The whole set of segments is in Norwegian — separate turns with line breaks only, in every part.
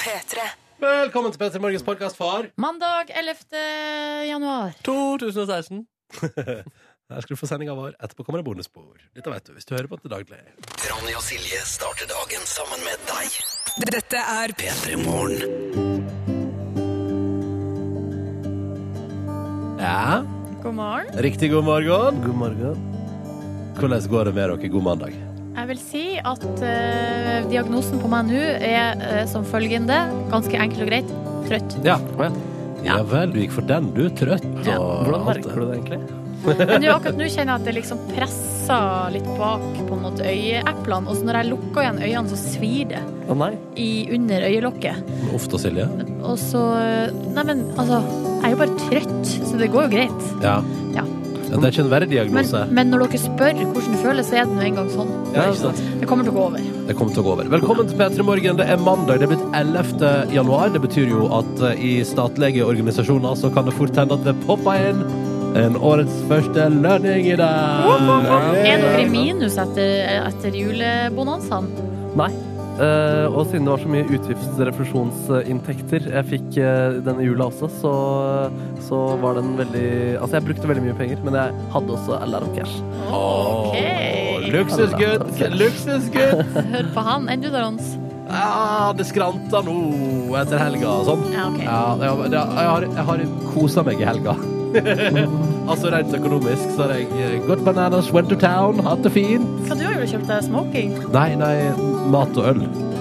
P3.
Velkommen til Petter Morgens podkast, far.
Mandag 11. januar.
2016.
Her skal du få sendinga vår. Etterpå kommer det bonusspor. Dette vet du hvis du hører på til daglig.
Ronny og Silje starter dagen sammen med deg.
Dette er
P3 Morgen.
Ja.
God morgen.
Riktig god morgen. God morgen. Hvordan går det med dere? God mandag.
Jeg vil si at eh, diagnosen på meg nå er eh, som følgende, ganske enkelt og greit, trøtt.
Ja.
ja.
ja vel, du gikk for den, du. Trøtt og
Ja.
Hvordan merker du det egentlig?
Men nå, akkurat nå kjenner jeg at det liksom presser litt bak på en måte øyeeplene, og så når jeg lukker igjen øynene, så svir det
Å nei.
i under øyelokket.
Ofte, Silje.
Og så Nei, men altså, jeg er jo bare trøtt, så det går jo greit.
Ja.
Ja.
Det er ikke en verre
Men,
diagnose.
men når dere spør hvordan det føles, så er det nå engang sånn.
Ja, ikke sant?
Det kommer til å gå over.
Det kommer til å gå over. Velkommen til P3 Morgen. Det er mandag. Det er blitt 11. januar. Det betyr jo at eh, i statlige organisasjoner så kan det fort hende at det popper inn en årets første lønning i dag.
Er dere i minus etter, etter julebonanzaen?
Nei. Eh, og siden det var så mye utgiftsrefusjonsinntekter jeg fikk eh, denne jula også, så, så var den veldig Altså, jeg brukte veldig mye penger, men jeg hadde også alarm cash.
Åh,
Ok.
Luksusgutt! Luksusgutt!
Hør på han. Enn du da, Rons?
Ah, det skranter nå etter helga og sånn.
Ja, ok.
Ja, jeg, jeg, jeg har, jeg har kosa meg i helga. altså Rent økonomisk så har jeg eh, gått bananas, went to town, hatt det fint.
Hva du har jo kjøpt deg smoking?
Nei, nei, mat og øl.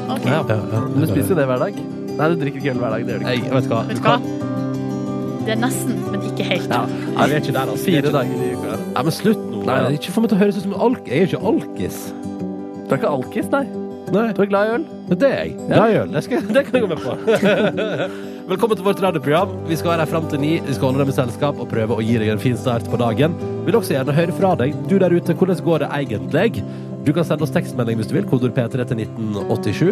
Ok.
Ja, ja, ja.
Men du spiser jo det hver dag. Nei, du drikker ikke øl hver dag. Det gjør du ikke.
Jeg, vet du hva?
Vet du hva? Det er nesten, men ikke helt.
Ja.
Nei, vi er ikke der, altså. Vi er
Fire
ikke der.
dager i uka.
Nei, men slutt nå.
Nei, da.
ikke få meg til å høres ut som en alk. Jeg er jo ikke alkis.
Du er ikke alkis, nei.
Nei,
Du er glad i øl.
men det er jeg. Ja. jeg gjør. Det, skal, det kan jeg gå med på. Velkommen til vårt radioprogram. Vi skal være her fram til ni. Vi skal holde deg med selskap og prøve å gi deg en fin start på dagen. Vil også gjerne høre fra deg. Du der ute, hvordan går det egentlig? Du kan sende oss tekstmelding hvis du vil. Kodord P3 til 1987.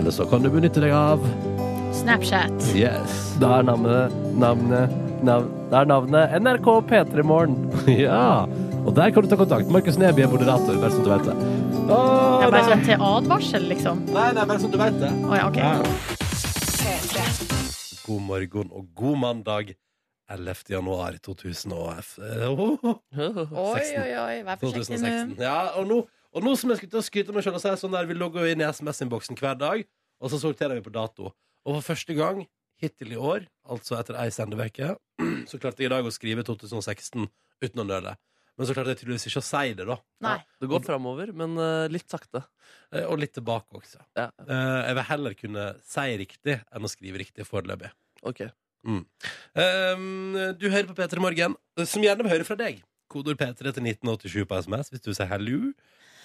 Eller så kan du benytte deg av
Snapchat.
Yes.
Da er navnet navnet nav, Da er navnet NRK P3 Morgen.
Ja. Og der kan du ta kontakt. Markus Neby er moderator, bare sånn at du vet det. Åh,
Det er bare
nei.
sånn til advarsel, liksom.
Nei, nei, bare sånn at du vet det.
Å ja, OK.
God morgen og god mandag 11. januar 2016.
Oi, oi, oi. Vær forsiktig nå.
2016. Ja, og nå, og nå som jeg skulle til å skryte meg selv og si sånn der, vi logger jo inn i SMS-innboksen hver dag, og så sorterer vi på dato. Og for første gang hittil i år, altså etter ei sendeveke, så klarte jeg i dag å skrive 2016 uten å nøle. Men så klarte jeg tydeligvis ikke å si det, da.
Nei.
Det går framover, men eh, litt sakte.
Eh, Og litt tilbake også.
Ja,
Eh, Jeg vil heller kunne si riktig enn å skrive riktig foreløpig.
ok.
Um, du hører på P3 Morgen, som gjerne vil høre fra deg. Kodord P3 til 1987 på SMS hvis du sier hallo.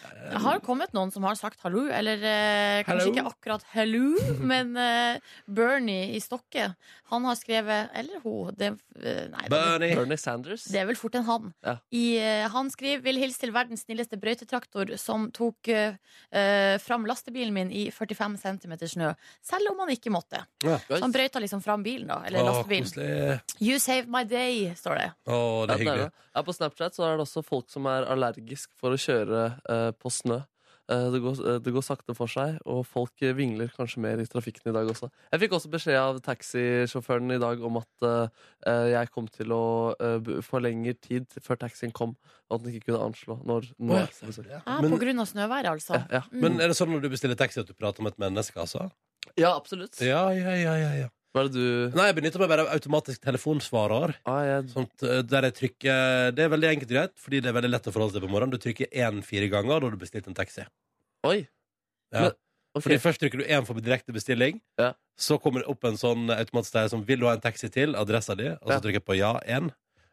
Det har kommet noen som har sagt hallo, eller eh, kanskje
Hello.
ikke akkurat hallo, men eh, Bernie i Stokke, han har skrevet Eller hun. Det, eh, nei, det,
Bernie.
Bernie Sanders.
Det er vel fort en han.
Ja.
I, eh, han skriver 'Vil hilse til verdens snilleste brøytetraktor' som tok eh, eh, fram lastebilen min i 45 cm snø, selv om han ikke måtte. Så han brøyta liksom fram bilen, da. Eller
Å,
lastebilen.
koselig.
You saved my day, står det.
Å, det
Ja,
er
det er
hyggelig.
det. Ja, på Snapchat så er det også folk som er allergisk for å kjøre eh, på snø. Eh, det, går, eh, det går sakte for seg, og folk eh, vingler kanskje mer i trafikken i dag også. Jeg fikk også beskjed av taxisjåføren i dag om at eh, eh, jeg kom til å eh, b- få lengre tid før taxien kom, og at den ikke kunne anslå når, når jeg skulle bestille.
Ja, "Ah, på
Men,
grunn av snøværet, altså.
ja, ja.
Mm.
men er det sånn når du bestiller taxi at du prater om et menneske, altså?
ja, absolutt.
Ja, ja, ja, ja, ja.
Hva er det du
Nei, jeg benytter meg bare av automatisk telefonsvarer.
ah, jeg,
Sånt, eh, der jeg trykker Det er veldig enkelt og greit, fordi det er veldig lett å forholde seg på morgenen. Du trykker én fire ganger, da har du bestilt en taxi.
Oi!
Ja.
Men- ok.
Fordi Først trykker du én for direkte bestilling.
Ja.
Så kommer det opp en sånn automatisk der som 'Vil du ha en taxi til?' Adressa di. Og så
Ja.
trykker jeg på 'ja' én.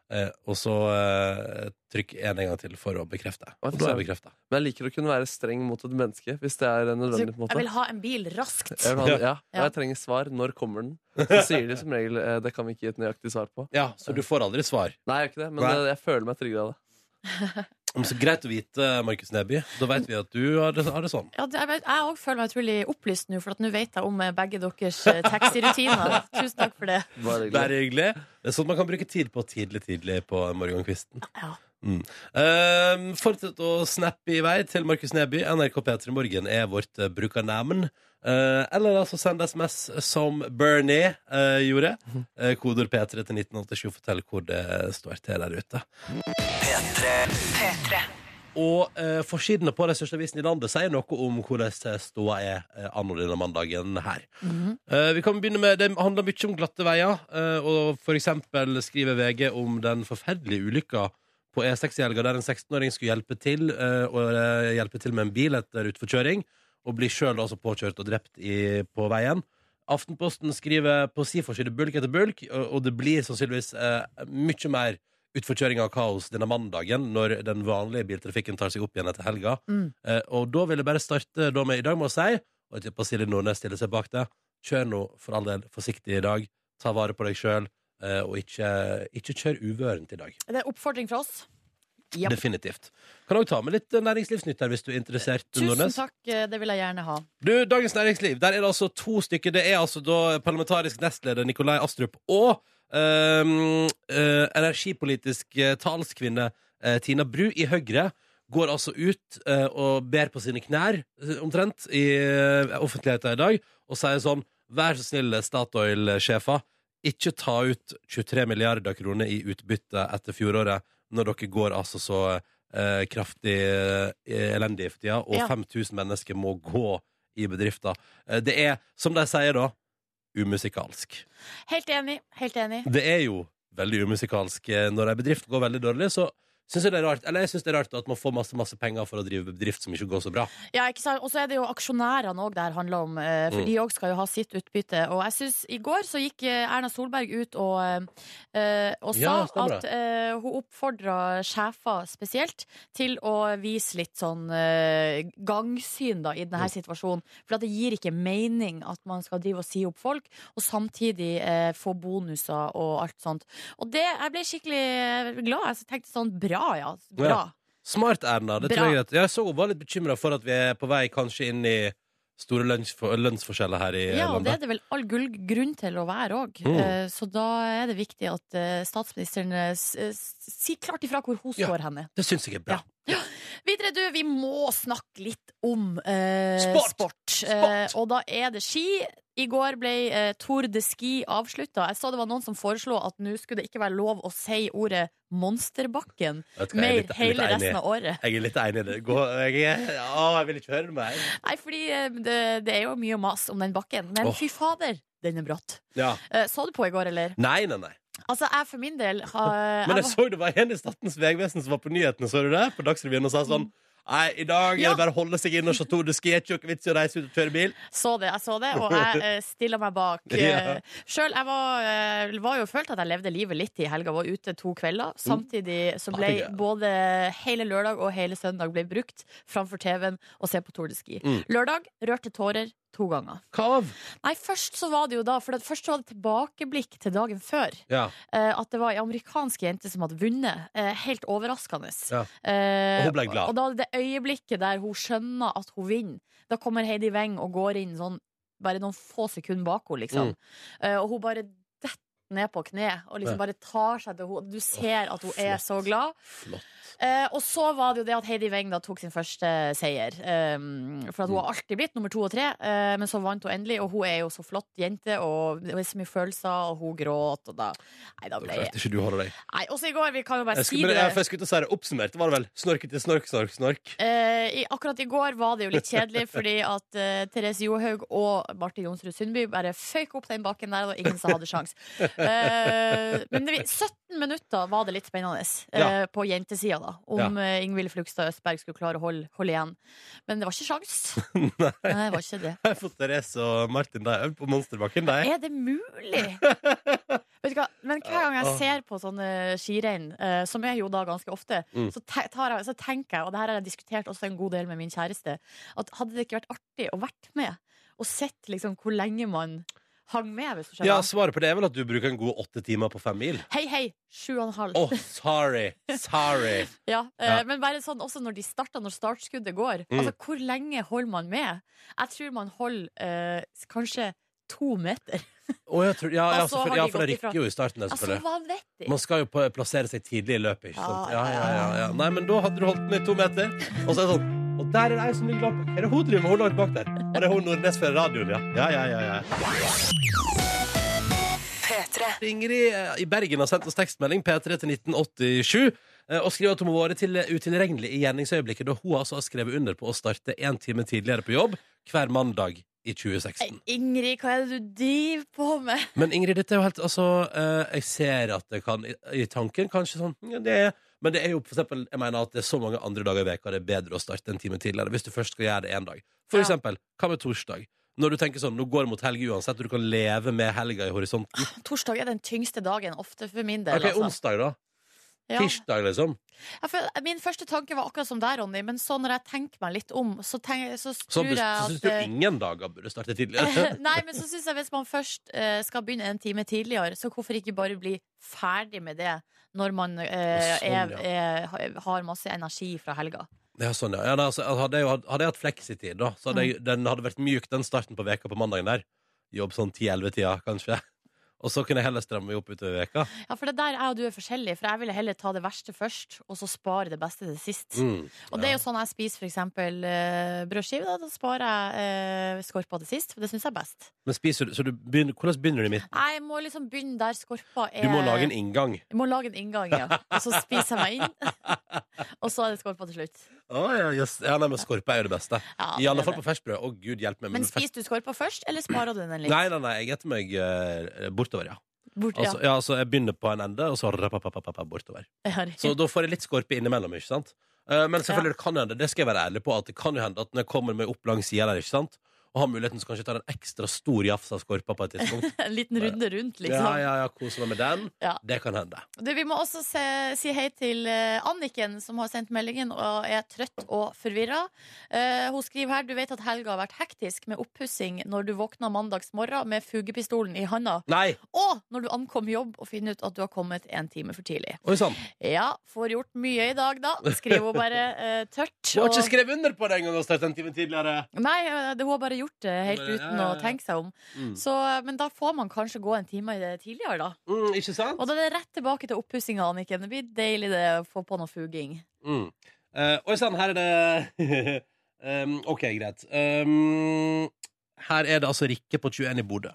Eh, og så eh, trykk én en gang til for å bekrefte.
Hva
Og da er
sa
jeg bekrefta.
Men jeg liker å kunne være streng mot et menneske hvis det er eh,
Så
nødvendig. på en måte.
jeg vil ha en bil raskt.
Jeg vil ha,
Ja.
den- ja, og jeg trenger svar. Når kommer den? Så sier de som regel eh, det kan vi ikke gi et nøyaktig svar på.
Ja, så du får aldri svar.
Nei, jeg gjør ikke det, men
Nei.
eh, jeg føler meg tryggere av det.
Men så greit å vite, Markus Neby. Da vet vi at du har det, har det sånn.
Ja, det- jeg vet- jeg òg føler meg utrolig opplyst nå, for at nå vet jeg om eh, begge deres eh, taxirutiner. Tusen takk for det.
Bare
Bare hyggelig.
hyggelig. Det er sånn man kan bruke tid på tidlig, tidlig på morgenkvisten.
Ja.
Um, fortsett å snappe i vei til Markus Neby. NRK P3 Morgen er vårt eh, brukernavn. Eh, eller altså send SMS som Bernie eh, gjorde. Eh, kodeord P3 til 1987. Fortell hvor det står til der ute. Og eh, forsidene på de største avisene i landet sier noe om hvordan ståa er eh, anno denne mandagen her. Eh, vi kan begynne med, Det handler mye om glatte veier, eh, og for eksempel skriver VG om den forferdelige ulykka på E6 i helga, der en 16-åring skulle hjelpe til, eh, og, eh, hjelpe til med en bil etter utforkjøring, og blir sjøl altså påkjørt og drept i, på veien. Aftenposten skriver på si forside bulk etter bulk, og, og det blir sannsynligvis eh, mye mer utforkjøring av kaos denne mandagen, når den vanlige biltrafikken tar seg opp igjen etter helga.
Mm.
Eh, og da vil jeg bare starte da med i dag med å si, og jeg tipper Silje Nordnes stiller seg bak det, kjør nå for all del forsiktig i dag, ta vare på deg sjøl, eh, og ikke, ikke kjør uvørent i dag.
Det er oppfordring fra oss. Japp.
Definitivt. Kan òg ta med litt eh, næringslivsnytt her, hvis du er interessert.
Tusen
Nordnes.
takk, eh, det vil jeg gjerne ha.
Du, Dagens Næringsliv, der er det altså to stykker. Det er altså da parlamentarisk nestleder Nikolai Astrup og ehm, eh, energipolitisk eh, talskvinne eh, Tina Bru i Høyre går altså ut eh, og ber på sine knær, eh, omtrent, i eh, offentligheten i dag, og sier sånn Vær så snill, Statoil-sjefer, ikke ta ut 23 milliarder kroner i utbytte etter fjoråret, når dere går altså så eh, kraftig eh, elendig for tida, og
Ja.
5000 mennesker må gå i bedrifter. Eh, Det er, som de sier da, umusikalsk.
Helt enig. Helt enig.
Det er jo veldig umusikalsk eh, når ei bedrift går veldig dårlig, så syns jeg det er rart Eller jeg synes det er rart at man får masse masse penger for å drive bedrift som ikke går så bra.
Ja, ikke sant? Og så er det jo aksjonærene òg det her handler om, eh, for
Mm.
de òg skal jo ha sitt utbytte. Og jeg synes, I går så gikk eh, Erna Solberg ut og, eh, og sa
Ja, stemmer det.
at eh, hun oppfordra sjefer spesielt til å vise litt sånn eh, gangsyn da, i denne
Mm.
situasjonen. For at det gir ikke mening at man skal drive og si opp folk, og samtidig eh, få bonuser og alt sånt. Og det, jeg ble skikkelig eh, glad. Jeg tenkte sånn bra, ja. Bra.
Ja. Smart, Erna. Det
Bra.
tror jeg er greit. Jeg så hun var litt bekymra for at vi er på vei kanskje inn i store lønnsfor- lønnsforskjeller her i eh,
Ja, og det er
landet.
det vel all gull grunn til å være òg.
Mm.
Så da er det viktig at eh, statsministeren eh, s- eh, s- sier klart ifra hvor hun
Ja.
står henne.
Det syns jeg er bra.
Videre, du, vi må snakke litt om eh,
Sport!
Eh, og da er det ski. I går ble eh, Tour de Ski avslutta. Jeg så det var noen som foreslo at nå skulle det ikke være lov å si ordet Monsterbakken
Vet du hva,
mer
jeg er litt, litt
hele
enig.
resten av året.
Jeg er litt enig i det. Gå, jeg, er- å, jeg vil ikke høre det mer.
Nei, fordi eh, det, det er jo mye mas om den bakken. Men
Åh.
fy fader, den er bratt.
Ja.
Eh, så du på i går, eller?
Nei, nei, nei.
Altså, jeg for min del har
Men jeg
jeg var-
så det var en i Statens vegvesen som var på nyhetene, så du det? På Dagsrevyen og sa sånn Nei, i dag er
Ja.
det bare å holde seg inn og se Tour de Ski. er ikke noe vits i å reise ut og kjøre bil.
så det, jeg så det, og jeg eh, stiller meg bak.
Ja.
Ja. Sjøl jeg var, eh, var jo følt at jeg levde livet litt i helga, var ute to
Mm.
kvelder. Samtidig så ble
Herregud.
både hele lørdag og hele søndag ble brukt framfor TV-en og se på Tour de Ski.
Mm.
Lørdag rørte tårer to ganger.
Hva av?
Nei, først så var det jo da, for det, først så var det tilbakeblikk til dagen før.
Ja.
eh, at det var ei amerikansk jente som hadde vunnet. eh, helt overraskende.
Ja.
Eh,
Og hun ble glad.
Og da det øyeblikket der hun skjønner at hun vinner, da kommer Heidi Weng og går inn sånn bare noen få sekunder bak henne,
Mm.
liksom. Eh, og hun bare detter ned på kne og liksom
Ja.
bare tar seg til henne. Du ser
Åh,
at hun er så
flott.
glad.
Flott.
Eh, og så var det jo det at Heidi Weng da tok sin første seier. Eh, for at
Mm.
hun har alltid blitt nummer to og tre, eh, men så vant hun endelig. Og hun er jo så flott jente, og det er så mye følelser, og hun gråt, og da Nei,
Da
da ble jeg
klarte ikke du å holde deg.
Nei, også i går, vi kan jo bare
Jeg
si
Eh, skulle, men, jeg, for
det.
jeg skulle til å si det oppsummert. Det var vel snorkete snork, snork, snork.
Eh, i, akkurat i går var det jo litt kjedelig, fordi at eh, Therese Johaug og Marte Jonsrud Sundby bare føyk opp den bakken der, og ingen som hadde sjans. Eh, men det, vi- 17 minutter var det litt spennende eh, på jentesida, da. Om ja. Ingvild Flugstad Østberg skulle klare å holde, holde igjen. Men det var ikke sjans.
Nei,
Nei, det var ikke det.
jeg har fått Therese og Martin de øvd på Monsterbakken. Nei.
Er det mulig? Vet du hva? Men hver gang jeg ser på sånne skirenn, eh, som er jo da ganske ofte,
Mm.
så, te tar jeg, så tenker jeg, og det her har jeg diskutert også en god del med min kjæreste, at hadde det ikke vært artig å vært med og sett liksom hvor lenge man hang med, hvis du skjønner?
Ja, svaret på det er vel at du bruker en god åtte timer på fem mil.
Hei, hei! Sju og en halv.
Å, sorry. Sorry.
Ja, eh,
Ja.
Men bare sånn også når de starter, når startskuddet går.
Mm.
Altså, Hvor lenge holder man med? Jeg tror man holder eh, kanskje to meter.
Å, jeg tror, ja, ja,
Og så har
selvfølgelig. ja,
de
for det
gått ifra.
rykker jo i starten, det,
Altså,
selvfølgelig.
vanvittig!
Man skal jo pa- plassere seg tidlig i løpet, ikke
Ja,
sant? Ja,
ja,
ja, ja, ja. Nei, men da hadde du holdt den i to meter, og så er det sånn Og der er det ei som ligger langt Er det hun driver med? Hun langt bak der. Og det er hun Nordnes fra radioen, ja. Ja, ja, ja, ja.
P3.
Ingrid eh, i Bergen har sendt oss tekstmelding P3 til 1987 eh, og skriver at hun må være til utilregnelig i gjerningsøyeblikket da hun altså har skrevet under på å starte en time tidligere på jobb hver mandag i 2016.
Ingrid, hva er det du driver på med?
Men Ingrid, dette er jo helt Altså, eh, jeg ser at det kan i, i tanken kanskje sånn ja, det er, Men det er jo for eksempel Jeg mener at det er så mange andre dager i veka det er bedre å starte en time tidligere hvis du først skal gjøre det en dag. For
Ja.
eksempel, hva med torsdag? Når du tenker sånn, nå går det mot helg uansett, og du kan leve med helga i horisonten.
Torsdag er den tyngste dagen, ofte for min del.
Ok,
altså.
onsdag, da.
Ja.
Tirsdag, liksom.
Ja, for eh, min første tanke var akkurat som deg, Ronny, men så når jeg tenker meg litt om, så, tenk, så
Så,
tror jeg at eh,
syns Sånn, du ingen dager burde starte tidligere?
Nei, men så syns jeg hvis man først eh, skal begynne en time tidligere, så hvorfor ikke bare bli ferdig med det når man eh,
Sånn,
er,
ja.
er, ha- har masse energi fra helga?
ja, sånn, ja. ja nei, altså, hadde, jeg, jo hatt- hadde jeg hatt fleksitid, da, så hadde
Mm.
jeg, den hadde vært mjuk den starten på veka på mandagen der. Jobb sånn 10-11-tida, kanskje. Og så kunne jeg heller stramme meg opp utover veka.
Ja, for det der jeg og du er forskjellige, for jeg ville heller ta det verste først, og så spare det beste til sist.
Mm.
Og det er jo sånn jeg spiser for eksempel eh, brødskive, da, da sparer jeg eh, skorpa til sist, for det syns jeg er best.
Men spiser du, så du begynner, hvordan begynner du i midten?
Nei, eh, Jeg må liksom begynne der skorpa
Du
er
må lage en inngang.
Jeg må lage en inngang, ja. Og så spiser jeg meg inn. og så er det skorpa til slutt.
Å, ja, yes. ja, nei, men skorpe er jo det beste.
Ja,
I alle
det er
fall på
det.
ferskt brød. Å, gud hjelpe meg. men
Men
ferskt-
spiser du skorpa først, eller sparer du den litt?
Mm. Nei, nei, nei, jeg etter meg eh, bortover, ja.
Bort,
Altså, ja. Så jeg begynner på en ende, og så rapapapapapa bortover.
ja. Ja, riktig.
Så da får jeg litt skorpe innimellom, ikke sant? Eh, Men selvfølgelig, det kan hende, det skal jeg være ærlig på, at det kan jo hende at når jeg kommer meg opp langs sida der, ikke sant, og har muligheten, så kanskje jeg tar en ekstra stor jafs av skorpa på et tidspunkt.
en liten runde rundt, liksom.
Ja, ja, ja, kose meg med den.
Ja.
Det kan hende.
Du, vi må også se, si hei til eh, Anniken, som har sendt meldingen og er trøtt og forvirra. Eh, hun skriver her du vet at helga har vært hektisk med oppussing når du våkna mandags morgen med fugepistolen i handa,
Nei!
og når du ankom jobb og finner ut at du har kommet en time for tidlig.
Oi sann!
Ja, får gjort mye i dag, da. Skriver hun bare eh, tørt.
Du har
og-
ikke skrevet under på det engang og startet en time tidligere!
Nei, eh, det, hun har bare gjort det helt
Bare, ja,
uten
ja, ja.
å tenke seg om.
Mm.
Så, eh, men da får man kanskje gå en time i det tidligere, da.
Mm, ikke sant?
Og da er det rett tilbake til oppussinga, Anniken. Det blir deilig det, å få på noe fuging.
Mm. Eh, oi sann, her er det um, OK, greit. Um, her er det altså Rikke på 21 i Bodø,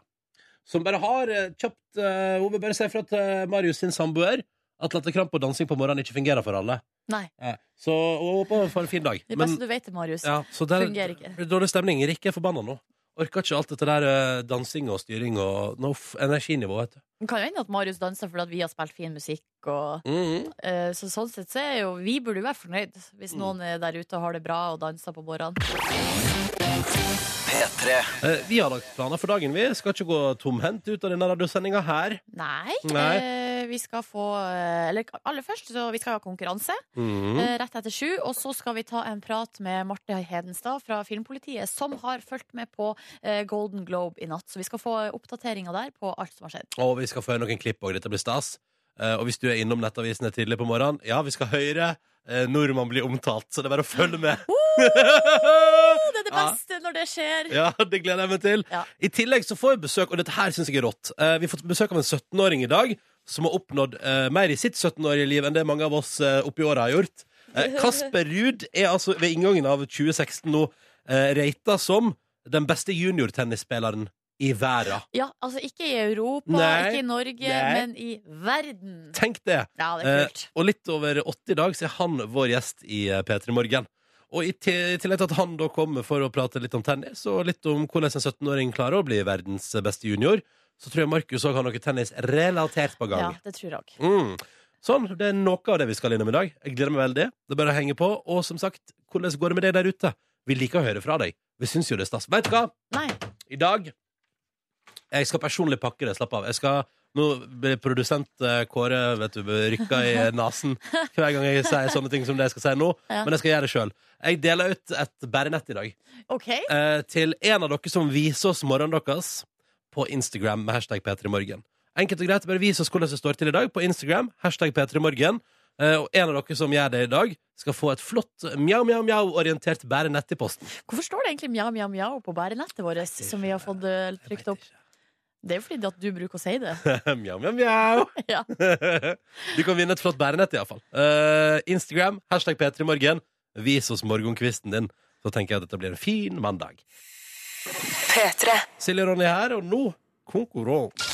som bare har eh, kjøpt eh, Hun vil bare si fra til Marius sin samboer at latterkrampe og dansing på morgenen ikke fungerer for alle.
Nei.
Eh, så hun håper hun får en fin dag.
Det er
Men-
beste du vet det, Marius.
ja, så der,
fungerer ikke.
blir det Dårlig stemning. Rikke er forbanna nå. Orker ikke alt dette der eh, dansing og styring og no, f- energinivå, vet du.
Det kan jo hende at Marius danser fordi at vi har spilt fin musikk. Og,
Mm.
eh, så sånn sett så er jo vi burde jo være fornøyd hvis noen er der ute og har det bra og danser på morgenen.
P3.
Eh, vi har lagt planer for dagen, vi. Skal ikke gå tomhendt ut av denne radiosendinga her.
Nei.
Nei.
Eh, vi skal få eh, Eller aller først, så vi skal ha konkurranse
Mhm.
eh, rett etter sju. Og så skal vi ta en prat med Marte Hedenstad fra Filmpolitiet, som har fulgt med på eh, Golden Globe i natt. Så vi skal få oppdateringa der på alt som har skjedd.
Og vi skal få høre noen klipp òg. Dette blir stas. Eh, og hvis du er innom nettavisene tidlig på morgenen, ja, vi skal høre eh, nordmann bli omtalt. Så det er bare å følge med.
Det er det
Ja.
beste når det skjer!
Ja, det gleder jeg meg til.
Ja.
I tillegg så får vi besøk, og dette her syns jeg er rått. Eh, vi får besøk av en 17-åring i dag som har oppnådd eh, mer i sitt 17-årige liv enn det mange av oss eh, oppi åra har gjort. Eh, Kasper Ruud er altså ved inngangen av 2016 nå eh, rata som den beste juniortennisspilleren i verden.
Ja, altså ikke i Europa,
Nei.
ikke i Norge,
Nei.
men i verden.
Tenk det!
Ja, det er
Eh,
kult.
og litt over 80 i dag så er han vår gjest i eh, P3 Morgen. Og i til- i tillegg til at han da kommer for å prate litt om tennis, og litt om hvordan en 17-åring klarer å bli verdens beste junior, så tror jeg Markus òg har noe tennis relatert på
Ja,
gang.
det tror jeg òg.
Mm. Sånn, det er noe av det vi skal innom i dag. Jeg gleder meg veldig. Det er bare å henge på. Og som sagt, hvordan går det med deg der ute? Vi liker å høre fra deg. Vi syns jo det er stas. Vet du hva?
Nei.
I dag Jeg skal personlig pakke det, slapp av Jeg skal, nå blir produsent eh, Kåre, vet du, rykka i nasen Hver gang jeg sier sånne ting som det jeg skal si nå
Ja.
Men jeg skal gjøre det selv Jeg deler ut et bærenett i dag
OK.
eh, Til en av dere som viser oss morgenen deres På Instagram med hashtag P3morgen Enkelt og greit, bare vis oss hvordan det står til i dag På Instagram, hashtag P3morgen eh, Og en av dere som gjør det i dag Skal få et flott mjau-mjau-mjau-orientert bærenett i posten
Hvorfor står det egentlig mjau, mjau, mjau på bærenettet vårt, som vi har fått eh, trykt opp? Det er jo fordi at du bruker å si det.
mjau, mjau, mjau.
Ja.
du kan vinne et flott bærenett, iallfall. Uh, Instagram, hashtag P3morgen. Vis oss morgenkvisten din. Så tenker jeg at dette blir en fin mandag.
P3.
Silje og Ronny her, og nå konkurranse.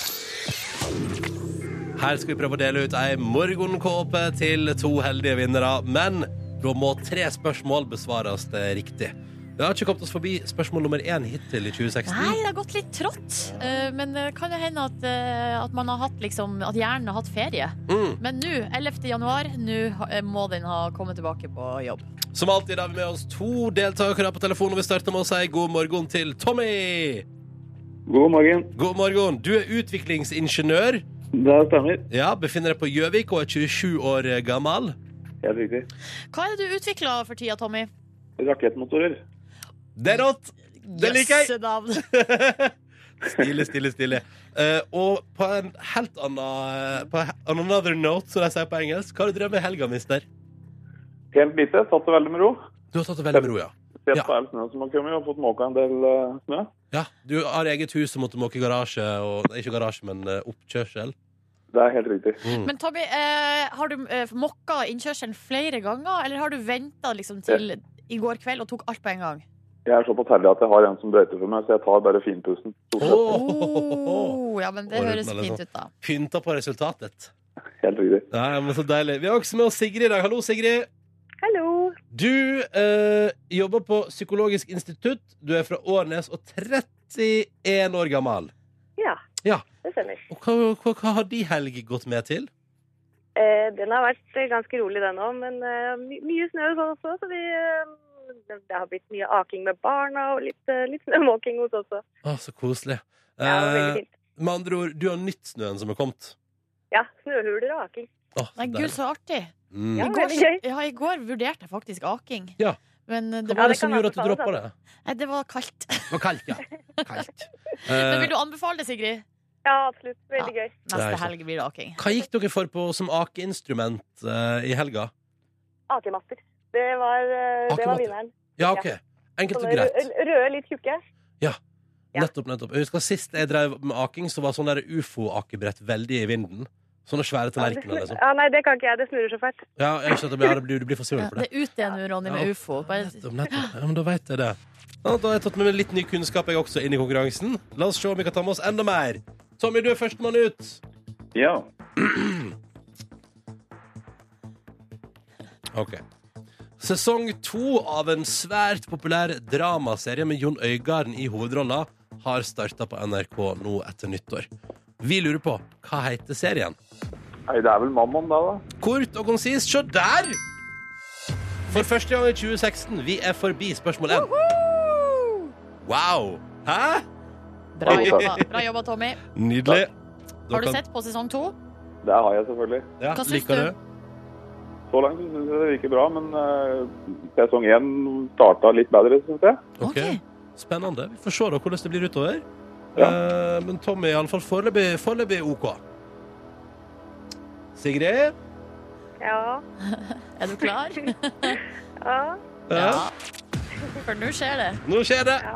Her skal vi prøve å dele ut ei morgenkåpe til to heldige vinnere. Men da må tre spørsmål besvares eh, riktig. Vi har ikke kommet oss forbi spørsmål nummer én hittil i 2016.
Nei, det har gått litt trått. Eh, Men det kan jo hende at, eh, at, man har hatt, liksom, at hjernen har hatt ferie.
Mm.
Men nå, 11. januar, nå ha- eh, må den ha kommet tilbake på jobb.
Som alltid har vi med oss to deltakere på telefon, og vi starter med å si god morgen til Tommy.
God morgen.
God morgen. Du er utviklingsingeniør.
Det stemmer.
Ja, Befinner deg på Gjøvik og er 27 år eh, gammel.
Helt riktig.
Hva er det du utvikler for tida, Tommy?
Rakettmotorer.
Det er rått! Det liker jeg!
Jøsse navn.
Stille, stille, stille. Eh, og på en helt annen På he- on another note, som de sier på engelsk, hva har du drevet med i helga, mister?
Helt lite. Tatt det veldig med ro.
Du har tatt det veldig med ro, ja.
Sett
Ja.
på all snøen som har kommet, og fått måka en del eh, snø.
ja. Du har eget hus og måtte måke garasje og Nei, ikke garasje, men eh, oppkjørsel.
Det er helt riktig.
Mm.
Men Tommy, eh, har du eh, mokka innkjørselen flere ganger, eller har du venta liksom, til i går kveld og tok alt på en gang?
Jeg er såpass heldig at jeg har en som brøyter for meg, så jeg tar bare finpusten. Stort sett.
Åh! sånn.
Oh, ja, men det
Og
høres
ruten,
fint ut, da.
Pynta på resultatet.
Helt riktig.
Nei, men Så deilig. Vi har også med oss Sigrid i dag. Hallo, Sigrid.
Hallo.
Du eh, jobber på Psykologisk institutt. Du er fra Årnes og 31 år gammel.
Ja,
Ja.
det stemmer.
Og hva, hva, hva har de helg gått med til?
Eh, den har vært eh, ganske rolig, den òg, men eh, my mye snø og sånn også. Så vi, eh, det det har blitt mye aking med barna og litt, eh, litt snømåking hos oss også.
Å, så koselig.
Ja,
Eh,
veldig fint.
Med andre ord, du har nytt snøen som er kommet.
Ja, snøhuler og aking.
Å, så
Nei, gud,
deilig.
så artig.
Mm.
Ja,
I går,
veldig gøy.
ja, I går vurderte jeg faktisk aking.
Ja.
Men eh, det,
Hva
var-
var
det
det som
kan
gjorde at du
anbefales,
droppa det?
nei, det var kaldt.
Det var kaldt, ja. Kaldt.
Men vil
Eh,
du anbefale det, Sigrid?
Ja, absolutt. Veldig gøy.
Nei,
Neste
sant.
helg blir det aking.
Eh, hva gikk dere for på som akeinstrument eh, i helga?
Akematter. Det var, eh, det
Akematter.
var vinneren.
Ja, OK. Enkelt og
Sånne
greit.
rø- røde, litt tjukke. ja.
Nettopp, nettopp. Jeg husker Sist jeg drev med aking, så var sånn der ufo-akebrett veldig i vinden. Sånne
Ja,
svære
det
tallerkener,
snur-
liksom.
ja, nei, det kan ikke jeg. Det snurrer så fælt.
Ja, jeg skjønner at det blir, ja, det blir, du blir for svimmel
Ja,
for
det
det.
er ut igjen nå, Ronny,
Ja.
med ufo. Bare,
Nettopp, nettopp. Ja, men da vet jeg det. Ja, Da har jeg tatt med meg litt ny kunnskap jeg også inn i konkurransen. La oss se om vi kan ta med oss enda mer. Tommy, du er førstemann ut.
Ja.
Ok Sesong to av en svært populær dramaserie med Jon Øygarden i hovedrolla har starta på NRK nå etter nyttår. Vi lurer på hva heter serien?
Nei, det er vel Mammon, da, da.
Kort og konsist, se der! For første gang i 2016. Vi er forbi spørsmål én. Wow! Hæ?
bra, jobba. bra jobba, Tommy.
Nydelig.
Har du sett på sesong to?
Det har jeg selvfølgelig.
Ja,
Hva syns
liker
du?
du?
Så langt syns jeg det virker bra, men eh, sesong én starta litt bedre, syns jeg.
Ok.
Ok.
Spennende. Vi får se da hvordan det blir utover. Eh, men Tommy er iallfall foreløpig foreløpig OK. Sigrid?
Ja.
Er du klar?
ja.
Ja.
Ja. For nå skjer det.
Nå skjer det!
Ja.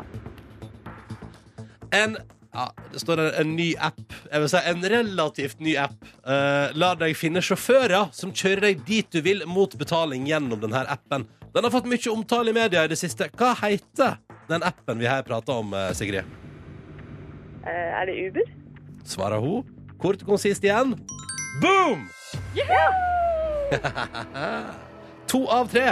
En ja, Det står en, en ny app. Jeg vil si en relativt ny app. Eh, la deg finne sjåfører som kjører deg dit du vil mot betaling gjennom denne appen. Den har fått mye omtale i media i det siste. Hva heter den appen vi her prater om, eh, Sigrid?
Eh, Er det Uber?
svarer hun. Kort og konsist igjen. Boom! to av tre.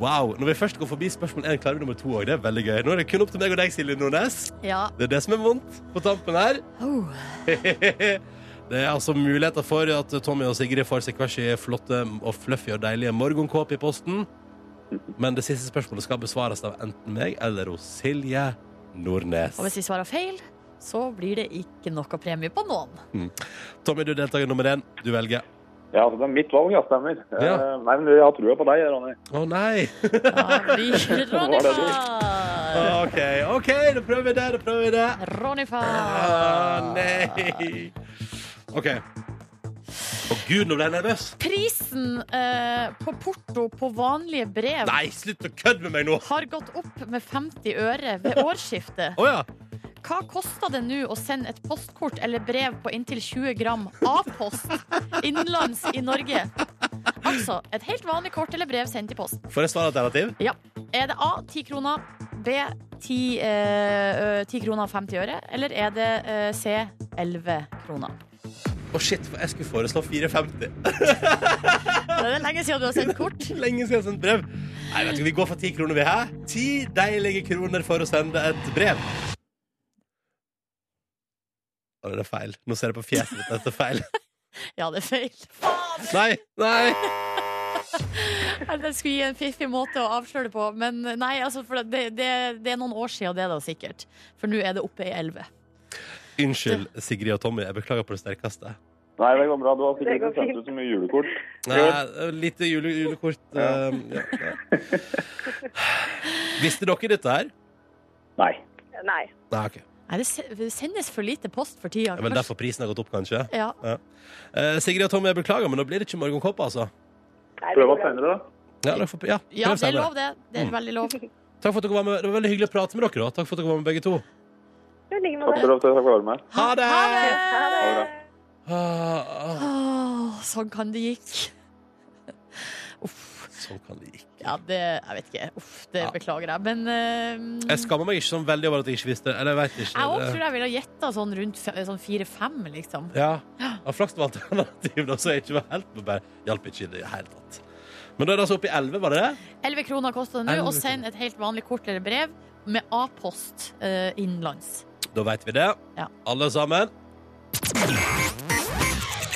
Wow. Når vi først går forbi spørsmål én, klarer vi nummer to òg. Det er veldig gøy. Nå er det kun opp til meg og deg, Silje Nordnes.
Ja.
Det er det som er vondt på tampen her.
Oh.
Det er altså muligheter for at Tommy og Sigrid får seg hver sin flotte og fluffy og deilige morgenkåpe i posten. Men det siste spørsmålet skal besvares av enten meg eller hos Silje Nordnes.
Og hvis vi svarer feil, så blir det ikke noe premie på noen.
Tommy, du er deltaker nummer én. Du velger.
Ja, altså, det er mitt valg, ja. Stemmer.
Ja.
Eh, nei, men jeg har trua på deg, Ronny.
Å nei!
Da blir Ronny-far.
OK, ok, da prøver vi det. Da prøver vi det. Å
Ronny-far.
nei! OK. Å gud, nå ble jeg nervøs.
Prisen eh, på porto på vanlige brev
Nei, slutt å kødde med meg nå!
har gått opp med 50 øre ved årsskiftet.
Å ja.
Hva koster det nå å sende et postkort eller brev på inntil 20 gram A-post innenlands i Norge? Altså et helt vanlig kort eller brev sendt i posten.
Får jeg svaralternativ?
Er det A 10 kroner, B 10, eh, ø, 10 kroner og 50 øre, eller er det eh, C 11 kroner?
Å shit, for jeg skulle foreslå 4,50.
Det er lenge siden du har sendt kort.
Lenge siden jeg har sendt brev. Nei, vet du, hva, Vi går for ti kroner, vi. Hæ? Ti deilige kroner for å sende et brev. Å, det er feil. Nå ser jeg på fjeset ditt at det er feil.
Ja, det er feil. Faen!
Nei, nei!
Jeg skulle gi en fiffig måte å avsløre det på, men nei, altså, for det, det, det er noen år siden det, da, sikkert. For nå er det oppe i 11.
Unnskyld, Sigrid og Tommy. Jeg beklager på det sterkeste.
Nei, det går bra. Du har
Det
sikkert
går
ikke sendt ut så mye julekort.
Nei, lite jule, julekort.
Ja.
eh, ja, ja. Visste dere dette her?
Nei.
Nei.
Nei, ok.
Nei, det se- det sendes for lite post for tida.
Ja, men derfor prisen har gått opp, kanskje?
Ja.
Eh, Sigrid og Tommy, jeg beklager, men nå blir det ikke morgenkopp, altså.
Nei, det
Prøv
går
oss
bra.
senere, da.
Ja, dere får, ja,
ja,
prøv
det er
senere.
lov, det. Det
Mm.
er veldig lov.
Takk for at dere var med. Det var veldig hyggelig å prate med dere. da. Takk for at dere var med, begge to.
I like
Takk
måte.
for at dere fikk være med.
Ha det!
Ha
Ha
det!
det.
Ah, ah,
Åh, sånn kan det gikk.
sånn kan det ikke.
Ja, det Jeg vet ikke. Uff, det beklager jeg. Men eh,
Jeg skammer meg ikke sånn veldig over at jeg ikke visste det. Eller jeg vet ikke.
jeg òg
det-
tror jeg ville ha gjetta sånn rundt fe- sånn fire-fem, liksom.
Ja. ja flaks det var alternativ, da, så jeg ikke var helt på bare Hjalp ikke i det hele tatt. Men da er det altså oppe i 11, var det det?
11 kroner koster det
11
nå å
kroner.
sende et helt vanlig kort eller brev med A-post eh, innenlands.
Da vet vi det.
Ja.
Alle sammen.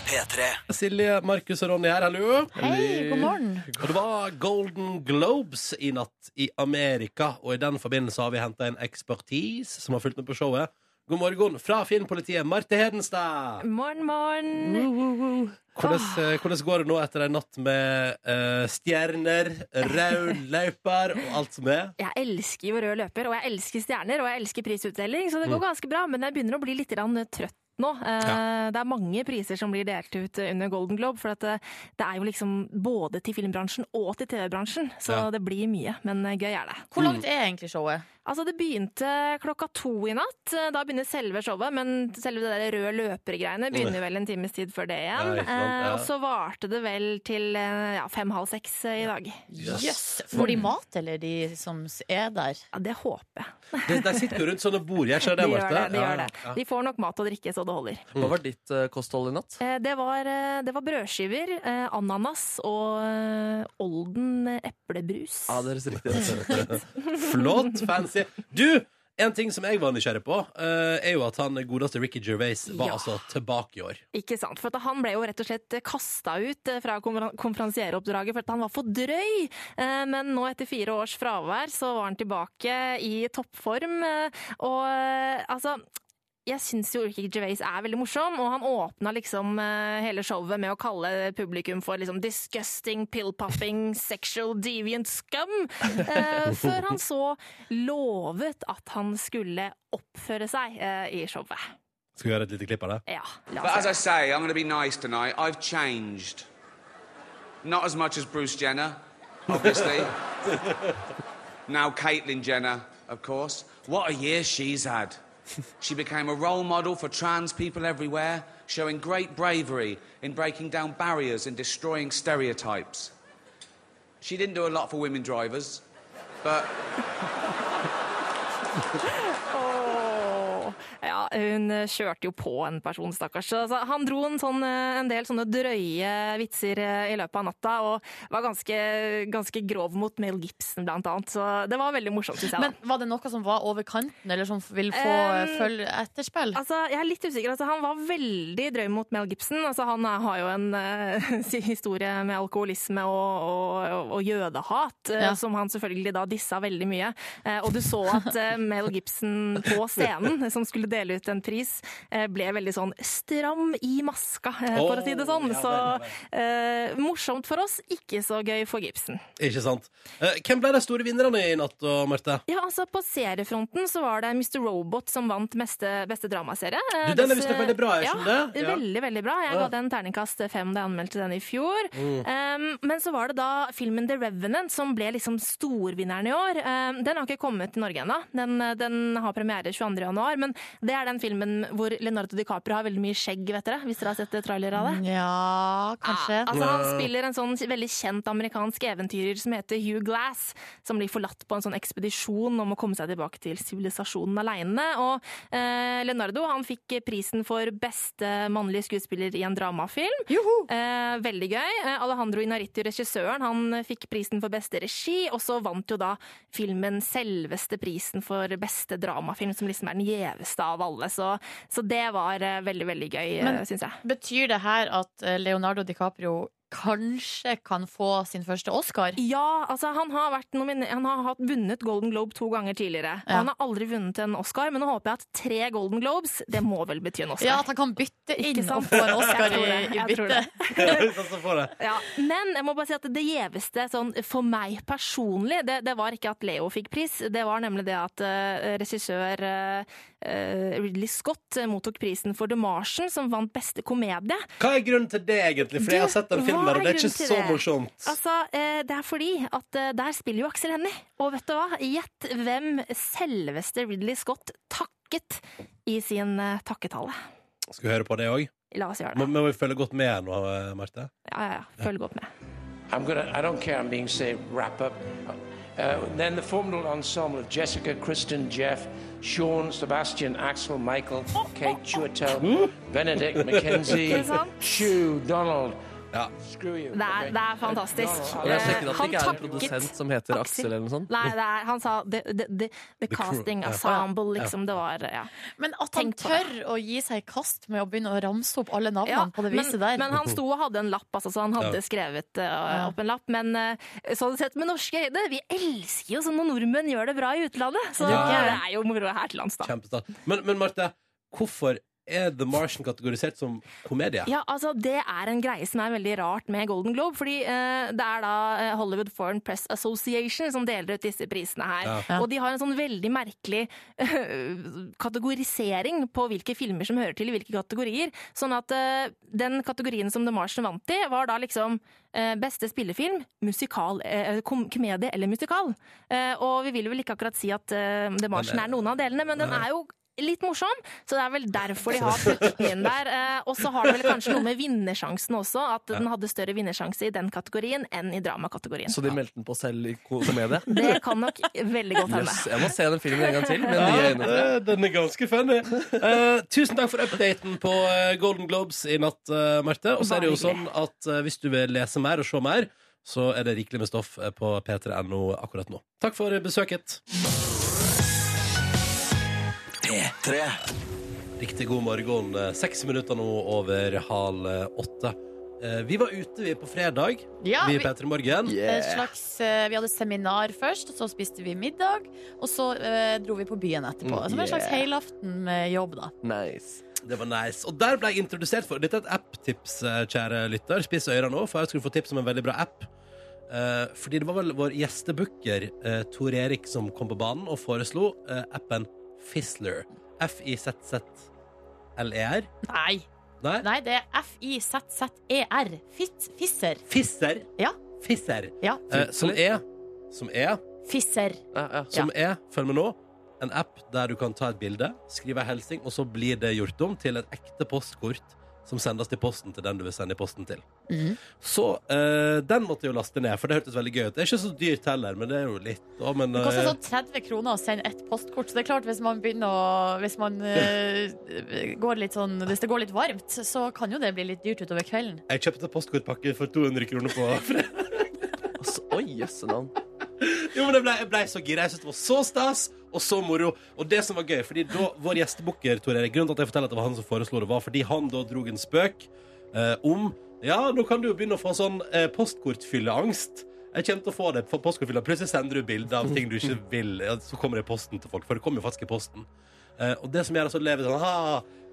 P3.
Silje, Markus og Ronny her, hallo.
Hei, god morgen.
Og det var Golden Globes i natt i Amerika, og i den forbindelse har vi henta en ekspertise som har fulgt med på showet. God morgen fra filmpolitiet, Marte Hedenstad.
Morgen, morgen.
Hvordan, eh, hvordan går det nå etter en natt med eh, stjerner, rød løyper og alt som er?
Jeg elsker jo rød løper, og jeg elsker stjerner, og jeg elsker prisutdeling, så det
Mm.
går ganske bra, men jeg begynner å bli litt grann trøtt. Nå. Eh, Det er mange priser som blir delt ut under Golden Globe, for at eh, det er jo liksom både til filmbransjen og til TV-bransjen, så
Ja.
det blir mye, men eh, gøy er det.
Hvor langt er egentlig showet?
Altså, det begynte klokka to i natt. eh, Da begynner selve showet, men selve det der røde løpergreiene begynner vel en times tid før det igjen.
Nei, ikke sant,
Eh,
ja.
Og så varte det vel til eh, ja, fem-halv seks eh, i dag.
Jøss. Får de mat, eller de som er der?
Ja, det håper jeg.
De, de sitter jo rundt sånne bord. Jeg ser det,
De gjør
Marte.
det, de,
Ja,
gjør det.
ja.
de får nok mat og drikke så det holder.
Hva var ditt eh, kosthold i natt?
Eh, Det var, eh, det var brødskiver, eh, ananas og eh, Olden eplebrus.
Ja, det høres riktig ut.
Flott, fancy. Du, en ting som jeg var nysgjerrig på, eh, er jo at han godeste Ricky Gervais var
Ja.
altså tilbake i år.
Ikke sant, for at han ble jo rett og slett kasta ut eh, fra konferen- konferansieroppdraget for at han var for drøy. Eh, Men nå etter fire års fravær så var han tilbake i toppform. eh, Og eh, altså jeg syns jo Ricky Gervais er veldig morsom, og han åpna liksom eh, hele showet med å kalle publikum for liksom disgusting, pill-popping, sexual deviant scum, eh, før han så lovet at han skulle oppføre seg eh, i showet.
Skal vi gjøre et lite klipp av det?
Ja, la
But
oss
altså,
høre.
as I say, I'm going to be nice tonight. I've changed. Not as much as Bruce Jenner, obviously. now Caitlyn Jenner, of course. What a year she's had. She became a role model for trans people everywhere, showing great bravery in breaking down barriers and destroying stereotypes. She didn't do a lot for women drivers, but
Åh. Ja, hun eh, kjørte jo på en person, stakkars. Så, så han dro en, sånn, eh, en del sånne drøye vitser eh, i løpet av natta, og var ganske, ganske grov mot Mel Gibson, blant annet. Så det var veldig morsomt, syns jeg. da.
Men var det noe som var over kanten, eller som vil få
Um,
følge etterspill?
Altså, jeg er litt usikker. Altså, han var veldig drøy mot Mel Gibson. Altså, han eh, har jo en eh, si- historie med alkoholisme og, og, og jødehat, eh,
Ja.
som han selvfølgelig da dissa veldig mye. Eh, og du så at eh, Mel Gibson på scenen, som skulle dele ut ut en pris, eh, ble veldig sånn stram i maska, eh, for
Åh,
å si det sånn.
ja,
Så eh, morsomt for oss, ikke så gøy for Gibson.
Ikke sant? Eh, hvem ble de store vinnerne i natt, da, Marte?
Ja, altså På seriefronten så var det Mr. Robot som vant meste, beste dramaserie. Eh,
Du, den er visstnok veldig bra, jeg skjønner det.
Ja,
Ja.
veldig, veldig bra. Jeg
Ja.
ga den terningkast fem da jeg anmeldte den i fjor.
Mm.
Um, men så var det da filmen The Revenant som ble liksom storvinneren i år. Um, den har ikke kommet til Norge ennå. Den, den har premiere 22. januar, men det er den filmen hvor Leonardo DiCaprio har veldig mye skjegg, vet dere. Hvis dere har sett trailere av det?
Ja, kanskje.
Ja, altså Han spiller en sånn veldig kjent amerikansk eventyrer som heter Hugh Glass, som blir forlatt på en sånn ekspedisjon om å komme seg tilbake til sivilisasjonen alene. Og eh, Leonardo han fikk prisen for beste mannlige skuespiller i en dramafilm. Eh, veldig gøy. Eh, Alejandro Inarritu, regissøren, han fikk prisen for beste regi, og så vant jo da filmen selveste prisen for beste dramafilm, som liksom er den gjeveste av alle. Så, så det var eh, veldig, veldig gøy,
Men-
syns jeg.
Betyr det her at eh, Leonardo DiCaprio kanskje kan få sin første Oscar?
Ja, altså han har, vært nomine- han har hatt vunnet Golden Globe to ganger tidligere. Og
Ja.
Han har aldri vunnet en Oscar, men nå håper jeg at tre Golden Globes, det må vel bety en Oscar.
Ja, at han kan bytte inn
Ikke sant?
og få en Oscar
Jeg tror
i,
det,
i
jeg tror
bytte.
det.
Vi satser på det.
Ja, men jeg må bare si at det gjeveste sånn, for meg personlig, det, det var ikke at Leo fikk pris. Det var nemlig det at eh, regissør eh, eh, Ridley Scott eh, mottok prisen for The Martian, som vant beste komedie.
Hva er grunnen til det, egentlig? For jeg har sett den filmen, der, og det er
Hva
ikke
grunnen til
så morsomt.
Altså, eh, det er fordi at eh, der spiller jo Aksel Hennie. Og vet du hva? Gjett hvem selveste Ridley Scott takket i sin eh, takketale.
Skal vi høre på det òg?
La oss gjøre
Må,
det.
må vi følge godt med her nå, eh, Marte?
Ja, ja, ja. Følg godt med.
I'm gonna. I don't care. I'm being saved. Wrap up. Uh, then the formidable ensemble of Jessica, Kristen, Jeff, Sean, Sebastian, Axel, Michael, Kate Chuato, Benedict,
Ikke
Mackenzie,
sant?
Shu, Donald. Screw you.
Det er, det er fantastisk. Eh,
Og det er sikkert at det
Han
ikke er en
takket-
produsent som heter Aksel eller noe sånt.
Nei, det er, han sa the, the, the, the casting
ja.
ensemble,
Ja.
liksom. Det var ja.
Men at han
Tenk på
tør å gi seg i kast med å begynne å ramse opp alle navnene på det
men,
viset der.
men han sto og hadde en lapp, altså, så han hadde
Ja.
skrevet eh, opp en lapp. Men eh, sånn sett med norske øyne, vi elsker jo sånn når nordmenn gjør det bra i utlandet. Så
Ja.
det er jo moro her til lands, da.
Kjempestart. Men, men Marte, hvorfor er The Martian kategorisert som komedie?
Ja, altså Det er en greie som er veldig rart med Golden Globe. fordi eh, Det er da eh, Hollywood Foreign Press Association som deler ut disse prisene her.
Ja. Ja.
Og de har en sånn veldig merkelig eh, kategorisering på hvilke filmer som hører til i hvilke kategorier. Sånn at eh, den kategorien som The Martian vant i, var da liksom eh, beste spillefilm, musikal, eh, kom komedie eller musikal. Eh, og vi vil vel ikke akkurat si at eh, The Martian
er-
er noen av delene, men den
Nei.
er jo litt morsom, så det er vel derfor de har puttet den inn der. Eh, Og så har det vel kanskje noe med vinnersjansen også, at den hadde større vinnersjanse i den kategorien enn i dramakategorien.
Så de meldte den på selv i ko- komedie?
Det kan nok veldig godt hende.
Yes, jeg må se den filmen en gang til. Med nye øyne.
Ja, det- Eh, den er ganske funny. Eh, tusen takk for updaten på eh, Golden Globes i natt, eh, Marte. Og så er det jo
Bare
sånn at eh, hvis du vil lese mer og se mer, så er det rikelig med stoff eh, på p3.no akkurat nå. Takk for besøket. P3. Riktig god morgen. Eh, Seks minutter nå over halv eh, åtte. Eh, Vi var ute vi på fredag,
Ja,
vi i
vi-
P3 Morgen.
Et slags, eh, vi hadde seminar først, så spiste vi middag, og så eh, dro vi på byen etterpå.
Mm,
Som en slags
yeah.
helaften med jobb, da.
Nice.
Det var nice. Og der ble jeg introdusert for Dette er et app-tips, eh, kjære lytter. Spiss øra nå, for her skal du få tips om en veldig bra app. Eh, fordi det var vel vår gjestebooker eh, Tor Erik som kom på banen og foreslo eh, appen Fizzler. F-I-Z-Z-L-E-R.
Nei.
E Nei.
Nei, det er F-I-Z-Z-E-R. Fit, E fisser.
Fisser?
Ja.
Fisser.
Ja.
Eh, som er Som er
Fisser.
Som er, følg med nå, en app der du kan ta et bilde, skrive en hilsing, og så blir det gjort om til et ekte postkort som sendes til posten til den du vil sende posten til.
Mhm.
Så eh, den måtte jeg jo laste ned, for det hørtes veldig gøy ut. Det er ikke så dyrt heller, men det er jo litt. Å, men,
Det koster
eh,
sånn 30 kroner å sende ett postkort, så det er klart hvis man begynner å Hvis, man, eh, går litt sånn, hvis det går litt varmt, så kan jo det bli litt dyrt utover kvelden.
Jeg kjøpte postkortpakke for 200 kroner på fredag.
Altså, Oi, jøsse navn.
Jo, men jeg ble, jeg ble så gira. Jeg syntes det var så stas og så moro. Og det som var gøy, fordi da vår gjestebooker, Tor Erik, grunnen til at jeg forteller at det var han som foreslo det, var fordi han da drog en spøk eh, om Ja, nå kan du jo begynne å få sånn eh, postkortfylleangst. Jeg kommer til å få det for postkortfylla. Plutselig sender du bilder av ting du ikke vil, ja, så kommer det i posten til folk. For det kommer jo faktisk i posten. Eh, og det som gjør at hun lever sånn ha,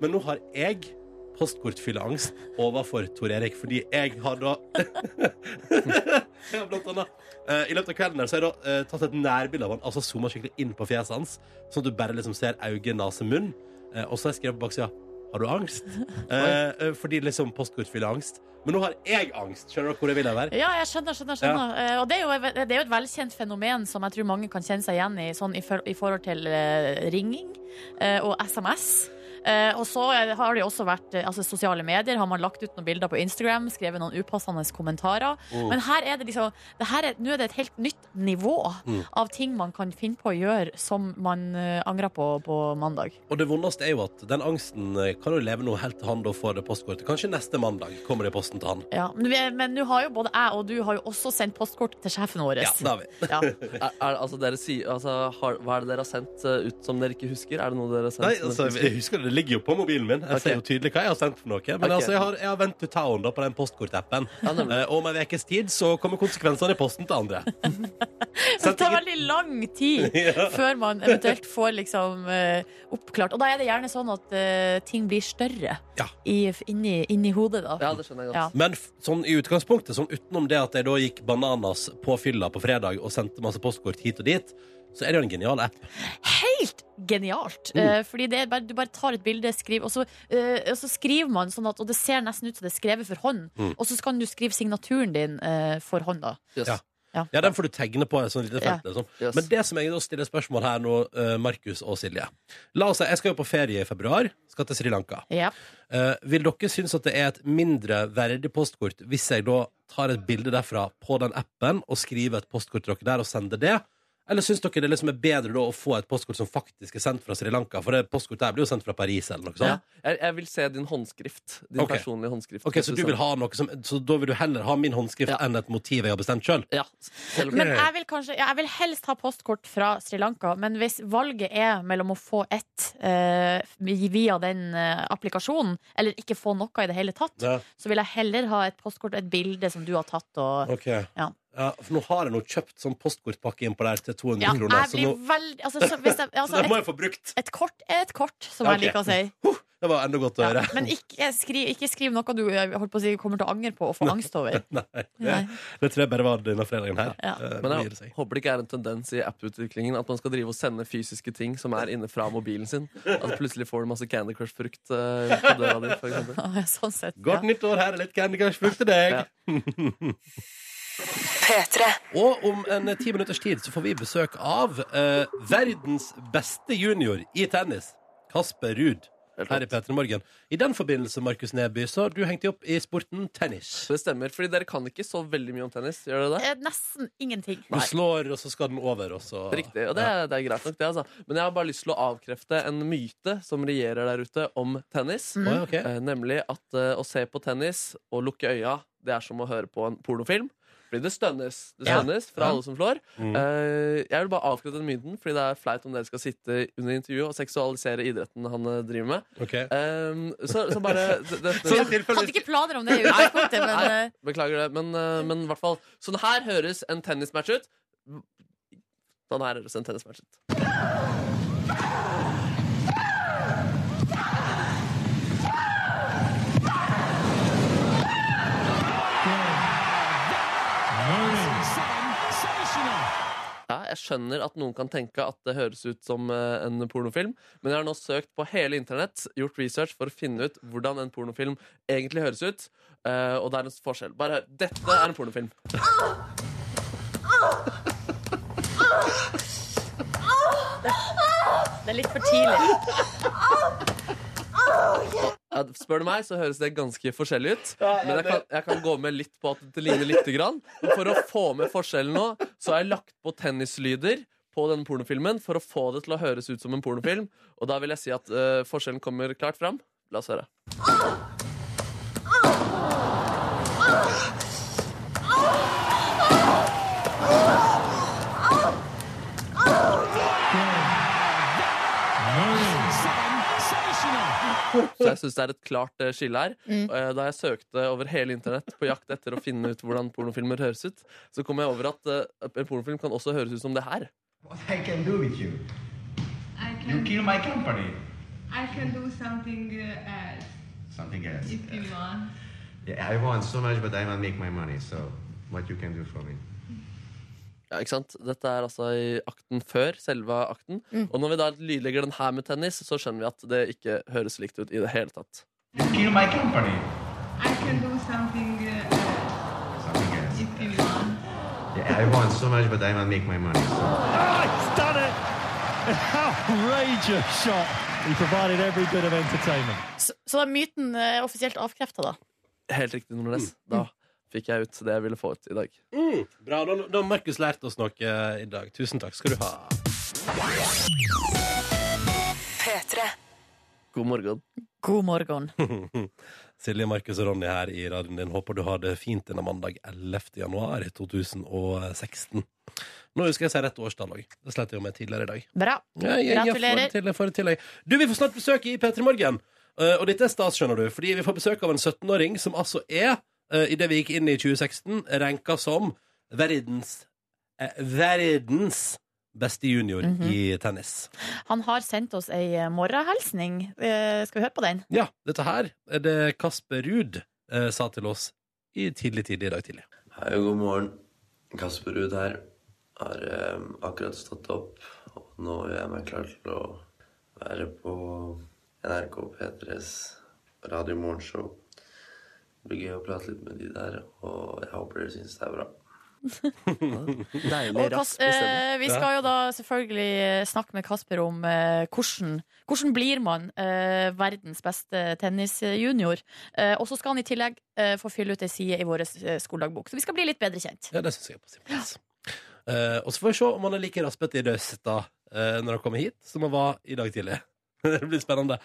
Men nå har jeg postkortfylleangst overfor Tor Erik, fordi jeg har da Jeg har blant annet eh, I løpet av kvelden der så har jeg da eh, tatt et nærbilde av han, altså zooma skikkelig inn på fjeset hans, sånn at du bare liksom ser øye, nase, munn. Eh, og så har jeg skrevet på baksida Har du angst? Eh, eh, fordi liksom postkortfylleangst. Men nå har jeg angst. Skjønner du hvor jeg vil hen?
Ja, jeg skjønner, skjønner, skjønner. Eh, Og det er, jo, det er jo et velkjent fenomen som jeg tror mange kan kjenne seg igjen i, sånn i, for, i forhold til eh, ringing eh, og SMS. Eh, og så eh, har det jo også vært eh, altså, sosiale medier. Har man lagt ut noen bilder på Instagram, skrevet noen upassende kommentarer.
Mm.
Men her er det liksom det her er, Nå er det et helt nytt nivå
Mm.
av ting man kan finne på å gjøre som man eh, angrer på på mandag.
Og det vondeste er jo at den angsten eh, kan jo leve nå helt til han da får det postkortet. Kanskje neste mandag kommer det i posten til han.
Ja, men vi- men nå har jo både jeg og du har jo også sendt postkort til sjefen vår. Ja.
er, er, altså, dere sier, altså, har, hva er det dere har sendt eh, ut som dere ikke husker? Er det noe dere har sendt?
Nei,
som dere
altså,
ikke
jeg husker det, det ligger jo på mobilen min. Jeg
Ok.
ser jo tydelig hva jeg har sendt for noe. Men
Ok.
altså, jeg har, jeg har vent to town da på den postkortappen. Eh, og om en ukes tid så kommer konsekvensene i posten til andre.
Det tar veldig lang tid
Ja.
før man eventuelt får liksom eh, oppklart. Og da er det gjerne sånn at eh, ting blir større i, inni, inni hodet, da.
Ja, det skjønner jeg godt.
Men f- sånn i utgangspunktet, sånn utenom det at jeg da gikk bananas på fylla på fredag og sendte masse postkort hit og dit, så er det jo en genial app.
Helt genialt!
Mm.
Eh, fordi det er bare, du bare tar et bilde, skriver, og så, eh, og så skriver man sånn at Og det ser nesten ut som det er skrevet for hånd,
Mm.
og så kan du skrive signaturen din eh, for hånd, da.
Ja. Ja. den får du tegne på et sånt lite felt.
Ja.
Liksom. Men det som jeg da stiller spørsmål her nå, eh, Markus og Silje La oss si, Jeg skal jo på ferie i februar. Skal til Sri Lanka.
Ja.
Eh, vil dere synes at det er et mindre verdig postkort hvis jeg da tar et bilde derfra på den appen og skriver et postkort til dere der og sender det? Eller syns dere det liksom er bedre da å få et postkort som faktisk er sendt fra Sri Lanka? For det postkortet her blir jo sendt fra Paris eller noe sånt.
Ja. Jeg, jeg vil se din håndskrift. Din
Ok.
personlige håndskrift.
Ok, Så du vil ha noe som Så da vil du heller ha min håndskrift enn et motiv jeg har bestemt sjøl?
Ja,
Men jeg vil, kanskje, ja, jeg vil helst ha postkort fra Sri Lanka, men hvis valget er mellom å få ett eh, via den eh, applikasjonen, eller ikke få noe i det hele tatt,
Ja.
så vil jeg heller ha et postkort og et bilde som du har tatt. Og,
Ok. Ja.
Ja.
for nå har jeg nå kjøpt sånn postkortpakke innpå der til 200
ja,
kroner.
jeg
Så,
blir
nå,
veldig altså, så hvis jeg, altså,
så det må jeg
et,
få brukt.
et kort er et kort, som
Ja,
jeg
ok.
liker å si.
Huh, Det var enda godt å høre.
Men ikke skriv, ikke skriv noe du eh, holdt på å si, kommer til å angre på og få angst over.
Nei, det,
Nei.
det tror jeg bare var denne fredagen her. Eh,
Men
gir det
jeg håper det ikke er en tendens i app-utviklingen at man skal drive og sende fysiske ting som er inne fra mobilen sin. At plutselig får du masse Candy Crush-frukt eh, på døra di, for eksempel.
Ja, Sånn sett.
Godt nytt år, her er litt Candy Crush Frukt til deg. Og om en eh, ti minutters tid så får vi besøk av eh, verdens beste junior i tennis, Kasper Ruud. Her i Petra Morgen. I den forbindelse, Markus Neby, så har du hengt deg opp i sporten tennis.
Det stemmer, fordi dere kan ikke så veldig mye om tennis, gjør dere det?
Eh, Nesten ingenting.
Du slår, og så skal den over, og så
Riktig, og det, er- det er greit nok det, altså. Men jeg har bare lyst til å avkrefte en myte som regjerer der ute om tennis.
Mm. Oi, ok.
Eh, Nemlig at eh, å se på tennis og lukke øya, det er som å høre på en pornofilm. Fordi det stønnes. Det
Ja.
stønnes fra
Ja.
alle som flår.
Mm.
Eh, Jeg vil bare avkrefte den myten, fordi det er flaut om dere skal sitte under intervjuet og seksualisere idretten han eh, driver med.
Ok.
Eh, så, så bare det, det,
Jeg hadde ikke planer om det i utgangspunktet, men
Nei,
eh,
beklager det. Men, eh, men i hvert fall Sånn her høres en tennismatch ut. Sånn her høres en tennismatch ut. Ja, jeg skjønner at noen kan tenke at det høres ut som eh, en pornofilm, men jeg har nå søkt på hele internett, gjort research for å finne ut hvordan en pornofilm egentlig høres ut. eh, og det er en forskjell. Bare hør. Dette er en pornofilm.
det er litt for tidlig.
Ja, spør du meg, så høres det ganske forskjellig ut.
Ja, ja,
Men jeg
det-
kan, jeg kan gå med litt på at det ligner lite grann. Men for å få med forskjellen nå, så har jeg lagt på tennislyder på denne pornofilmen for å få det til å høres ut som en pornofilm. Og da vil jeg si at eh, forskjellen kommer klart fram. La oss høre. Så jeg syns det er et klart eh, skille her.
Mm.
Eh, Da jeg søkte over hele internett på jakt etter å finne ut hvordan pornofilmer høres ut, så kom jeg over at eh, en pornofilm kan også høres ut som det her.
I can do with you.
I
You kill my company.
I can do something uh, else
Something else.
if you want.
Yeah, I want so much, but I will make my money. So, what you can do for me?
Ja, ikke sant? Dette er altså i akten før selve akten. Og når vi da lydlegger den her med tennis, så skjønner vi at det ikke høres likt ut i det hele tatt.
You kill my company.
I can do something uh, else if you want.
Yeah, I want so much, but I will make my money. So,
Ah, he's done it! An outrageous shot. He provided every bit of entertainment.
Så, så da er myten eh, offisielt avkrefta, da.
Helt riktig, Nordnes. Da fikk jeg ut det jeg ville få ut i dag.
Mm, bra, da da har Markus lært oss noe i dag. Tusen takk skal du ha.
P3.
God morgen.
God morgen.
Silje, Markus og Ronny her i radioen din. Håper du har det fint denne mandag 11. januar 2016. Nå husker jeg å si rett årstall òg. Det slet jeg jo med tidligere i dag.
Bra.
Ja, jeg, jeg får det
Gratulerer.
til, jeg får det til, jeg. Du, vi får snart besøk i P3 Morgen. Eh, og dette er stas, skjønner du, fordi vi får besøk av en 17-åring som altså er, uh, idet vi gikk inn i 2016, ranka som verdens eh, verdens beste junior
Mhm.
i tennis.
Han har sendt oss ei eh, morgenhilsning. Eh, Skal vi høre på den?
Ja, dette her er det Kasper Ruud eh, sa til oss i tidlig tidlig i dag tidlig.
Hei og god morgen. Kasper Ruud her. Har eh, akkurat stått opp, og nå gjør jeg meg klar til å være på NRK P3s radiomorgenshow. Det blir gøy å prate litt med de der, og jeg håper dere syns det er bra.
Og Kas- eh, vi skal jo da selvfølgelig eh, snakke med Kasper om eh, hvordan, hvordan blir man eh, verdens beste tennisjunior. Eh, og så skal han i tillegg eh, få fylle ut ei side i vår eh, skoledagbok. Så vi skal bli litt bedre kjent.
Ja, det syns jeg er på sin plass. Eh, og så får vi se om han er like raspete i røsta eh, når han kommer hit, som han var i dag tidlig. det blir spennende.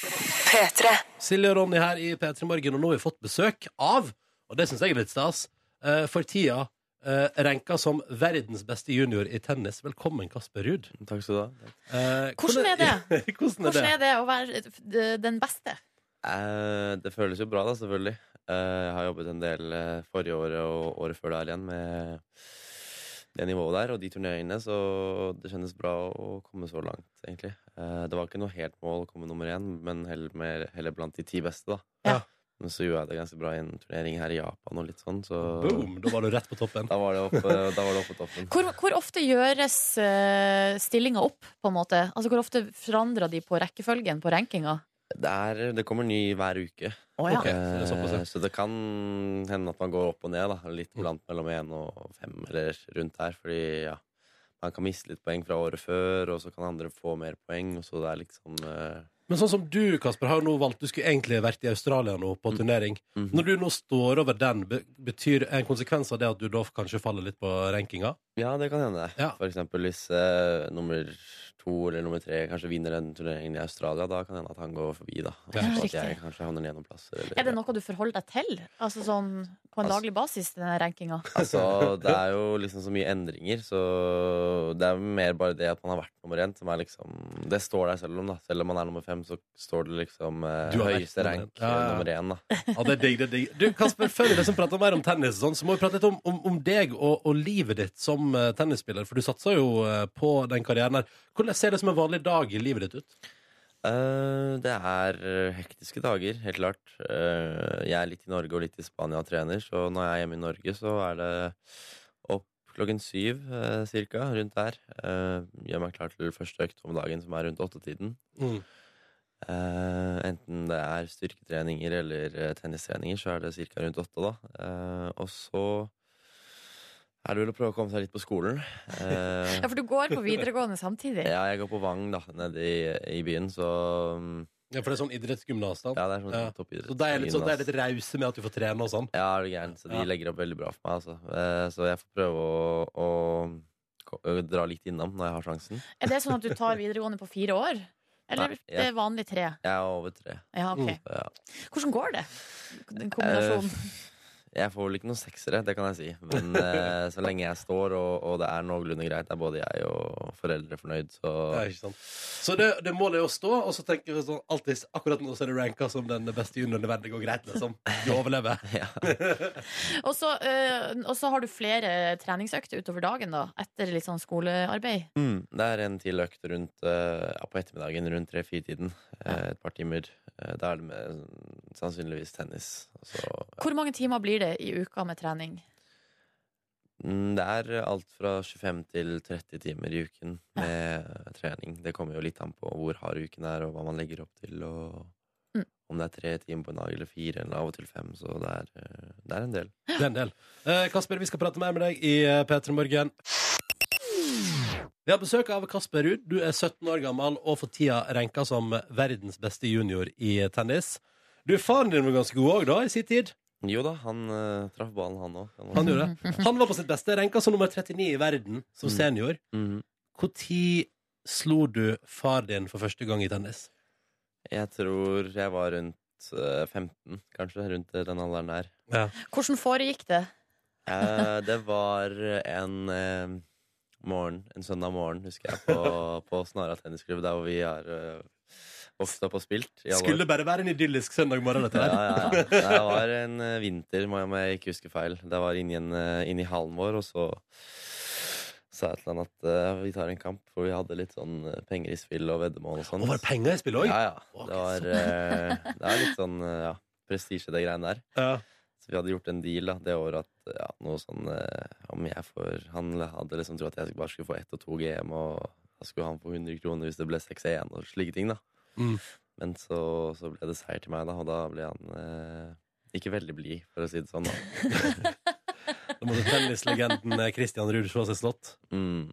P3.
Silje og Ronny her i P3 Morgen, og nå har vi fått besøk av, og det syns jeg er litt stas, eh, for tida eh, ranka som verdens beste junior i tennis. Velkommen, Kasper Ruud.
eh,
Eh,
Takk skal du ha.
Hvordan er det?
hvordan er det?
Hvordan er det å være eh, den beste?
Eh, det føles jo bra, da, selvfølgelig. Eh, jeg har jobbet en del eh, forrige året og året før der igjen med det nivået der og de turneringene, så det kjennes bra å komme så langt, egentlig. Eh, det var ikke noe helt mål å komme nummer én, men heller, mer, heller blant de ti beste, da. Men så gjorde jeg det ganske bra i en turnering her i Japan og litt sånn, så
Boom! Da var du rett på toppen.
Da var det oppe, da var det oppe på toppen.
Hvor, hvor ofte gjøres uh, stillinga opp, på en måte? Altså Hvor ofte forandrer de på rekkefølgen på rankinga?
Det, er, det kommer ny hver uke.
Å, ja. Ok,
så det er såpass, ja.
Eh, så det kan hende at man går opp og ned. Da. Litt blant mellom én og fem, eller rundt her. Fordi ja, man kan miste litt poeng fra året før, og så kan andre få mer poeng. Og så det er liksom eh,
Men sånn som du, Kasper, har jo nå valgt Du skulle egentlig vært i Australia nå på turnering. Når du nå står over den, be- betyr en konsekvens av det at du da kanskje faller litt på rankinga?
Ja, det kan hende. For eksempel hvis eh, nummer to eller nummer tre kanskje vinner den turneringen i Australia, da kan det hende at han går forbi, da.
Ja.
Og
Riktig.
at jeg kanskje havner ned noen plasser. Eller,
Er det noe du forholder deg til? Altså sånn på en
Altså-
daglig basis, denne rankinga?
Altså, det er jo liksom så mye endringer, så det er mer bare det at man har vært nummer én, som er liksom Det står der selv om, da. Selv om man er nummer fem, så står det liksom eh,
Du har vært
høyeste
nummer én.
rank
Ja, ja, ja.
eh, nummer én, da.
Ja, det er digg, det er digg. Du, Kasper, før vi liksom prater mer om tennis, og sånn, så må vi prate litt om, om, om deg og, og livet ditt som eh, tennisspiller. For du satser jo eh, på den karrieren her. Hvordan ser det som en vanlig dag i livet ditt ut?
Eh, det er hektiske dager, helt klart. Eh, jeg er litt i Norge og litt i Spania og trener, så når jeg er hjemme i Norge, så er det opp klokken syv eh, cirka, rundt der. Eh, gjør meg klar til første økt om dagen, som er rundt åttetiden.
Mm.
Eh, enten det er styrketreninger eller eh, tennistreninger, så er det ca. rundt åtte, da. Eh, og så er det vel å prøve å komme seg litt på skolen. Eh,
Ja, for du går på videregående samtidig.
ja, jeg går på Vang, da, nede i, i byen, så um,
Ja, for det er sånn idrettsgymnas, da.
Ja, det er sånn
Ja.
toppidretts-
Så de er litt, sånn, de er
gymnas.
litt rause med at du får trene og sånn?
Ja, er du gæren. Så de
Ja.
legger opp veldig bra for meg, altså. Eh, Så jeg får prøve å, å ko- å dra litt innom når jeg har sjansen.
Er det sånn at du tar videregående på fire år? Eller
Nei, Mm. jeg-
det er vanlig tre?
Jeg er over tre.
Ja, ok.
Ja.
Hvordan går det? Den kombinasjonen.
Eh, Jeg får vel ikke noen seksere, det kan jeg si. Men eh, så lenge jeg står, og, og det er noenlunde greit, er både jeg og foreldre fornøyd, så
Ja, ikke sant. Så det, det målet er å stå, og så tenker vi sånn alltid, akkurat nå så er det ranka som den beste junioren i verden. Det går greit, liksom. Du overlever.
Og så eh, og så har du flere treningsøkter utover dagen, da. Etter litt sånn skolearbeid.
Mm, det er en til økt rundt, eh, ja, på ettermiddagen rundt tre-fire-tiden. et par timer. Eh, da er det med, mm, sannsynligvis tennis. Og Så,
Hvor mange timer blir det i uka med trening?
mm, det er alt fra 25 til 30 timer i uken med trening. Det kommer jo litt an på hvor hard uken er, og hva man legger opp til. Og om det er tre timer på en dag, eller fire, eller av og til fem. Så det er, eh, det er en del.
Det er en del. Eh, Kasper, vi skal prate mer med deg i eh, P3 Morgen. Vi har besøk av Kasper Ruud. Du er 17 år gammel og for tida ranka som verdens beste junior i tennis. Du, Faren din var ganske god òg, da, i sin tid?
Jo da, han eh, traff ballen, han òg.
Han gjorde det. Han var på sitt beste, ranka som nummer 39 i verden som senior.
Mhm.
Når slo du far din for første gang i tennis?
Jeg tror jeg var rundt eh, 15, kanskje. Rundt den alderen der.
Hvordan foregikk det?
Eh, det var en eh, morgen, en søndag morgen, husker jeg, på, på Snara tennisklubb, der hvor vi har eh, vokst opp og spilt. i alle år.
Skulle bare være en idyllisk søndag morgen, dette her.
Ja, ja, ja. Nei, Det var en eh, vinter, må jeg, om jeg ikke huske feil. Det var inni, en, eh, inni hallen vår, og så sa jeg til han at eh, vi tar en kamp, for vi hadde litt sånn eh, penger i spill og veddemål og sånn.
Og var det penger i spill også?
Ja, ja. Det var, eh, det var litt sånn eh, ja, prestisje, det greiene der. Så vi hadde gjort en deal da, det året at ja, noe sånn eh, om jeg får Han hadde liksom trodd at jeg bare skulle få ett og to GM, og da skulle han få 100 kroner hvis det ble 6-1 og slike ting, da. Men så, så ble det seier til meg, da, og da ble han eh, ikke veldig blid, for å si det sånn. Da.
Da måtte tennislegenden eh, Christian Ruud slå seg slått.
Mm,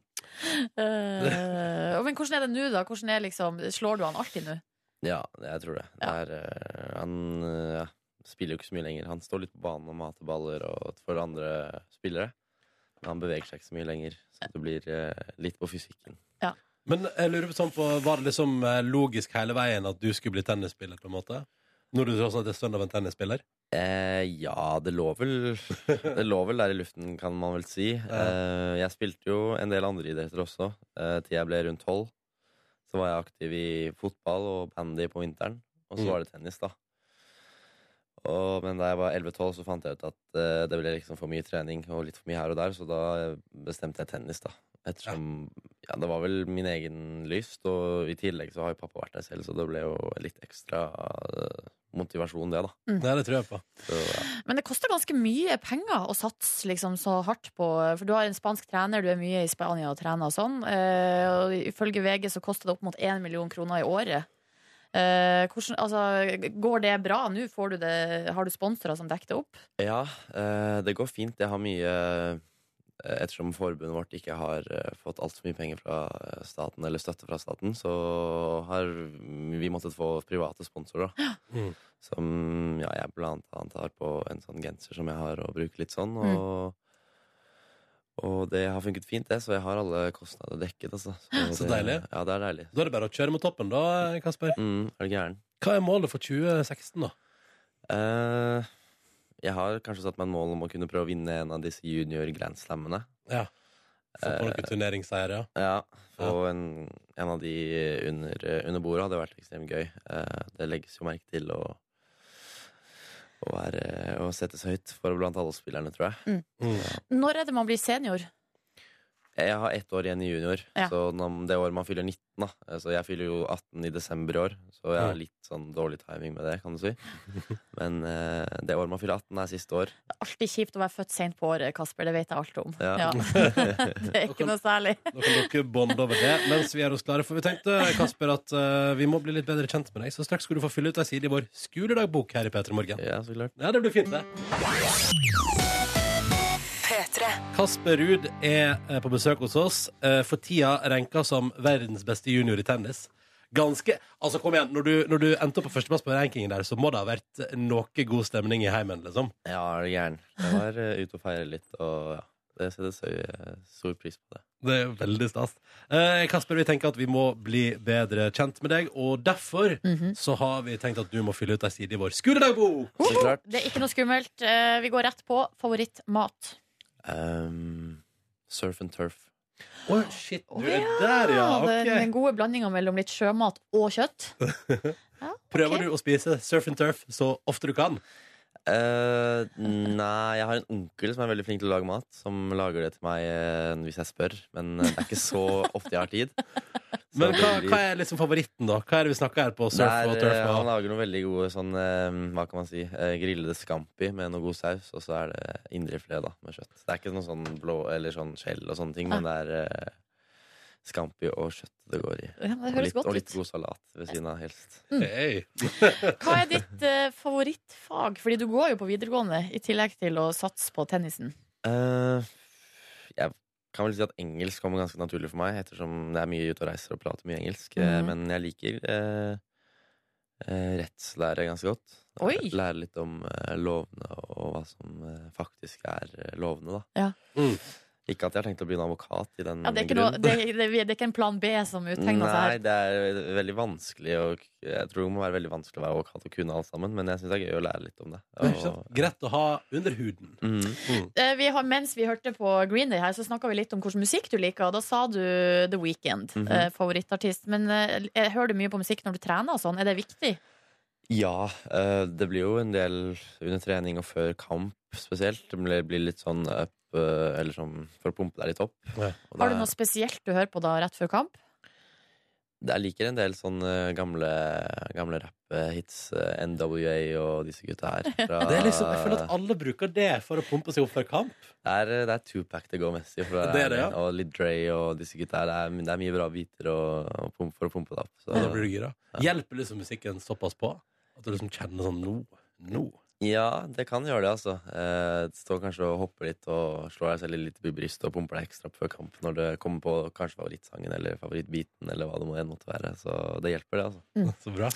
Eh, men hvordan er det nå, da? Hvordan er liksom, slår du han alltid nå?
Ja, jeg tror det. det er, eh, han eh, ja, spiller jo ikke så mye lenger. Han står litt på banen og mater baller og for andre spillere. Men han beveger seg ikke så mye lenger, så det blir eh, litt på fysikken.
Men jeg lurer på sånn på, var det liksom eh, logisk hele veien at du skulle bli tennisspiller, på en måte? Når du tross alt er sønn av en tennisspiller?
Eh, ja, det lå vel Det lå vel der i luften, kan man vel si. Eh, jeg spilte jo en del andre idretter også, eh, til jeg ble rundt tolv. Så var jeg aktiv i fotball og bandy på vinteren, og så
Mm.
var det tennis, da. Og, men da jeg var 11-12, så fant jeg ut at eh, det ble liksom for mye trening og litt for mye her og der, så da eh, bestemte jeg tennis, da. Ettersom ja, det var vel min egen lyst, og i tillegg så har jo pappa vært der selv, så det ble jo litt ekstra eh, motivasjon, det, da.
Mm.
Nei, det tror jeg på.
Så, ja.
Men det koster ganske mye penger å satse liksom, så hardt på For du har en spansk trener, du er mye i Spania og trener og sånn. Eh, og ifølge VG så koster det opp mot 1 million kroner i året. Eh, hvordan, altså, går det bra nå? Får du det, har du sponsorer som dekker det opp?
Ja, eh, det går fint. Jeg har mye eh, Ettersom forbundet vårt ikke har eh, fått altfor mye penger fra eh, staten, eller støtte fra staten, så har vi måttet få private sponsorer. da.
Mm.
Som ja, jeg blant annet har på en sånn genser som jeg har, og bruker litt sånn.
Mm.
Og, og det har funket fint, det, så jeg har alle kostnader dekket. Altså.
Så
det-
deilig.
Ja, det er deilig.
Da er det bare å kjøre mot toppen, da, eh, Kasper.
Mm, er du gæren?
Hva er målet for 2016, da?
Eh, jeg har kanskje satt meg en mål om å kunne prøve å vinne en av disse junior grand slammene.
Ja. Få
Eh.
på noen turneringsseiere, ja.
Ja, og en, en av de under, under bordet hadde vært ekstremt gøy. Eh, det legges jo merke til å, å, være, å settes høyt for blant alle spillerne, tror jeg.
Mm.
Når er det man blir senior?
Jeg har ett år igjen i junior,
Ja.
så når, det året man fyller 19, da. eh, Så jeg fyller jo 18 i desember i år, så jeg har litt sånn dårlig timing med det, kan du si. Men eh, det året man fyller 18, er siste år.
Alltid kjipt å være født sent på året, Kasper. Det vet jeg alt om.
Ja.
det er ikke noe særlig.
Da kan dere bonde over det mens vi er oss klare. For vi tenkte Kasper, at eh, vi må bli litt bedre kjent med deg, så straks skal du få fylle ut ei side i vår skoledagbok her i P3 Morgen.
Ja, så klart.
Ja, det blir fint, det.
P3.
Kasper Ruud er eh, på besøk hos oss. eh, For tida ranka som verdens beste junior i tennis. Ganske, altså kom igjen, Når du, når du endte opp på førsteplass på rankingen, der, så må det ha vært noe god stemning i heimen? liksom
Ja, er du gæren. Jeg var eh, ute og feiret litt, og ja. Jeg setter så- eh, stor pris på det.
Det er veldig stas. Eh, Kasper, vi tenker at vi må bli bedre kjent med deg, og derfor så har vi tenkt at du må fylle ut ei side i vår skoledagbok.
Det er ikke noe skummelt. Eh, Vi går rett på favorittmat. Ehm,
Um, surf and turf.
Å, shit. Du er der, ja.
den- Ah, Den
Ok.
gode blandinga mellom litt sjømat og kjøtt.
Prøver du å spise surf and turf så ofte du kan?
Eh, nei, jeg har en onkel som er veldig flink til å lage mat. Som lager det til meg eh, hvis jeg spør, men eh, det er ikke så ofte jeg har tid. Så
Men
det
hva,
blir-
hva er liksom favoritten, da? Hva er det vi snakker her på surf
Det er,
og turf?
eh, Han
Og...
lager noen veldig gode sånn, eh, hva kan man si, eh, grillede scampi med noe god saus, og så er det indrefilet da, med kjøtt. Det er ikke noe sånn blå eller sånn skjell og sånne ting, men
Ah.
det er eh, scampi og kjøtt det går i.
Ja, det høres
og, litt,
godt
og litt
ut.
god salat ved siden av, helst.
Mm. Hva er ditt eh, favorittfag? Fordi du går jo på videregående, i tillegg til å satse på tennisen.
Eh, jeg kan vel si at engelsk kommer ganske naturlig for meg, ettersom det er mye ute og reiser og prater mye engelsk. Eh,
Mhm.
Men jeg liker eh, eh, rettslære ganske godt.
Oi!
Lære litt om eh, lovene og hva som eh, faktisk er eh, lovene, da.
Ja.
Mm.
Ikke at jeg har tenkt å bli en advokat i den
Ja, det, er ikke noe,
Mm, grunn.
det, det, det er ikke en plan B som uttegner seg
Nei,
her.
det er eh, veldig vanskelig og Jeg tror det må være veldig vanskelig å være advokat og kunne alt sammen, men jeg syns det er gøy å lære litt om det. mm.
Det er ikke sant? Greit å ha under huden.
Eh, Vi har, mens vi hørte på Green Day her, så snakka vi litt om hvilken musikk du liker. og Da sa du The Weekend,
Mhm.
eh, favorittartist. Men eh, jeg hører du mye på musikk når du trener og sånn? Er det viktig?
Ja, eh, det blir jo en del under trening og før kamp spesielt. Det blir- blir litt sånn up, eh, eller sånn for å pumpe deg litt opp. Og
Har du
det-
noe spesielt du hører på da rett før kamp?
det- Jeg liker en del sånne gamle, gamle rapp-hits, eh, NWA og disse gutta her. fra-
Det er liksom, jeg føler at alle bruker det for å pumpe seg opp før kamp.
Det er, eh, det er Tupac det går mest i. For
Det er det, ja.
Og litt Dre og disse gutta her. Det er, det er mye bra biter og, og pump, for å pumpe deg opp. så-
Og da blir du gira. Hjelper liksom musikken såpass på at du liksom kjenner sånn nå, nå.
Ja, det kan gjøre det, altså. Eh, Stå kanskje og hoppe litt og slå deg selv litt i brystet og pumper deg ekstra opp før kamp når det kommer på kanskje favorittsangen eller favorittbiten eller hva det må enn måtte være. Så det hjelper, det, altså.
Så bra.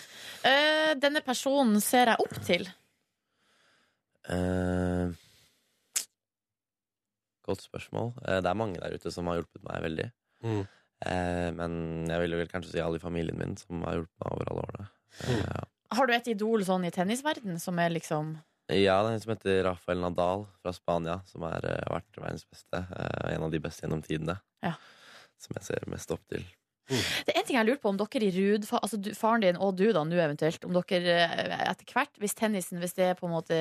Eh, denne personen ser jeg opp til.
Eh, godt spørsmål. Eh, det er mange der ute som har hjulpet meg veldig.
Mm.
Eh, men jeg vil vel kanskje si alle i familien min som har hjulpet meg over alle årene. Eh, ja.
Har du et idol sånn i tennisverden som er liksom
Ja, det er en som heter Rafael Nadal fra Spania, som er, eh, har vært verdens beste. eh, en av de beste gjennom tidene.
Ja.
Som jeg ser mest opp til.
Det er en ting jeg lurer på om dere i Rud, fa- altså du, faren din og du da nå eventuelt, om dere eh, etter hvert, hvis tennisen hvis det på en måte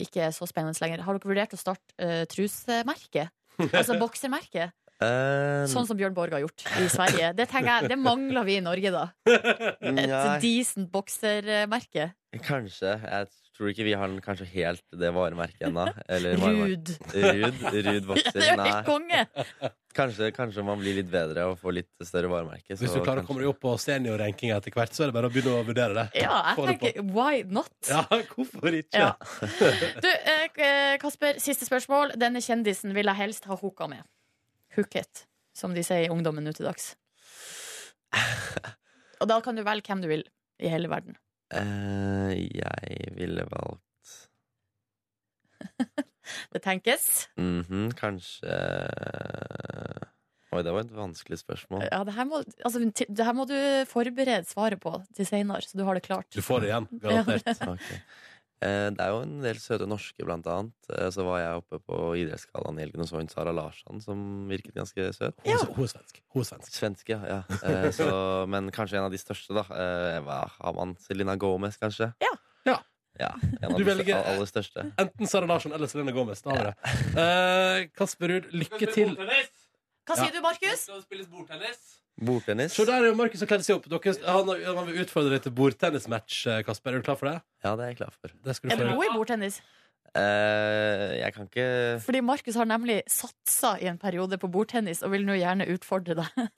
ikke er så spennende lenger, har dere vurdert å starte eh, trusemerke? Altså boksermerke?
Eh,
Sånn som Bjørn Borg har gjort i Sverige. Det tenker jeg, det mangler vi i Norge, da. Et
Nei.
decent boksermerke.
mm, Kanskje. Jeg tror ikke vi har den kanskje helt det varemerket ennå. Eller
Rud.
varemerke- Rud. Rud
Det
vokser.
er jo
Nei.
helt konge!
Kanskje, kanskje man blir litt bedre og får litt større varemerke.
Hvis du klarer å komme deg opp på seniorrankinga etter hvert, så er det bare å begynne å vurdere det.
Ja,
Få det
jeg
på.
tenker why not?
Ja, hvorfor ikke?
Ja. Du, eh, eh, Kasper, siste spørsmål. Denne kjendisen vil jeg helst ha hooka med. Hooket, som de sier i ungdommen nå til dags. Og da kan du velge hvem du vil i hele verden.
Eh, jeg ville valgt
Det tenkes.
Mhm, Kanskje Oi, det var et vanskelig spørsmål.
Ja, det her, må, altså, til- det her må du forberede svaret på til seinere, så du har det klart.
Du får det igjen,
Ja.
Ok. Eh, Det er jo en del søte norske, blant annet. Eh, Så var jeg oppe på Idrettsgallaen i helgen og så en Sara Larsson som virket ganske søt.
Hun er svensk. Hun er svensk.
Svenske, ja. ja. Eh, Så, men kanskje en av de største, da. Eh, Hva har man? Selena Gomez, kanskje?
Ja.
Ja.
en av
Du
de
velger-
stør- aller største.
Enten Sara Larsson eller Selene Gomez. Da har vi det. Eh, Kasper Ruud, lykke til. Ja.
Hva sier du, Markus?
Bordtennis.
Se, der er jo Markus og kledde seg opp. Dere, han, han vil utfordre deg til bordtennismatch, eh, Kasper. Er du klar for det?
Ja, det er jeg klar for.
Det skal
Er
du
du
få
god
gjøre.
i bordtennis?
Eh, Jeg kan ikke
Fordi Markus har nemlig satsa i en periode på bordtennis, og vil nå gjerne utfordre deg.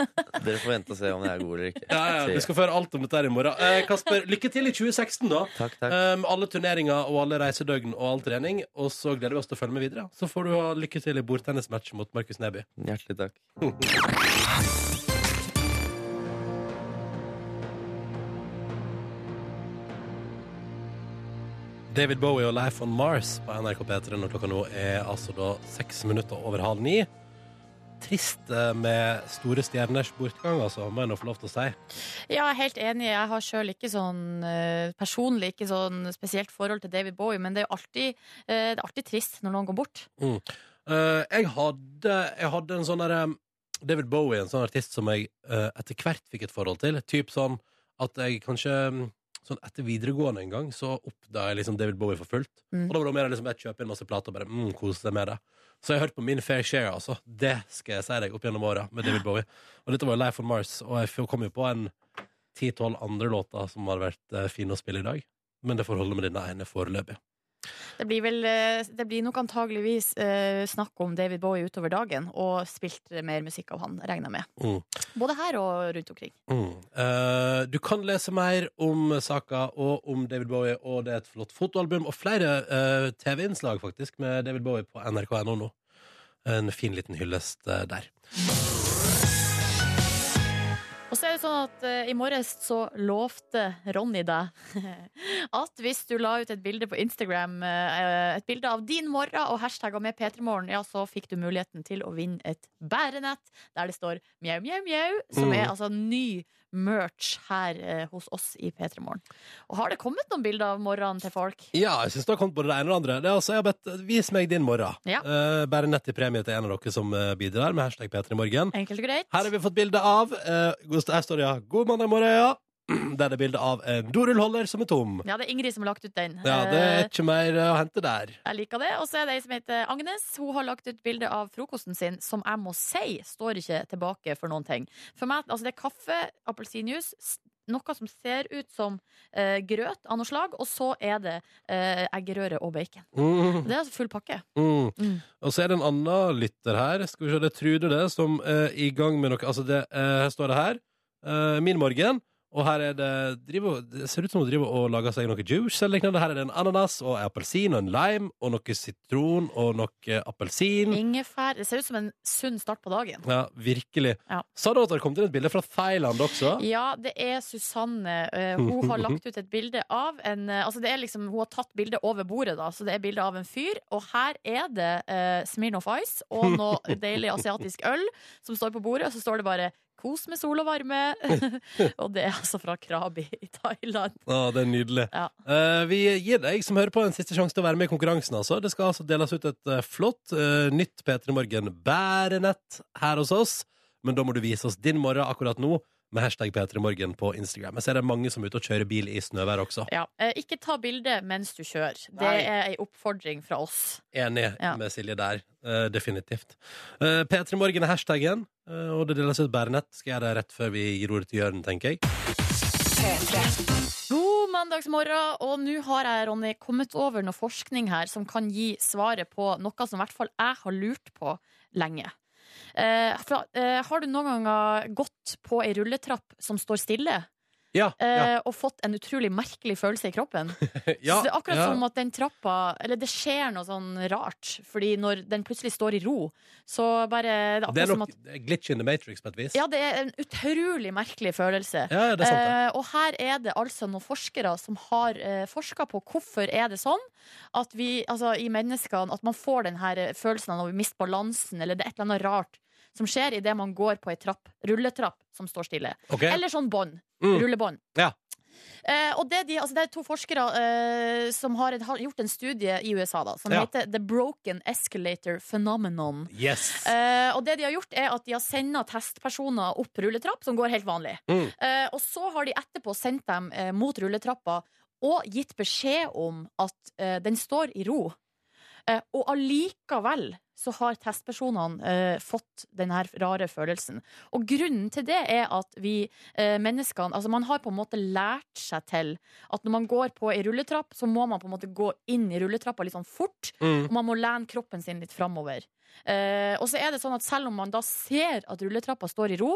Dere får vente og se om jeg er god eller ikke.
Ja, ja,
Sier
vi
jeg.
skal få høre alt om dette her i morgen. Eh, Kasper, lykke til i 2016, da.
Takk, takk.
Eh, med alle turneringer og alle reisedøgn og all trening. Og så gleder vi oss til å følge med videre. Så får du ha lykke til i bordtennismatch mot Markus Neby.
Hjertelig takk.
David Bowie og Life on Mars på NRK P3 når klokka nå er altså da seks minutter over halv ni. Trist eh, med store stjerners bortgang, altså, må jeg nå få lov til å si.
Ja, jeg er helt enig. Jeg har sjøl ikke sånn eh, personlig ikke sånn spesielt forhold til David Bowie, men det er jo alltid, eh, det er alltid trist når noen går bort.
Mm. Eh, jeg, hadde, jeg hadde en sånn der eh, David Bowie, en sånn artist som jeg eh, etter hvert fikk et forhold til. Typ sånn at jeg kanskje mm, Sånn etter videregående en gang, så oppdaga jeg liksom David Bowie for fullt.
Mm.
Og da var det mer liksom jeg kjøper inn masse plater og bare mm, koser seg med det. Så jeg hørte på min fair share, altså. Det skal jeg si deg, opp gjennom åra med David Bowie. Og dette var jo Life on Mars, og jeg f- kom jo på en 10-12 andre låter som har vært eh, fine å spille i dag. Men det får holde med denne ene foreløpig.
Det blir, vel, eh, det blir nok antageligvis eh, snakk om David Bowie utover dagen, og spilt mer musikk av han, regner jeg med.
Mm.
Både her og rundt omkring.
Mm. Eh, du kan lese mer om saka og om David Bowie, og det er et flott fotoalbum og flere eh, TV-innslag faktisk med David Bowie på nrk.no nå. En fin liten hyllest eh, der.
Og så er det sånn at eh, i morges så lovte Ronny deg at hvis du la ut et bilde på Instagram, eh, et bilde av din morgen og hashtagga med P3morgen, ja, så fikk du muligheten til å vinne et bærenett der det står mjau, mjau, mjau, som
Mm.
er altså ny merch her eh, hos oss i P3morgen. Og har det kommet noen bilder av morgenen til folk?
Ja, jeg syns det har kommet både det ene og det andre. Det er altså, jeg har bedt, Vis meg din morgen.
Ja.
Eh, bare nett i premie til en av dere som eh, bidrar, med hashtag P3morgen.
Enkelt og greit.
Her har vi fått bilde av eh, god- Her står det ja. 'God mandag morgen', ja. Der det er bilde av en dorullholder som er tom.
Ja, det er Ingrid som har lagt ut den.
Ja, det
Eh,
er ikke mer eh, å hente der.
Jeg liker det. Og så er det ei som heter Agnes. Hun har lagt ut bilde av frokosten sin, som jeg må si står ikke tilbake for noen ting. For meg, altså Det er kaffe, appelsinjuice, s- noe som ser ut som eh, grøt av noe slag, og så er det eh, eggerøre og bacon.
Mm.
Det er altså full pakke.
Mm.
Mm.
Og så er det en annen lytter her, skal vi se, det er Trude det, som er i gang med noe Altså, det, eh, her står det her. eh, min morgen. Og her er det driver, Det ser ut som hun driver og lager seg noe juice eller lignende. Her er det en ananas og en appelsin og en lime og noe sitron og noe appelsin.
Ingefær. Det ser ut som en sunn start på dagen.
Ja, virkelig.
Ja.
Sa du at det kom til et bilde fra Thailand også?
Ja, det er Susanne. Eh, hun har lagt ut et bilde av en eh, Altså, det er liksom Hun har tatt bilde over bordet, da, så det er bilde av en fyr. Og her er det uh, Smirnoff Ice og noe deilig asiatisk øl som står på bordet, og så står det bare 'Kos med sol og varme'. og det er altså fra Krabi i Thailand.
Å, det er nydelig.
Ja.
Eh, vi gir deg som hører på en siste sjanse til å være med i konkurransen. Altså. Det skal altså deles ut et eh, flott eh, nytt P3 Morgen-bærenett her hos oss. Men da må du vise oss din morgen akkurat nå med hashtag P3 Morgen på Instagram. Jeg ser det er mange som er ute og kjører bil i snøvær også.
Ja. Eh, ikke ta bilde mens du kjører. Det
Nei.
er ei oppfordring fra oss.
Enig
Ja.
med Silje der. eh, definitivt. Eh, P3 Morgen er hashtaggen, eh, og det deles ut bærenett. Skal jeg gjøre det rett før vi gir ordet til Jørn, tenker jeg.
God mandagsmorgen, og nå har jeg, Ronny, kommet over noe forskning her som kan gi svaret på noe som i hvert fall jeg har lurt på lenge. Eh, fra, eh, har du noen ganger gått på ei rulletrapp som står stille,
Ja.
eh,
ja.
og fått en utrolig merkelig følelse i kroppen?
ja
Så det er akkurat
ja.
som at den trappa Eller det skjer noe sånn rart, fordi når den plutselig står i ro, så bare Det er
Det
akkurat
er
som
nok
at
glitch in the matrix på et vis.
ja, det er en utrolig merkelig følelse.
Ja, ja, det er sant, det.
Eh, og her er det altså noen forskere som har eh, forska på hvorfor er det sånn at vi, altså i menneskene, at man får den her eh, følelsen av å miste balansen, eller det er et eller annet rart som skjer idet man går på ei trapp, rulletrapp som står stille.
Ok.
Eller sånn bånd.
Mm.
Rullebånd.
Ja.
Eh, og det, er de, altså det er to forskere eh, som har, en- har gjort en studie i USA da, som
Ja.
heter The Broken Escalator Phenomenon.
Yes.
Eh, og det de har gjort er at de har sendt testpersoner opp rulletrapp, som går helt vanlig.
Mm.
Eh, og så har de etterpå sendt dem eh, mot rulletrappa og gitt beskjed om at eh, den står i ro. Eh, og allikevel så har testpersonene eh, fått den her rare følelsen. Og grunnen til det er at vi eh, menneskene Altså, man har på en måte lært seg til at når man går på ei rulletrapp, så må man på en måte gå inn i rulletrappa litt sånn fort,
Mm.
og man må lene kroppen sin litt framover. Eh, og så er det sånn at selv om man da ser at rulletrappa står i ro,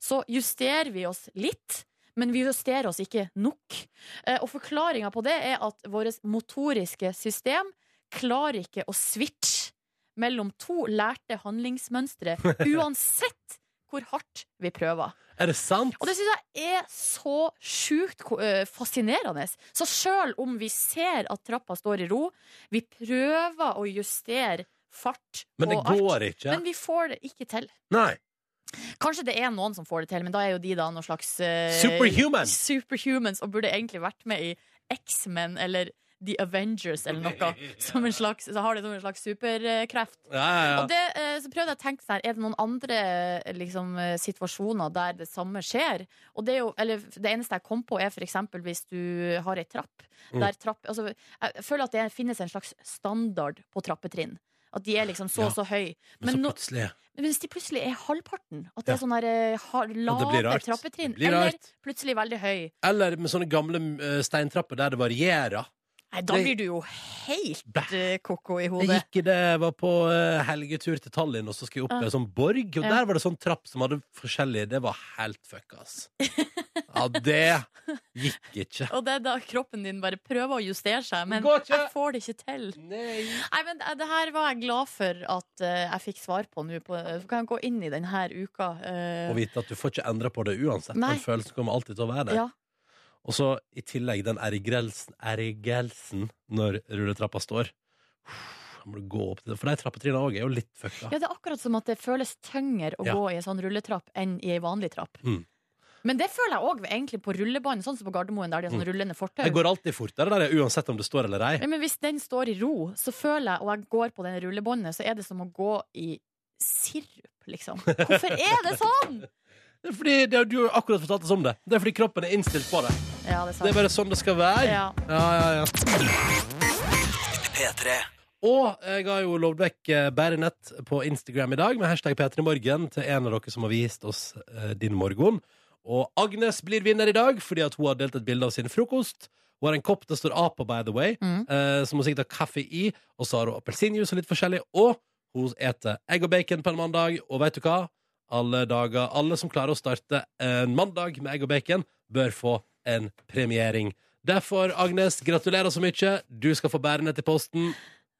så justerer vi oss litt. Men vi justerer oss ikke nok. Eh, og forklaringa på det er at vårt motoriske system klarer ikke å switche mellom to lærte handlingsmønstre uansett hvor hardt vi prøver.
Er det sant?
Og det syns jeg er så sjukt ko- eh, fascinerende. Så sjøl om vi ser at trappa står i ro, vi prøver å justere fart
Men det
og alt,
går ikke.
Men vi får det ikke til.
Nei.
Kanskje det er noen som får det til, men da er jo de da noen slags eh,
Superhuman.
Superhumans og burde egentlig vært med i X-Men eller The Avengers eller noe. Som en slags, så har de som en slags superkreft.
Ja, ja, ja.
Og det, eh, så prøvde jeg å tenke sånn her, Er det noen andre eh, liksom, eh, situasjoner der det samme skjer? Og det, er jo, eller, det eneste jeg kom på, er f.eks. hvis du har ei trapp.
Mm.
Der trapp altså, jeg føler at det finnes en slags standard på trappetrinn. At de er liksom så og så høy.
Men så
nå-
plutselig
men hvis de plutselig er halvparten, at
Ja.
det er sånne der, eh, har-
blir
lave
rart.
trappetrinn,
Det blir
eller
rart.
plutselig veldig høy,
Eller med sånne gamle eh, steintrapper der det varierer.
nei, da
Det-
blir du jo helt eh, koko i
Jeg
hodet.
gikk i det, jeg var på eh, helgetur til Tallinn, og så skulle jeg opp i en sånn borg, og
Ja.
der var det sånn trapp som hadde forskjellige Det var helt fucka, ass. Ja, det gikk ikke.
Og det er da kroppen din bare prøver å justere seg, men
Går ikke.
jeg får det ikke til.
Nei,
men eh, det, det her var jeg glad for at eh, jeg fikk svar på nå. på- Så kan jeg gå inn i denne uka. eh,
Å vite at du får ikke endra på det uansett.
Nei.
Den følelsen kommer alltid til å være der.
Ja.
Og så i tillegg den ergrelsen, ergrelsen når rulletrappa står. Da må du gå opp til det. For de trappetrinnene òg er jo litt fucka.
ja, det er akkurat som at det føles tyngre å
Ja.
gå i en sånn rulletrapp enn i en vanlig trapp.
Mm.
Men det føler jeg òg egentlig på rullebånd, sånn som på Gardermoen, der de har sånn
Mm.
rullende fortau.
Jeg går alltid fortere der, jeg, uansett om det står eller ei.
Ja, men hvis den står i ro, så føler jeg, og jeg går på den rullebåndet, så er det som å gå i sirup, liksom. Hvorfor er det sånn?!
Det er fordi det, Du har akkurat fortalt oss om det. Det er fordi kroppen er innstilt på det.
Ja, det er
Det
sant.
er bare sånn det skal være.
Ja.
Ja, ja, Og jeg har jo lovd vekk eh, Bærenett på Instagram i dag med hashtag P3morgen til en av dere som har vist oss eh, din morgen. Og Agnes blir vinner i dag fordi at hun har delt et bilde av sin frokost. Hun har en kopp det står A på, by the way, eh, som hun sikkert har kaffe i. Og så har hun appelsinjuice og litt forskjellig. Og hun eter egg og bacon på en mandag, og vet du hva? Alle dager, alle som klarer å starte en mandag med egg og bacon, bør få en premiering. Derfor, Agnes, gratulerer så mye. Du skal få bære ned til posten.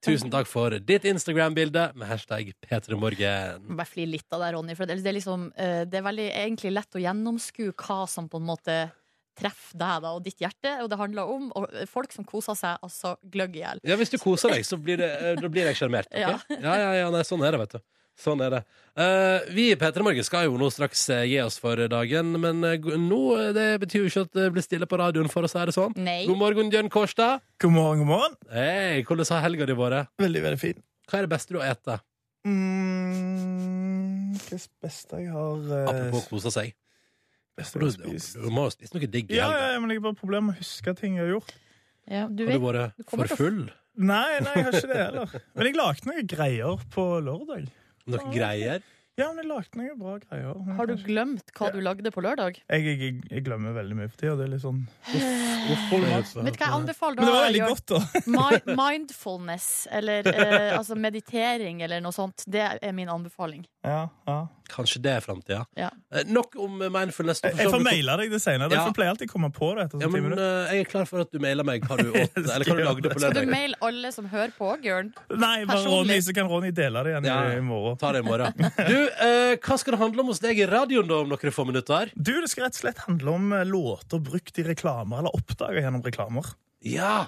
Tusen takk for ditt Instagram-bilde med hashtag P3morgen.
Bare flir litt av det, Ronny. For det det er liksom eh, Det er veldig, egentlig lett å gjennomskue hva som på en måte treffer deg da, og ditt hjerte. Og det handler om og eh, folk som koser seg altså gløgg i hjel.
Ja, hvis du koser deg, så blir, det, eh, da blir jeg sjarmert. ok?
Ja.
ja, ja, ja, nei, sånn er det, vet du. Sånn er det. Eh, vi i P3 Morgen skal jo nå straks eh, gi oss for dagen, men eh, go- nå eh, det betyr jo ikke at det blir stille på radioen, for å si det sånn.
Nei.
God morgen, Bjørn Kårstad.
God morgen, god morgen.
Hei, hvordan har helga di vært?
Veldig, veldig fin.
Hva er det beste du har spist?
Mm, hva er det beste jeg har eh,
Apropos kose seg.
Beste
Du,
jeg har
du,
spist.
du må jo spise noe digg i
Ja,
helga.
ja, men jeg har bare problemer med å huske ting jeg har gjort.
du
Har du vært for full?
Nei, nei, jeg har ikke det heller. Men jeg lagde noen greier på lørdag.
Noen greier?
Ja, men jeg lagde noen bra greier. Men
Har du glemt hva du lagde på lørdag?
Jeg, jeg, jeg, jeg glemmer veldig mye for tida. Det er litt sånn
Vet du hva jeg anbefaler?
Men det var
da,
veldig
Jørn?
godt, da.
Mi- Mindfulness, eller eh, altså meditering, eller noe sånt. Det er min anbefaling.
Ja, ja.
Kanskje det er framtida.
Ja.
Eh, Nok om eh, mindfulness. Du
Jeg, jeg
se om
får
du-
maila deg det senere.
Ja.
Derfor pleier jeg alltid å komme på det etter
Ja,
sånn ti
men
minutter.
eh, jeg er klar for at du mailer meg hva du åt, eller hva du lagde på
Skal du
lørdag.
maile alle som hører på, Jørn?
Nei, bare Ronny, så kan Ronny dele det igjen
Ja,
i morgen.
Ta det i morgen. Du, eh, hva skal det handle om hos deg i radioen da om noen få minutter?
Du, det skal rett og slett handle om eh, låter brukt i reklamer, eller oppdaga gjennom reklamer.
Ja,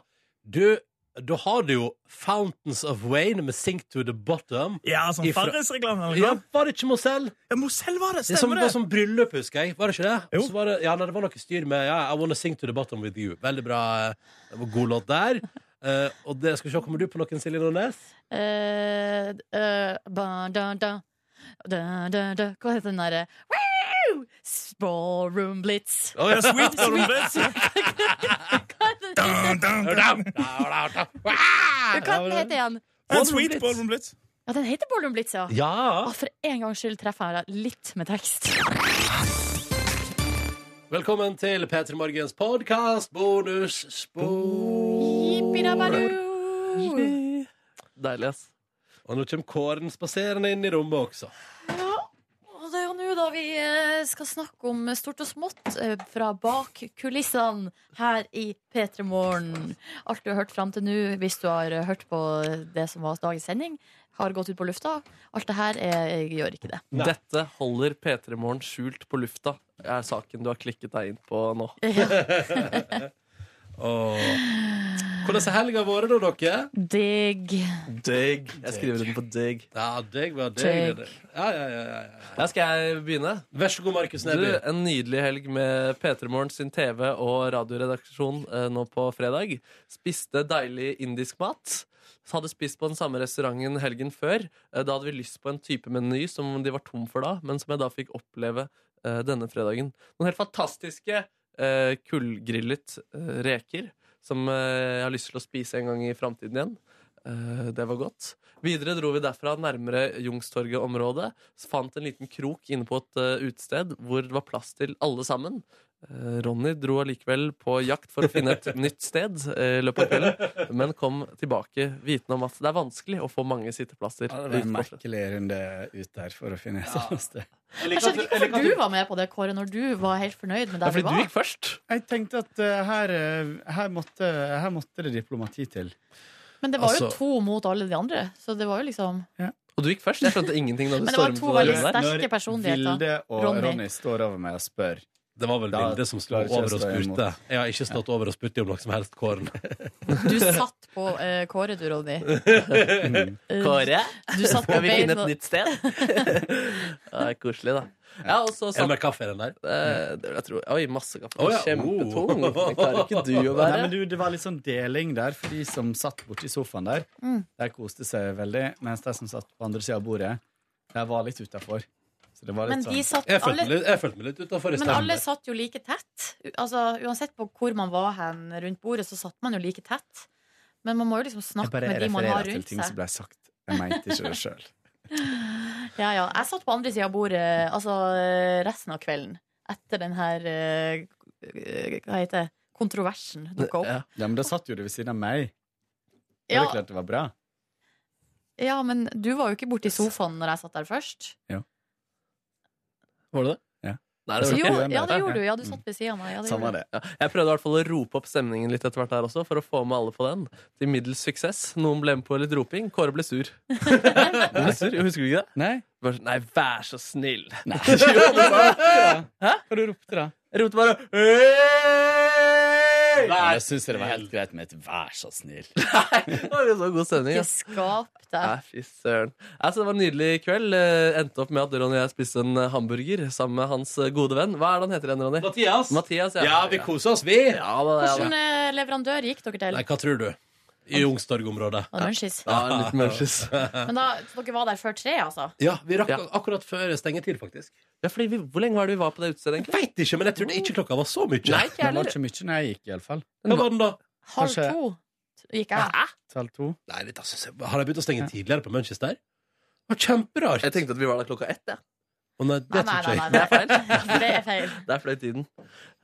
du, da har du jo Fountains of Wayne med Sink to the Bottom.
Ja, sånn Farris-reklame. eller hva?
Ja, var det ikke Mozell?
Ja, Mozell var det,
Det som,
stemmer
var
det!
som bryllup, husker jeg. Var det ikke det? Jo. Var det ja, nei, det var noe styr med ja, I Wanna Sing to the Bottom With You. Veldig bra eh, god låt der. Eh, og det skal vi se, kommer du på noen, Silje Nordnes?
Eh, eh, ba, da, da. Da, da, da. Hva heter den derre Wow! Ballroom Blitz.
Å, ja, Sweet Ballroom
Blitz. Hva den heter den igjen?
En sweet ballroom blitz.
Ja, den heter Ballroom Blitz, ja.
Ja.
Å, for en gangs skyld treffer jeg deg litt med tekst.
Velkommen til P3 Morgens podkast bonusspor. Deilig, ass. Og nå kommer Kåren spaserende inn i rommet også.
Og det er jo nå da vi eh, skal snakke om stort og smått eh, fra bak kulissene her i P3 Morgen. Alt du har hørt fram til nå, hvis du har eh, hørt på det som var dagens sending, har gått ut på lufta. Alt det her er, jeg gjør ikke det.
Dette holder P3 Morgen skjult på lufta, er saken du har klikket deg inn på nå.
Hvordan har helga vært, da, dere?
Digg.
Digg. Jeg skriver under på digg.
Ja, digg var
Digg.
digg. det. Ja, ja, ja, ja, ja.
Ja, skal jeg begynne?
Vær så god, Markus
Du,
Neby.
en nydelig helg med P3 Morgen sin TV og radioredaksjon eh, nå på fredag. Spiste deilig indisk mat. Hadde spist på den samme restauranten helgen før. Eh, Da hadde vi lyst på en type meny som de var tom for da, men som jeg da fikk oppleve eh, denne fredagen. Noen helt fantastiske eh, kullgrillet eh, reker som eh, jeg har lyst til å spise en gang i framtiden igjen. Eh, Det var godt. Videre dro vi derfra nærmere Youngstorget-området. så Fant en liten krok inne på et eh, utested hvor det var plass til alle sammen. Eh, Ronny dro allikevel på jakt for å finne et nytt sted eh, i løpet av kvelden, men kom tilbake vitende om at det er vanskelig å få mange sitteplasser.
Ja, det var
ute
en
på stedet.
merkelærende ut der for å finne et annet sted.
Jeg skjønner ikke hvorfor du var med på det, Kåre, når du var helt fornøyd med der vi var.
først.
Jeg tenkte at eh, her, eh, her, måtte, her måtte det diplomati til.
Men det var jo
Altså-
to mot alle de andre, så det var jo liksom
Og du gikk først? Jeg skjønte ingenting da du
Men det var
stormet
to
på det
veldig
rommet der.
sterke personligheter.
Vilde og
Ronny.
Ronny. står over meg og spør.
Det var vel
Da
Vilde som sto
klarer ikke jeg
over og
å stå imot.
spurte. Jeg har ikke stått over og spurt om noe som helst, Kåren.
Du satt på eh, Kåre, du, Ronny.
Mm.
Eh,
Kåre,
Du satt på
skal vi
bein
finne et
og-
nytt sted? Ja, det er koselig, da. Ja, og så
Er det mer kaffe i den der?
Eh, det vil jeg tro. Oi, masse kaffe.
Å, ja.
Kjempetung. Det klarer ikke du å
Oh. Nei,
være.
men du, det var litt sånn deling der, for de som satt borti sofaen der,
Mm.
der koste seg veldig, mens de som satt på andre sida av bordet, der var litt utafor. Så det var litt
Men de
sånn
satt Jeg følte alle- meg litt- jeg følte
meg litt
Men alle satt jo like tett. U- Altså, uansett på hvor man var hen rundt bordet, så satt man jo like tett. Men man må jo liksom
Jeg
snakke
bare
med de man har
refererer til
rundt
ting som
seg.
ble sagt. Jeg mente ikke det sjøl.
Ja, ja. Jeg satt på andre sida av bordet altså, eh, resten av kvelden etter den her eh, eh, Hva heter det? Kontroversen dukka opp.
Ja, men da satt jo du ved siden av meg. Det
Ja.
er klart det var bra.
Ja, men du var jo ikke borti sofaen når jeg satt der først.
Var det det?
Ja.
Nei,
Så
var
jo,
ikke det.
ja, det gjorde du. Ja,
Mm.
du satt ved siden av meg. Ja, det gjorde du.
Ja, jeg prøvde i hvert fall å rope opp stemningen litt etter hvert der også, for å få med alle på den. Til middels suksess. Noen ble med på litt roping. Kåre ble sur. Du ble sur, Husker du ikke det?
Nei,
Bare, sånn, nei vær så snill. Nei.
Hæ? Hva du ropte da?
Jeg ropte bare «Hei!»
Men jeg syns det var helt greit med et 'vær så snill'.
Det var jo så god stemning.
Ikke
ass.
skap
Nei,
deg.
fy søren. Altså, det var en nydelig kveld. Eh, Endte opp med at Ronny og jeg spiste en eh, hamburger sammen med hans eh, gode venn. Hva er det han heter igjen, Ronny?
Mathias.
Mathias ja.
Ja, vi koser oss, vi.
Ja, da, ja, da.
Hvilken eh, leverandør gikk dere til?
Nei, hva tror du? I Youngstorg-området.
Ja, Munchies.
Ja, en liten munchies.
Men da, så dere var der før tre, altså?
Ja, vi rakk akkurat før stengetid, faktisk.
Ja, fordi vi, Hvor lenge var det vi var på det utestedet? egentlig?
Veit ikke, men jeg trodde ikke klokka var så mye.
Nei, ikke jeg
Det var
heller.
ikke mye når jeg gikk, iallfall.
Hva var den da?
Halv
Kanskje-
to gikk jeg.
Halv to?
Nei, det, altså, se- har de begynt å stenge tidligere på Manchester? Det var kjemperart.
Jeg tenkte at vi var der klokka ett. Ja.
Å nei,
Nei,
det
nei,
tror
nei,
jeg ikke.
nei, det er feil. Det er feil.
Der fløy tiden.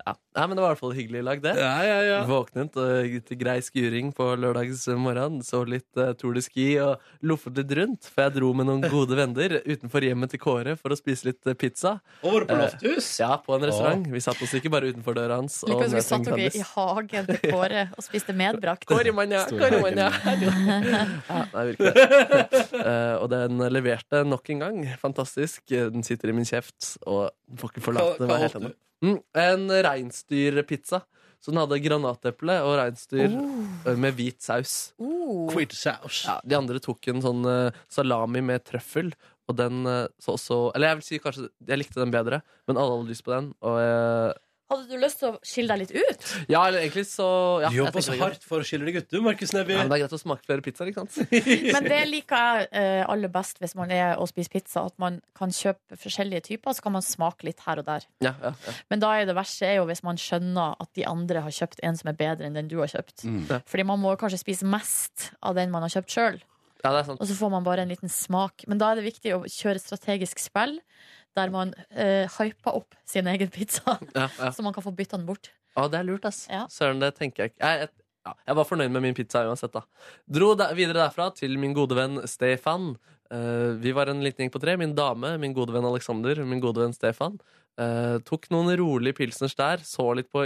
Ja. Nei, men det var i hvert fall hyggelig i lag, det.
Ja, ja, ja.
Våknet og til grei skuring på lørdags morgen. Så litt eh, Tour de Ski og loffet litt rundt. For jeg dro med noen gode venner utenfor hjemmet til Kåre for å spise litt eh, pizza.
Og var du på
Eh,
lofthus?
ja, på en restaurant. Vi satt oss ikke bare utenfor døra hans.
Liker at
nøt
dere
en
satt dere
Grandis.
i hagen til Kåre og spiste medbrakt.
Kåre Manja,
Stor
Kåre
hage.
Manja. Ja, nei, virkelig. Eh, og den leverte nok en gang. Fantastisk. Den sitter i min kjeft og den får ikke forlate
Hva- hva
meg helt
åt
ennå. Mm, en reinsdyrpizza. Så den hadde granateple og reinsdyr
Oh.
eh, med hvit saus.
Oh.
Quid saus.
Ja, de andre tok en sånn eh, salami med trøffel. Og den eh, så også Eller jeg vil si kanskje jeg likte den bedre, men alle hadde lyst på den. Og eh,
Hadde du lyst til å skille deg litt ut?
ja, eller egentlig så ja,
Du
jeg
jobber
tenker
så
det er greit.
hardt for å skille deg ut, du, Markus Neby.
Ja, men det er greit å smake flere pizzaer, ikke sant?
Men det liker jeg eh, aller best hvis man er og spiser pizza, at man kan kjøpe forskjellige typer, så kan man smake litt her og der.
Ja, ja, ja.
Men da er det verste er jo hvis man skjønner at de andre har kjøpt en som er bedre enn den du har kjøpt.
Mm.
Ja.
Fordi man må kanskje spise mest av den man har kjøpt sjøl.
Ja, det er sant.
Og så får man bare en liten smak. Men da er det viktig å kjøre strategisk spill der man eh, hyper opp sin egen pizza,
Ja, ja.
så man kan få bytta den bort.
Ja, det er lurt, ass.
Ja.
Søren, det tenker jeg ikke. Jeg, jeg, ja, jeg var fornøyd med min pizza uansett, da. Dro der, videre derfra til min gode venn Stefan. Eh, vi var en liten gjeng på tre. Min dame, min gode venn Alexander, min gode venn Stefan. Eh, tok noen rolige pilsners der, så litt på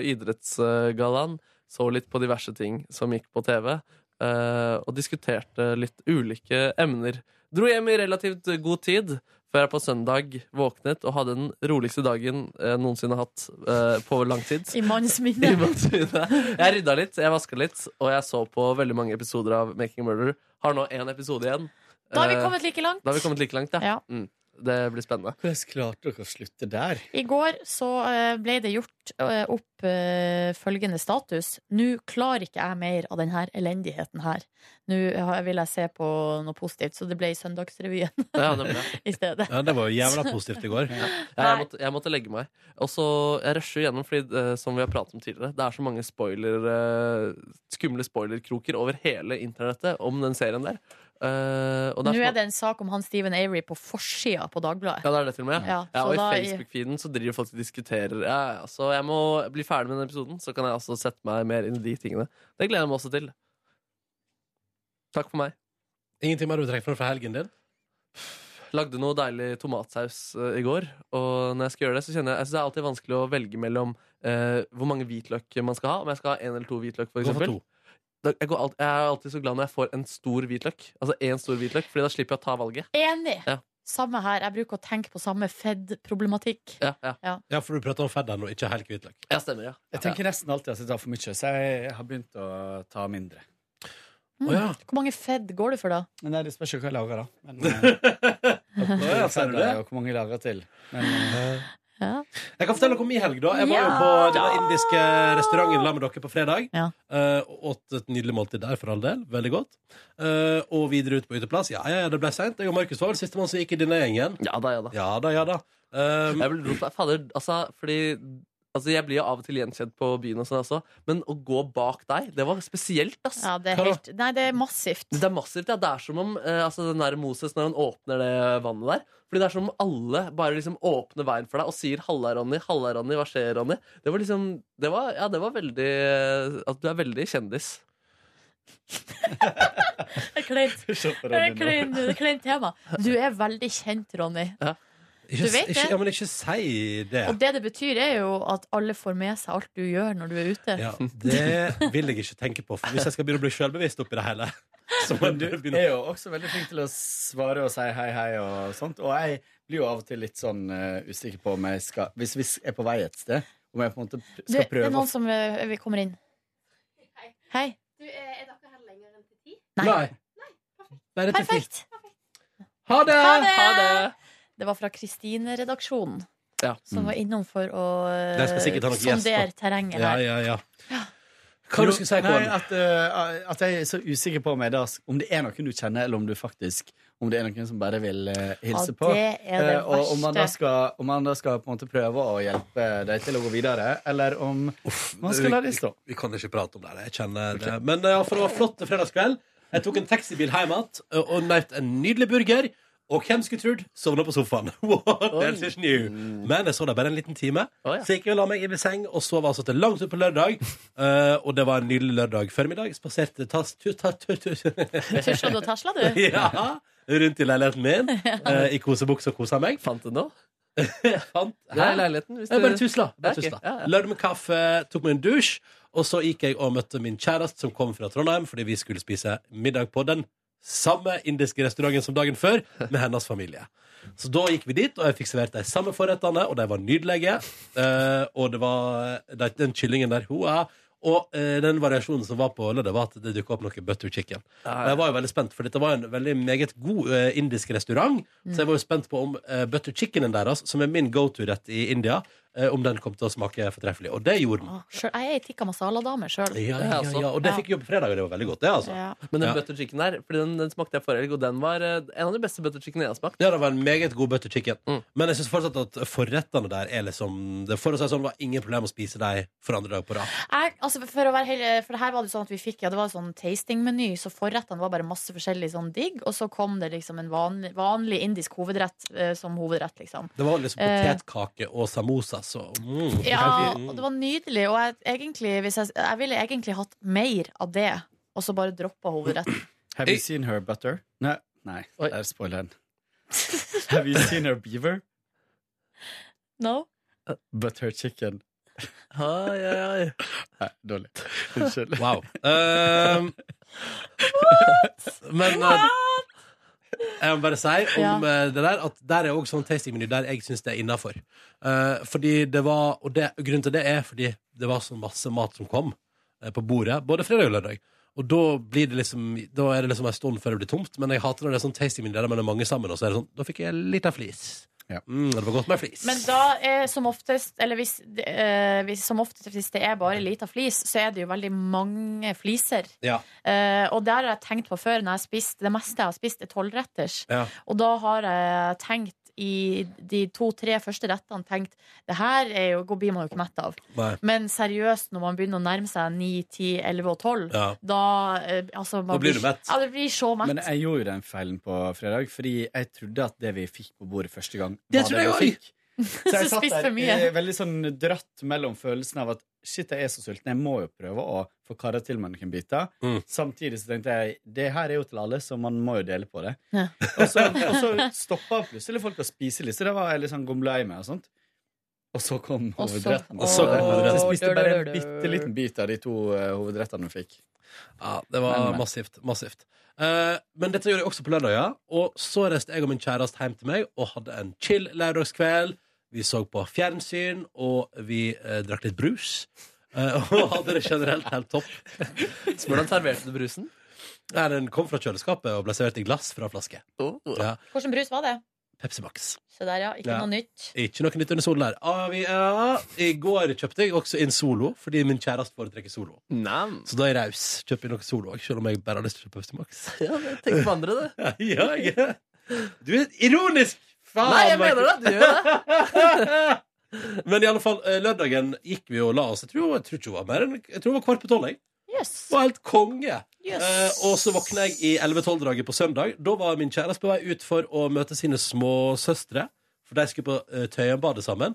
idrettsgallaen, så litt på diverse ting som gikk på TV, eh, og diskuterte litt ulike emner. Dro hjem i relativt god tid, før jeg på søndag våknet og hadde den roligste dagen jeg noensinne har hatt eh, på lang tid.
I manns minne.
I manns minne. Jeg rydda litt, jeg vaska litt, og jeg så på veldig mange episoder av Making a Murderer. Har nå én episode igjen.
Da har vi
Eh,
kommet like langt.
Da har vi kommet like langt, ja.
Ja.
Mm. Det blir spennende.
Hvordan klarte dere å slutte der?
I går så eh, ble det gjort eh, opp eh, følgende status. Nå klarer ikke jeg mer av denne elendigheten her. Nå har- vil jeg se på noe positivt, så det ble Søndagsrevyen
Ja, det ble det.
i stedet.
Ja, det var jo jævla positivt i går. Ja, jeg, måtte, jeg måtte legge meg. Og så Jeg rusher gjennom, fordi eh, som vi har pratet om tidligere, det er så mange spoiler eh, skumle spoilerkroker over hele internettet om den serien der. Eh, og
Nå
så-
er det en sak om han Steven Avery på forsida på Dagbladet.
Ja, det er det til og med. Ja,
Ja, så
og i
da-
Facebook-feeden så driver folk og diskuterer. Ja, ja, så jeg må bli ferdig med den episoden, så kan jeg også sette meg mer inn i de tingene. Det gleder jeg meg også til. Takk for meg.
Ingenting mer du trenger fra helgen din?
Lagde noe deilig tomatsaus eh, i går, og når jeg skal gjøre det, så kjenner jeg Jeg synes det er alltid vanskelig å velge mellom eh, hvor mange hvitløk man skal ha. Om jeg skal ha én eller to hvitløk, for
Gå for
eksempel.
to.
Da- Jeg, går alt, jeg er alltid så glad når jeg får en stor hvitløk, Altså en stor hvitløk, Fordi da slipper jeg å ta valget.
Enig!
Ja.
Samme her. Jeg bruker å tenke på samme Fed-problematikk.
Ja, ja.
Ja.
Ja, for du prater om fedder nå, ikke helg hvitløk.
Ja, stemmer, ja.
Jeg tenker nesten alltid at jeg tar for mye, så jeg har begynt å ta mindre.
Mm.
Å, ja.
Hvor mange Fed går du for, da?
Men nei, det spørs jo hva jeg lager, da. Men, eh,
ja, ser du det?
Og hvor mange jeg lager til. Men, eh,
Jeg kan fortelle dere om min helg, da. Jeg var jo
Ja.
på den indiske restauranten sammen med dere på fredag.
Ja.
eh, og åt et nydelig måltid der, for all del. Veldig godt. Eh, og videre ut på uteplass. Ja, ja, ja, det ble seint. Jeg og Markus var vel sistemann som gikk i denne gjengen.
Ja da, ja da.
Ja da, ja da. Um,
jeg vil rope, fader, altså, fordi Altså, Jeg blir jo av og til gjenkjent på byen, og sånn også men å gå bak deg, det var spesielt. ass
Ja, det er
Hva da?
helt Nei, det er massivt.
Det er massivt, ja. Det er som om eh, altså, den der Moses når han åpner det vannet der. Fordi det er som om alle bare liksom åpner veien for deg og sier 'halla, Ronny', 'halla, Ronny', 'hva skjer, Ronny'? Det var liksom Det var, ja, det var veldig eh, At du er veldig kjendis.
Det er kleint. Det er kleint- det er kleint tema. Du er veldig kjent, Ronny.
ikke,
Du vet det.
Ikke, ja, men ikke si det.
Og det det betyr, er jo at alle får med seg alt du gjør når du er ute.
Ja, det vil jeg ikke tenke på. For hvis jeg skal begynne å bli sjølbevisst oppi det hele så må
men du
jeg begynne
er jo også veldig flink til å svare og si hei, hei og sånt. Og jeg blir jo av og til litt sånn eh, usikker på om jeg skal Hvis vi er på vei et sted, om jeg på en måte pr-
Du,
skal
det er
prøve å
noen som eh, vi kommer inn. Hei.
Nei. Nei, det er til
Perfekt.
Ha det!
Ha det! Det var fra Kristine-redaksjonen,
Ja.
som var innom for å eh,
De Mm. skal sikkert ha noen
sondere
gjester.
terrenget
Ja,
her.
ja, ja. Hva
Jo,
du skulle si,
nei,
Kåre?
at, eh, at jeg er så usikker på om jeg da, om det er noen du kjenner, eller om du faktisk Om det er noen som bare vil eh, hilse
Ja,
på.
det er det
Eh, og om man, da
verste.
skal, om man da skal på en måte prøve å hjelpe deg til å gå videre, eller om man skal la det stå.
Vi, vi kan ikke prate om det. her, Jeg kjenner det. Men ja, for det var flott fredagskveld. Jeg tok en taxibil hjem igjen eh, og nøt en nydelig burger. Og hvem skulle trodd sovna på sofaen. What else is new? Men jeg så deg bare en liten time. Så gikk jeg og la meg i min seng og sov altså til langt utpå lørdag. Eh, og det var en nydelig lørdag formiddag. Spaserte tas... tu- ta- tu- tu-
Tusla du og tasla, du?
Ja, rundt i leiligheten min eh, i kosebukse og kosa meg.
Fant du noe?
Fant
Det er leiligheten, hvis
Jeg
du-
bare tusla. Bare
Ja, ok.
tusla.
Ja, ja.
Lagde meg kaffe, tok meg en dusj, og så gikk jeg og møtte min kjæreste som kom fra Trondheim fordi vi skulle spise middag på den samme indiske restauranten som dagen før med hennes familie. Så da gikk vi dit, og jeg fikk servert de samme forrettene, og de var nydelige. Eh, og det var de- den kyllingen der hoa. Og eh, den variasjonen som var på lørdag, var at det dukka opp noe butter chicken. Og jeg var jo veldig spent, for dette var en veldig meget god eh, indisk restaurant. Så jeg var jo spent på om eh, butter chickenen deres, som er min go to-rett i India, eh, om den kom til å smake fortreffelig. Og det gjorde den.
Å, sjøl- Jeg er ei tikka masala-dame sjøl.
Ja, ja, ja, og det fikk vi jo på fredag, og det var veldig godt, det, altså.
Ja.
Men den
Ja.
butter chicken der, fordi den, den smakte jeg forrige helg, og den var eh, en av de beste butter chickenene jeg har smakt.
Ja, det var en meget god butter chicken. Men jeg syns fortsatt at forrettene der er liksom det- For å si det sånn, var ingen problem å spise dem for andre dag på rad.
Jeg, altså for, å være helt, for det her var det sånn at vi fikk Ja, det var sånn tastingmeny, så forrettene var bare masse forskjellig sånn digg, og så kom det liksom en vanlig, vanlig indisk hovedrett eh, som hovedrett, liksom.
Det var liksom
Eh.
potetkake og samosa, så mm.
Ja, og det var nydelig, og jeg, egentlig, hvis jeg, jeg ville egentlig hatt mer av det, og så bare droppa hovedretten.
Have you seen her butter? Nei, nei der spoiler den. Have you seen her beaver?
No?
But her chicken.
Ai, ai, ai.
Nei, dårlig. Unnskyld.
Wow. Ehm, men eh, jeg må bare si om eh, det der at der er òg sånn tastingmeny der jeg syns det er innafor. Eh, fordi det var Og det, grunnen til det er fordi det var så masse mat som kom eh, på bordet, både fredag og lørdag. Og da, blir det liksom, da er det liksom en stund før det blir tomt, men jeg hater når det er sånn tastingmeny der man er mange sammen, og så er det sånn Da fikk jeg litt av flis. Mm, det var godt med flis.
Men da er som oftest Eller hvis, det- eh, hvis, som oftest, hvis det er bare lita flis, så er det jo veldig mange fliser.
Ja.
Eh, og der har jeg tenkt på før, når jeg har spist, det meste jeg har spist, er tolvretters.
Ja.
Og da har jeg tenkt i de to-tre første rettene tenkt det her er jo, blir man jo ikke mett av.
Nei.
Men seriøst, når man begynner å nærme seg 9, 10, 11 og 12,
Ja.
da eh, altså, man
Da blir du mett.
Ja, det blir så mett.
Men jeg gjorde jo den feilen på fredag, fordi jeg trodde at det vi fikk på bordet første gang,
Det
var
trodde
det
jeg også.
vi fikk. Så jeg
Så spist
satt
for
der
mye.
eh, veldig sånn dratt mellom følelsen av at shit, jeg er så sulten, jeg må jo prøve å få karra til meg noen biter.
Mm.
Samtidig så tenkte jeg det her er jo til alle, så man må jo dele på det.
Ja.
Og så, og så stoppa plutselig folk å spise litt, så det var jeg litt sånn gomla i meg og sånt. Og så kom
Og så-
hovedretten.
Og så kom hovedretten.
Så jeg spiste bare en
Dør, dør,
bitte
dør.
liten bit av de to eh, hovedrettene vi fikk.
Ja, det var
Men, men.
massivt. massivt. Eh, men dette gjorde jeg også på lørdag, ja. Og så reiste jeg og min kjæreste hjem til meg og hadde en chill lørdagskveld. Vi så på fjernsyn, og vi eh, drakk litt brus. eh, og hadde det generelt helt topp. Hvordan serverte du brusen? Nei, Den kom fra kjøleskapet og ble servert i glass fra flaske. Ja.
Hvordan brus var det?
Pepsi Max.
Så der, ja. Ikke
Ja.
noe nytt.
Ikke noe nytt under solen her. Ah, vi, ja. I går kjøpte jeg også inn Solo, fordi min kjæreste foretrekker Solo. Så da er jeg raus. Kjøper inn noe Solo òg, selv om jeg bare har lyst til å kjøpe Pepsi Max.
Ja, men tenk på andre, det.
ja, jeg er Du er ironisk! Faen,
Nei, jeg mener det.
Markus.
Du gjør det.
Men i alle fall, eh, lørdagen gikk vi og la oss. Jeg tror, jeg tror ikke hun var mer enn Jeg tror hun var kvart på tolv. jeg.
Yes.
Var helt konge.
Yes.
Eh, og så våkna jeg i 11-12-draget på søndag. Da var min kjæreste på vei ut for å møte sine små søstre. For de skulle på uh, Tøyenbadet sammen.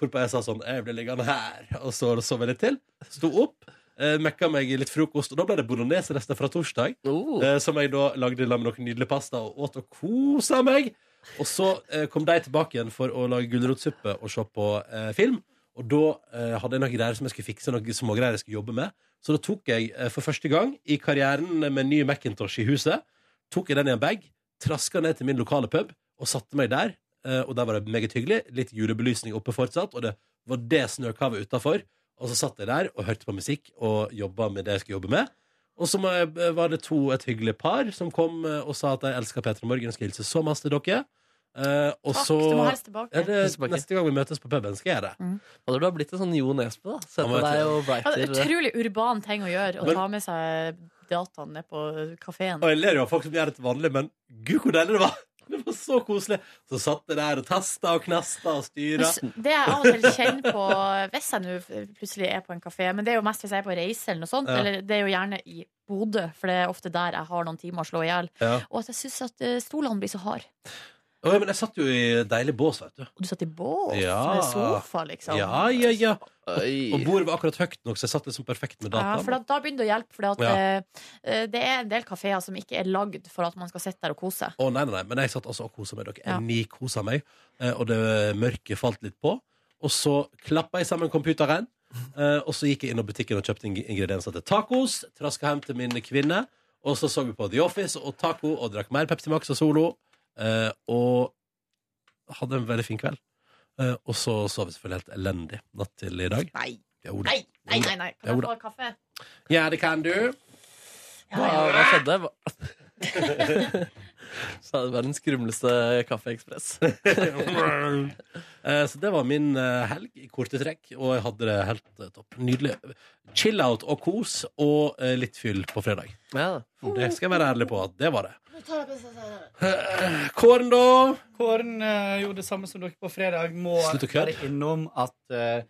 Hvorpå jeg sa sånn Jeg blir liggende her. Og så sov jeg litt til. Sto opp. eh, mekka meg i litt frokost, og da ble det bolognesrester fra torsdag. eh, som jeg da lagde sammen med noen nydelige pasta og åt og kosa meg. Og så eh, kom de tilbake igjen for å lage gulrotsuppe og se på eh, film. Og da eh, hadde jeg noen greier som jeg skulle fikse, noen smågreier jeg skulle jobbe med. Så da tok jeg eh, for første gang i karrieren med ny Macintosh i huset, tok jeg den i en bag, traska ned til min lokale pub og satte meg der. Eh, og der var det meget hyggelig. Litt julebelysning oppe fortsatt, og det var det snøkavet utafor. Og så satt jeg der og hørte på musikk og jobba med det jeg skulle jobbe med. Og så må jeg- eh, var det to et hyggelig par som kom eh, og sa at de elska Petra Morgen og skal hilse så masse til dere. Eh, og
Takk,
så
du må helst tilbake.
Ja, det, Neste gang vi møtes på puben, skal jeg gjøre det.
Og du har blitt en sånn Jo Nesbø, da. Sett
Han
på
vet
deg
det.
og
Ja, det er
breiter.
utrolig urban ting å gjøre, å
Men-
ta med seg dataen ned på kafeen.
Og jeg ler jo av folk som gjør det til vanlig, men gud, hvor deilig det var! Det var så koselig. Så satt jeg der og tasta og knasta og styra.
Det jeg av og til kjenner på hvis jeg nå plutselig er på en kafé, men det er jo mest hvis jeg er på reise eller noe sånt,
Ja.
eller det er jo gjerne i Bodø, for det er ofte der jeg har noen timer å slå i hjel,
Ja.
og at jeg syns at eh, stolene blir så harde.
Å, ja, men jeg satt jo i deilig bås, vet du.
Og du satt i bås
Ja.
med sofa, liksom.
Ja, ja, ja. Og, og bordet var akkurat høyt nok, så jeg satt liksom perfekt med
Ja,
dataen.
for da, da begynner det å hjelpe, for det, at,
Ja.
eh, eh, det er en del kafeer som ikke er lagd for at man skal sitte der og kose seg.
Å nei, nei, nei, men jeg satt altså og kosa meg. Dere.
Ja.
Jeg nikosa meg, eh, og det mørke falt litt på. Og så klappa jeg sammen computeren, eh, og så gikk jeg inn i butikken og kjøpte ing- ingredienser til tacos. Traska hjem til min kvinne, og så så vi på The Office og taco og drakk mer Pepsi Max og Solo. eh, Og hadde en veldig fin kveld. Eh, Og så sov vi selvfølgelig helt elendig natt til i dag.
Nei.
Jo, da.
Nei, nei, nei, nei.
Jo
Kan jeg
da.
få kaffe?
Ja, det kan du.
Hva, hva skjedde? Hva- Så det var den skrumleste Kaffeekspress.
Eh, Så det var min eh, helg i korte trekk, og jeg hadde det helt eh, topp. Nydelig. Chill-out og kos og eh, litt fyll på fredag.
Oh,
Det skal jeg være ærlig på at det var det. Eh, Kåren, da?
Kåren eh, gjorde det samme som dere på fredag. Må
Slutt å kødde.
være innom at eh,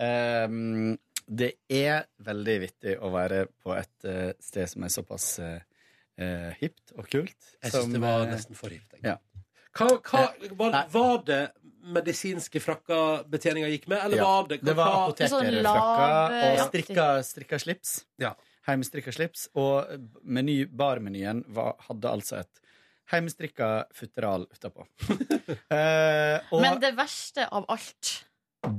ehm, det er veldig vittig å være på et eh, sted som er såpass eh, eh, hipt og kult.
Jeg synes det var nesten for hipt,
eh, Ja.
Hva, hva, var, var det medisinske frakker betjeninga gikk med, eller
Ja.
var det
Det var apotekerfrakka og strikka, strikka slips. Heimestrikka slips. Og meny, barmenyen var, hadde altså et heimestrikka futteral utapå. Eh, og
Men det verste av alt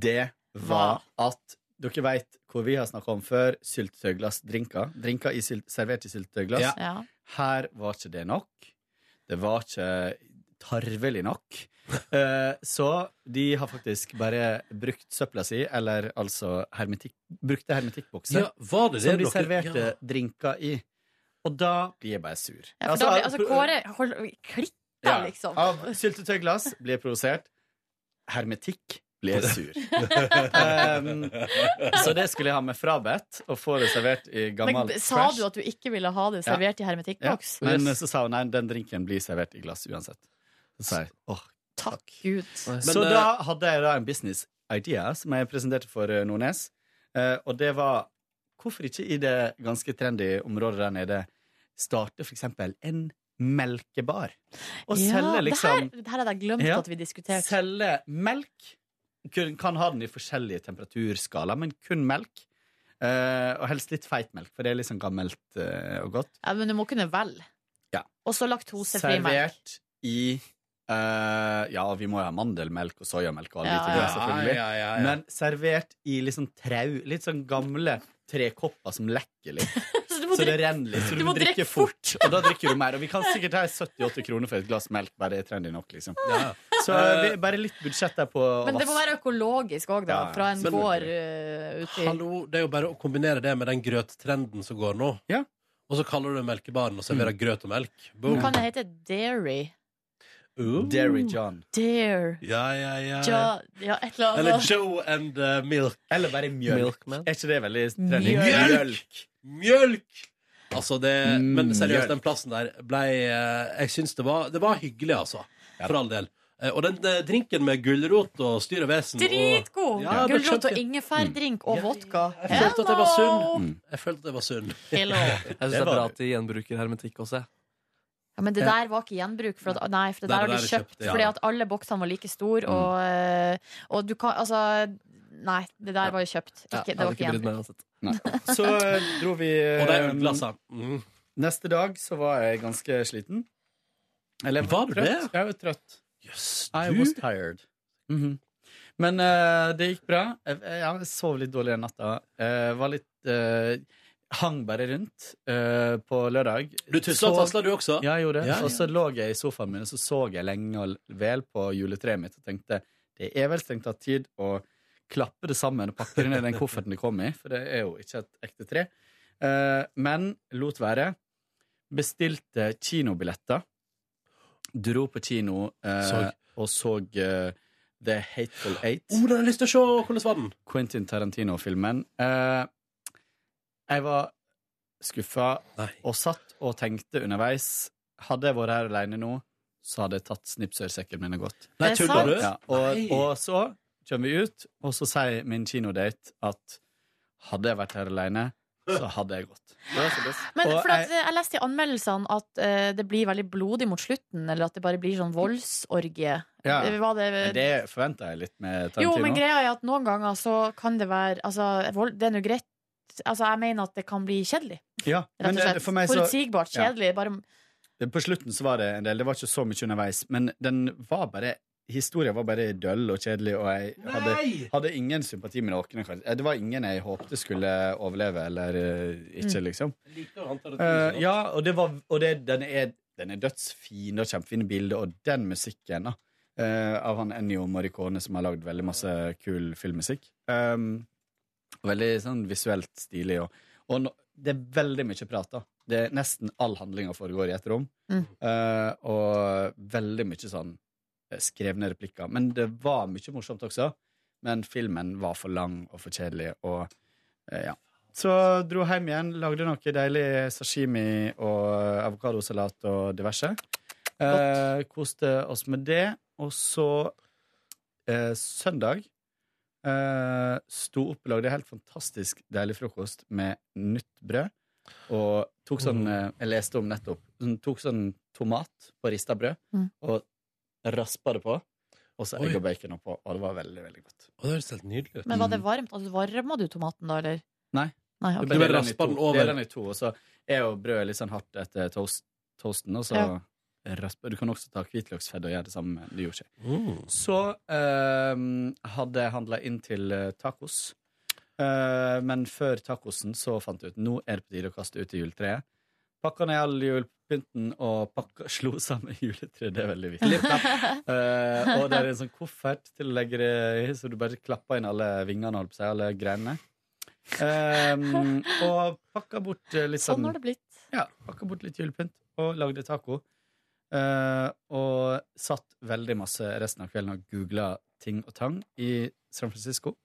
det var at dere vet hvor vi har snakka om før, syltetøyglassdrinker. Drinker i sylt, servert i syltetøyglass.
Ja. Ja.
Her var ikke det nok. Det var ikke tarvelig nok. Eh, Så de har faktisk bare brukt søpla si, eller altså hermetikk, brukte hermetikkbokser,
Ja, var det det
som de
dere-
serverte
Ja.
drinker i. Og da blir jeg bare sur.
Ja, for da blir, altså, Kåre hold, klikker,
Ja.
liksom.
Av syltetøyglass blir provosert. Hermetikk blir sur. um, så det skulle jeg ha med frabedt, og få det servert i gammel
Men sa du at du ikke ville ha det servert i hermetikkboks?
Ja. Men eh, så sa hun nei, den drinken blir servert i glass uansett. Så sa jeg åh.
Takk Gud.
så
eh,
da hadde jeg da en business idea som jeg presenterte for eh, Nordnes, eh, og det var hvorfor ikke i det ganske trendy området der nede starte for eksempel en melkebar, og
Ja,
selge liksom
Det her, det her hadde jeg glemt
Ja.
at vi diskuterte.
Selge melk. Kun, kan ha den i forskjellige temperaturskala, men kun melk. Eh, og helst litt feit melk, for det er litt sånn gammelt eh, og godt.
Ja, men du må kunne velge.
Ja.
Også laktosefri melk.
Servert i eh, Ja, vi må jo ha mandelmelk og soyamelk og alle
Ja,
de
ja,
tingene,
ja.
selvfølgelig.
eh, Ja, ja, ja, ja.
Men servert i litt sånn trau. Litt sånn gamle trekopper som lekker litt.
Så,
må
det
drikke-
renner litt. Så
du
du,
må
drikker
drikke
fort. Og da drikker du mer. Og vi kan sikkert ha 78 kroner for et glass melk, bare det er trendy nok, liksom. Så eh, vi- bare litt budsjett der på å
Men det må
vaske.
være økologisk òg,
Ja,
da.
ja.
Fra en
Men-
gård uh, uti.
Hallo, det er jo bare å kombinere det med den grøttrenden som går nå. Og så kaller du det melkebaren og serverer grøt og melk. Boom.
Nå kan det hete Dairy.
Ooh.
Dairy John.
Dare.
Ja, ja, ja.
Ja, ja, et eller
Eller
annet.
Joe and uh, Milk.
Eller bare mjølk. Er ikke det veldig trendy?
Mjølk! Mjølk! Altså det, men seriøst,
Mjølk.
den plassen der ble eh, Jeg syns det var, det var hyggelig, altså. For all del. Eh, Og den eh, drinken med gulrot og styr og vesen og-
Dritgod!
Ja, det
Gulrot
skjønte
og
jeg.
ingefærdrink og vodka.
Jeg følte at jeg var
Mm.
sunn. Jeg følte at jeg var sunn.
Hello.
Jeg syns det
Det
er
var
bra
det.
at de gjenbruker hermetikk også. jeg.
Ja, men det
Ja.
der var ikke gjenbruk. For at, nei, for det
Nei,
der
det
har de
der er
kjøpt.
kjøpt, ja.
Fordi at alle boksene var like
Mm.
store, og, eh, og du kan Altså, nei, det der var jo kjøpt.
Ja,
Ikke,
jeg
det
hadde
var ikke
ikke brydd meg
gjenbruk.
uansett.
Så eh, dro vi eh,
Og det er ølglasset. Mm.
Neste dag så var jeg ganske sliten. Eller jeg var
du
trøtt.
det?
Jeg var trøtt. I
du-
was tired. Mhm. Men eh, det gikk bra. Jeg, jeg sov litt dårlig den natta. Eh, var litt eh, Hang bare rundt eh, på lørdag.
Du tusla og
Sov-
tasla, du også?
Ja, jeg gjorde det.
Ja, ja.
Og så lå jeg i sofaen min og så så jeg lenge og vel på juletreet mitt og tenkte det er vel strengt tatt tid å klappe det sammen og pakke det ned i den kofferten det kom i, for det er jo ikke et ekte tre. Eh, men lot være. Bestilte kinobilletter. Dro på kino eh,
Såg.
og så eh, The Hateful Eight.
Oh, den har jeg lyst til å se! Hvordan var den?
Quentin Tarantino-filmen. Eh, jeg var skuffa og satt og tenkte underveis Hadde jeg vært her alene nå, så hadde jeg tatt snipsørsekken min og gått.
Nei, Er det tuller du? sant?
Ja, og,
Nei.
og så kommer vi ut, og så sier min kinodate at hadde jeg vært her alene, så hadde jeg gått.
Men
Og
for at,
jeg-
eh, jeg leste i anmeldelsene at eh, det blir veldig blodig mot slutten, eller at det bare blir sånn voldsorgie.
ja,
Det var det,
men det forventa jeg litt med
jo,
Tarantino.
men greia er at noen ganger så kan det være Altså, vold, det er nå greit. Altså, jeg mener at det kan bli kjedelig.
ja,
Rett og
men, eh,
slett.
for meg så-
Forutsigbart,
Ja.
kjedelig. Bare
Det- På slutten så var det en del. Det var ikke så mye underveis. Men den var bare historien var bare døll og kjedelig, og jeg hadde, hadde ingen sympati med noen. kanskje. Eh, Det var ingen jeg håpte skulle overleve, eller eh,
Mm.
ikke, liksom. Eh, ja, og, det var, og det, den, er, den er dødsfin og kjempefine bilder, og den musikken da, eh, av han Ennio Morricone, som har lagd veldig masse kul filmmusikk. Um, og veldig sånn visuelt stilig. Og, og nå- det er veldig mye prat, da. Det er nesten all handlinga foregår i et rom.
Mm.
Eh, og veldig mye sånn eh, skrevne replikker. Men det var mye morsomt også. Men filmen var for lang og for kjedelig, og eh, ja. Så dro hjem igjen, lagde noe deilig sashimi og avokadosalat og diverse. Eh, koste oss med det. Og så eh, søndag eh, sto opp og lagde helt fantastisk deilig frokost med nytt brød. Og tok sånn eh, Jeg leste om nettopp. Sånn, tok sånn tomat på rista brød
Mm.
og raspa det på. Og så
Oi.
egg og bacon oppå. Og det var veldig, veldig godt.
Å, det høres helt nydelig ut.
Men var det varmt? Altså, varma du tomaten da, eller?
Mm. Nei.
Nei, ok.
Du
Du bare
deler den i
rasper
to-
den over.
Deler den i to, og så er jo brødet litt sånn hardt etter toast, toasten, og så
Ja.
raspe. Du kan også ta hvitløksfedd og gjøre det samme med det gjorde ikke.
Mm.
Så eh, hadde jeg handla inn til eh, tacos. Eh, men før tacosen så fant jeg ut nå er det på tide å kaste ut i juletreet. Pakka ned all julepynten og pakka, slo sammen juletreet. Det er veldig viktig. Eh, og det er en sånn koffert til å legge det i, så du bare klapper inn alle vingene, holdt på å si, alle greinene. Ehm, og pakka bort eh, litt
Sånn har det blitt.
Ja, pakka bort litt julepynt og lagde taco. Eh, og satt veldig masse resten av kvelden og googla ting og tang i San Francisco.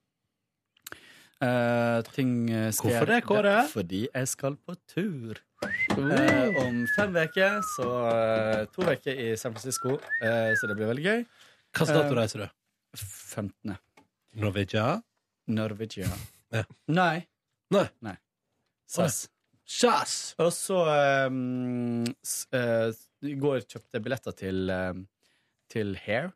Eh, ting eh, skjer
Hvorfor det, Kåre?
Fordi jeg skal på tur. Eh, om fem uker, så eh, to uker i San Francisco, eh, så det blir veldig gøy.
Hvilken
Eh,
dato reiser du?
15.
Norwegia?
Norwegia. Nei.
Nei.
SAS.
SAS!
Og så um, s- eh, i går kjøpte jeg billetter til, um, til Hair.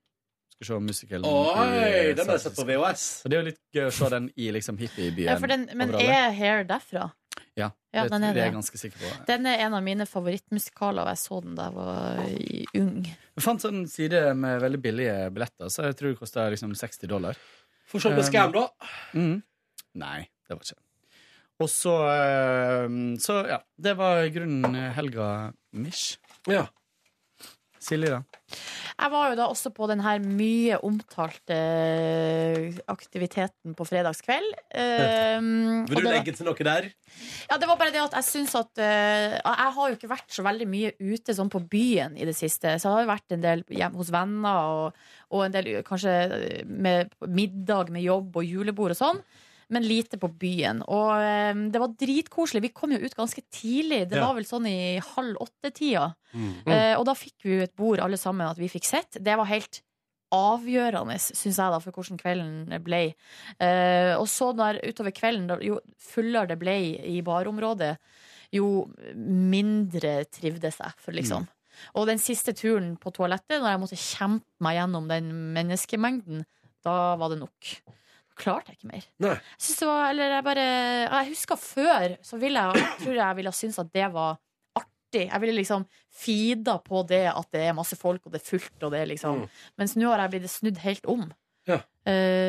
Skal se musikalen.
Oi,
i eh,
den har jeg
San
sett på
Francisco.
VHS.
Og det er jo litt gøy å se den i liksom hippiebyen.
Ja, for den, men
overalt.
er Hair derfra?
Ja,
Ja,
det,
den er
det er
det.
jeg ganske sikker på.
Den er en av mine favorittmusikaler, og jeg så den da jeg var i- ung.
Jeg fant sånn side med veldig billige billetter, så jeg tror det kosta liksom 60 dollar.
Få se om det er scam, da.
Ehm, Mm. Nei, det var ikke Og så eh, Så ja, det var i grunnen eh, helga mish.
Ja.
Silje, da?
Jeg var jo da også på den her mye omtalte eh, aktiviteten på fredagskveld. Eh, og
Vil du
det var-
legge til noe der?
Ja, det var bare det at jeg syns at eh, Jeg har jo ikke vært så veldig mye ute sånn på byen i det siste. Så jeg har jo vært en del hjemme hos venner, og, og en del kanskje eh, med middag med jobb og julebord og sånn. Men lite på byen. Og eh, det var dritkoselig. Vi kom jo ut ganske tidlig. Det
Ja.
var vel sånn i halv åtte-tida. Eh, og da fikk vi jo et bord alle sammen at vi fikk sett. Det var helt avgjørende, syns jeg, da, for hvordan kvelden ble. Eh, og så når, utover kvelden, da, jo fullere det ble i barområdet, jo mindre trivdes jeg, for liksom.
Mm.
Og den siste turen på toalettet, når jeg måtte kjempe meg gjennom den menneskemengden, da var det nok. Klarte jeg ikke mer. Jeg synes det var, eller jeg bare Jeg husker før, så ville jeg, tror jeg ville ha syntes at det var artig. Jeg ville liksom feeda på det at det er masse folk, og det er fullt, og det er liksom
Mm.
Mens nå har jeg blitt snudd helt om.
Ja.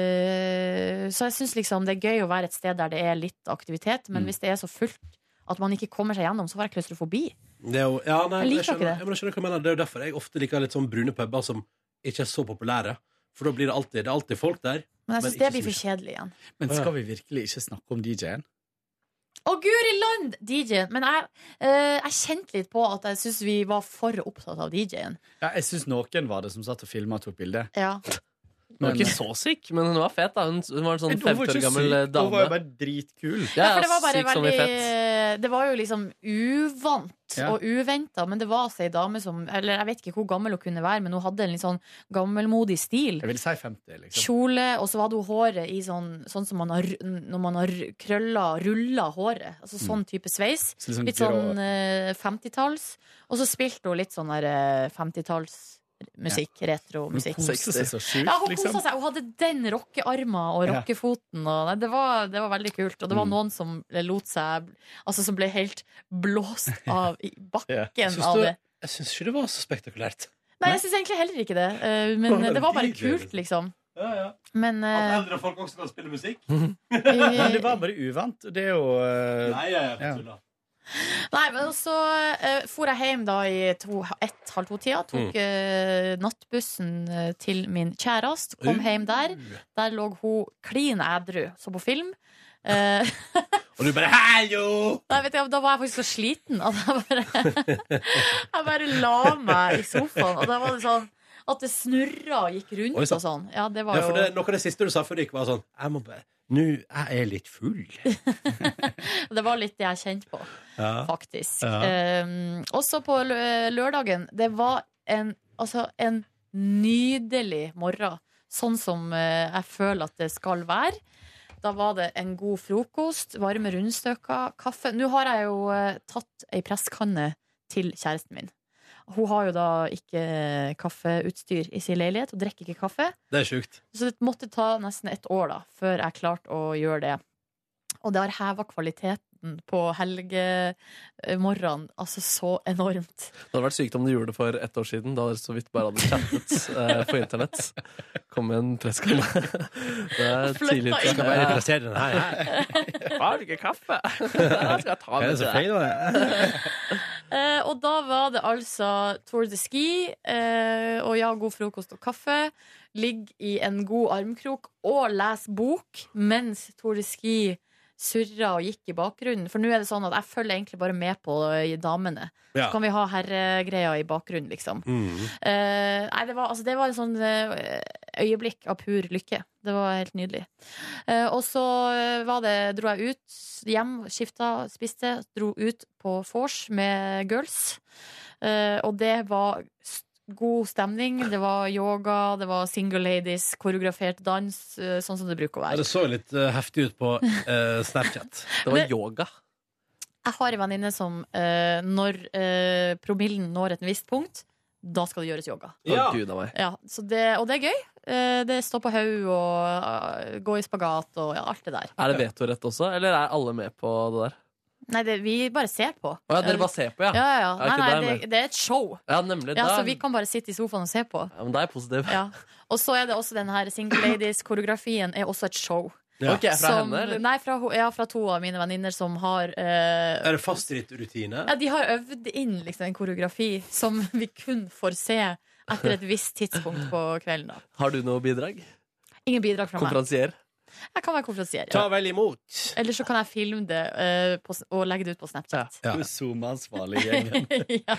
Eh, så jeg syns liksom det er gøy å være et sted der det er litt aktivitet, men
Mm.
hvis det er så fullt at man ikke kommer seg gjennom, så får jeg klaustrofobi.
Det er jo, ja, nei, men
Jeg liker ikke
skjønner,
det.
Ja, men jeg skjønner hva jeg mener. Det er jo derfor jeg ofte liker litt sånn brune puber som ikke er så populære. For da blir det alltid, det er alltid folk der.
Men jeg syns
ikke
det
så
blir
mye.
for kjedelig igjen.
Men skal vi virkelig ikke snakke om DJ-en?
Å, guri land! DJ-en. Men jeg, eh, jeg kjente litt på at jeg syns vi var for opptatt av DJ-en.
Ja, jeg syns noen var det som satt og filma og tok bilde.
Ja.
Hun var ikke så syk, men hun var fet. da Hun, hun var en sånn 50 år gammel eh, dame.
Hun var jo bare dritkul.
Ja, for det var bare
syk som i fett.
veldig Det var jo liksom uvant
Ja.
og uventa, men det var altså ei dame som Eller jeg vet ikke hvor gammel hun kunne være, men hun hadde en litt sånn gammelmodig stil.
Jeg vil si 50, liksom.
Kjole, og så hadde hun håret i sånn, sånn som man har når man har krølla, rulla håret. Altså sånn type sveis.
Så litt sånn
litt
grå-
sånn eh, 50-talls. Og så spilte hun litt sånn der eh, 50-talls Musikk, retromusikk.
Hun koste seg så sjukt,
Ja, hun kosa
liksom.
seg. Hun hadde den rockearmen
Ja.
og
Mm.
rockefoten. Og, nei, det, var, det var veldig kult. Og det var noen som lot seg Altså som ble helt blåst av i
Jeg
bakken
syns
av
det-
det.
Jeg syns ikke det var så spektakulært.
Nei, jeg syns egentlig heller ikke det. eh, Men
Bare
det var bare
DJ, liksom.
kult, liksom.
Ja, ja.
Men eh,
At eldre folk også kan spille musikk?
Men det var bare uvant. og Det er jo eh,
Nei, jeg
ja.
tuller.
Nei, men så uh, for jeg hjem da i to, ett, halv to-tida. Tok
Mm.
eh, nattbussen eh, til min kjæreste. Kom
Uh.
hjem der. Der lå hun klin ædru, så på film. Eh,
Og du bare 'hallo'!
nei, vet du, da var jeg faktisk så sliten at jeg bare, jeg bare la meg i sofaen. Og da var det sånn at det snurra og gikk rundt
Oi, sant.
og sånn. Ja, det var
Ja, for
jo
det, noe av det siste du sa før du gikk, var sånn Jeg må bare Nå, jeg er litt full.
Det var litt det jeg kjente på,
Ja.
faktisk.
Ja.
Ehm, også på lø- lørdagen. Det var en, altså, en nydelig morgen. Sånn som eh, jeg føler at det skal være. Da var det en god frokost, varme rundstykker, kaffe. Nå har jeg jo eh, tatt ei presskanne til kjæresten min. Hun har jo da ikke eh, kaffeutstyr i sin leilighet og drikker ikke kaffe.
Det er sjukt.
Så det måtte ta nesten et år da før jeg klarte å gjøre det. Og det har heva kvaliteten natten på helgemorgenen. Altså så enormt.
Det hadde vært sykt om du gjorde det for ett år siden, da dere så vidt bare hadde chattet eh, på internett. Kom med en presskalle. Det er
Flytta
tidlig.
inn. Skal bare plassere
den her,
Har du ikke kaffe?
Jeg skal ta med til
Eh, og da var det altså Tour de Ski eh, og ja, god frokost og kaffe. Ligg i en god armkrok og les bok mens Tour de Ski surra og gikk i bakgrunnen. For nå er det sånn at jeg følger egentlig bare med på eh, damene.
Ja.
Så kan vi ha herregreia i bakgrunnen, liksom.
Mm.
Eh, nei, det var, altså, det var en sånn eh, øyeblikk av pur lykke. Det var helt nydelig. Eh, og så eh, var det, dro jeg ut hjem, skifta, spiste, dro ut på vors med girls. Eh, og det var s- god stemning. Det var yoga, det var single ladies, koreografert dans, eh, sånn som det bruker å
Ja,
være.
det så litt eh, heftig ut på eh, Snapchat.
Det var Det-
yoga.
Jeg har en venninne som eh, når eh, promillen når et visst punkt, da skal det gjøres yoga.
Ja. Å, Gud, av meg.
Ja, så det, og det er gøy. Eh, det står på haug og eh, gå i spagat og ja, alt det der.
Er det vetorett også, eller er alle med på det der?
Nei, det, vi bare ser på.
Å ja, dere bare ser på, ja?
Ja, ja, ja.
ok, da
Nei,
er
nei,
jeg
det,
med.
det er et show.
ja nemlig.
Ja,
da
så
er-
vi kan bare sitte i sofaen og se på.
ja, men da er jeg positiv.
Ja. Og så er det også den her Single Ladies-koreografien er også et show.
Ja. Ok, fra
som,
henne, eller?
Nei, fra, ho- ja, fra to av mine venninner som har eh,
Er det fast rutine?
Ja, de har øvd inn liksom, en koreografi som vi kun får se etter et visst tidspunkt på kvelden. Da.
Har du noe bidrag?
Ingen bidrag fra meg.
Konferansier?
Jeg kan være konferansier.
Ta
vel imot.
Eller så kan jeg filme det eh, på, s- og legge det ut på Snapchat.
Du er SoMe-ansvarlig i gjengen.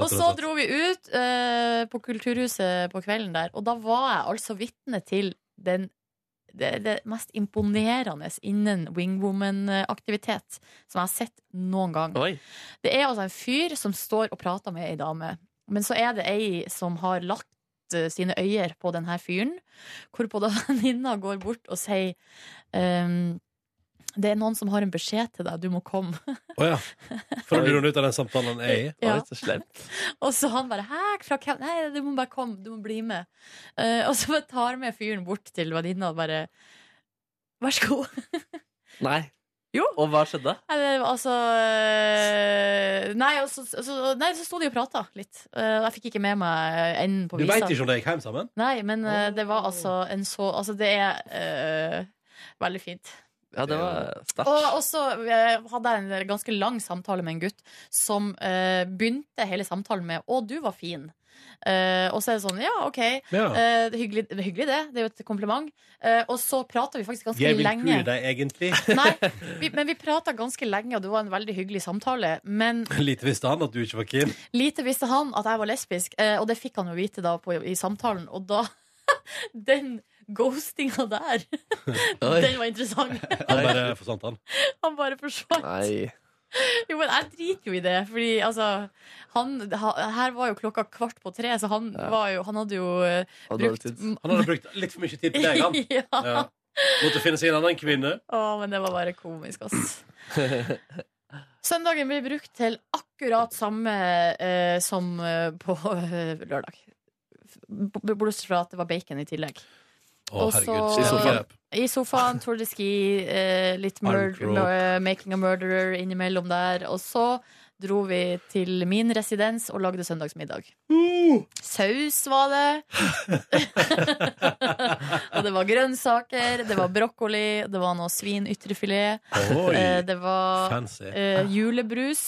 Og så dro vi ut eh, på Kulturhuset på kvelden der, og da var jeg altså vitne til den det, det mest imponerende innen wingwoman-aktivitet som jeg har sett noen gang. Det er altså en fyr som står og prater med ei dame, men så er det ei som har lagt eh, sine øyer på den her fyren, hvorpå da venninna går bort og sier ehm, det er noen som har en beskjed til deg, du må komme.
Å ja. For å bli rundt ut av den samtalen jeg er i.
Ja. Oi,
så slemt.
Og så han bare Hæ, fra hvem? Nei, du må bare komme, du må bli med. Eh, og så bare tar med fyren bort til venninna og bare Vær så god.
Nei. Og hva skjedde?
Nei, det var altså eh, Nei, og så, og så, nei, så sto de og prata litt. Eh, jeg fikk ikke med meg enden på
Du
visa.
veit ikke om de gikk hjem sammen?
Nei, men eh, det var altså en så Altså, det er eh, veldig fint.
Ja, det var sterkt.
Og og så eh, hadde jeg en ganske lang samtale med en gutt som eh, begynte hele samtalen med 'Å, du var fin'. Eh, og så er det sånn, ja, OK.
Ja.
Eh, det er hyggelig, det er hyggelig, det. Det er jo et kompliment. Eh, og så prata vi faktisk ganske
Jeg vil
lenge.
pule deg egentlig.
Vi, men vi prata ganske lenge, og det var en veldig hyggelig samtale. Men
Lite visste han at du ikke var keen.
lite visste han at jeg var lesbisk, eh, og det fikk han jo vite da på, i samtalen. Og da Den ghostinga der,
Oi.
den var interessant.
Han bare forsvant, han.
Han bare forsvant. Jo, men jeg driter jo i det, fordi altså han, ha, Her var jo klokka kvart på tre, så han, var jo, han hadde jo eh, brukt
Han hadde brukt litt for mye tid på deg, han.
Ja.
Ja. Måtte finne seg en annen kvinne.
Å, men det var bare komisk, ass. Søndagen blir brukt til akkurat samme eh, som eh, på eh, lørdag. B- b- Bortsett fra at det var bacon i tillegg.
Å,
Og så-
herregud, så grep.
I sofaen, Tour de Ski, eh, litt mur
Armkrok.
mur- Making a Murderer innimellom der. Og så dro vi til min residens og lagde søndagsmiddag. Saus var det. og det var grønnsaker, det var brokkoli, det var noe svin ytrefilet.
Oi,
eh, det var
Uh! fancy.
eh, julebrus.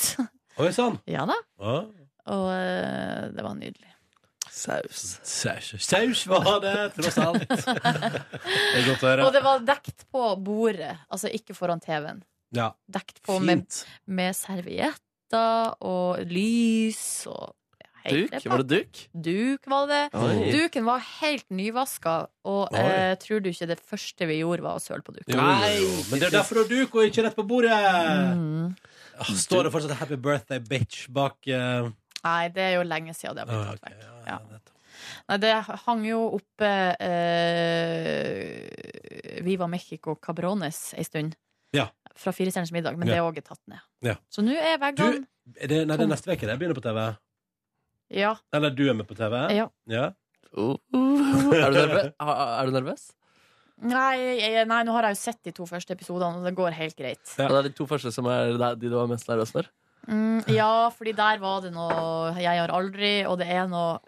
Oi sann!
Ja da.
Ah.
Og eh, det var nydelig.
Saus.
Saus. Saus var det, tross alt. Det er godt å høre.
Og det var dekt på bordet, altså ikke foran TV-en.
Ja.
Dekt på med, med servietter og lys og helt
Duk?
leppa.
Var det duk?
Duk var det.
Oi.
Duken var helt nyvaska, og
Oi.
eh, tror du ikke det første vi gjorde, var å søle på duken?
Jo, jo, jo. Men det er derfor du har duk og ikke rett på bordet.
Mm.
Ah, Står det fortsatt 'Happy Birthday, bitch' bak eh,
Nei, det er jo lenge siden det har blitt
Ah,
tatt vekk. Ja. Nei, det hang jo oppe eh, Viva Mexico Cabrones ei stund.
Ja.
Fra Firestjerners middag, men
Ja.
det er òg tatt ned.
ja.
Så nå er veggene
Er det, Nei, det er neste uke det begynner på TV.
Ja.
Eller du er med på TV?
Ja.
Ja.
Er du nervøs? Ha- Er du nervøs?
Nei, jeg, nei, nå har jeg jo sett de to første episodene, og det går helt greit.
Og Det er de to første som er de de du var mest nervøs for.
Mm, ja, fordi der var det noe jeg har aldri, og det er noe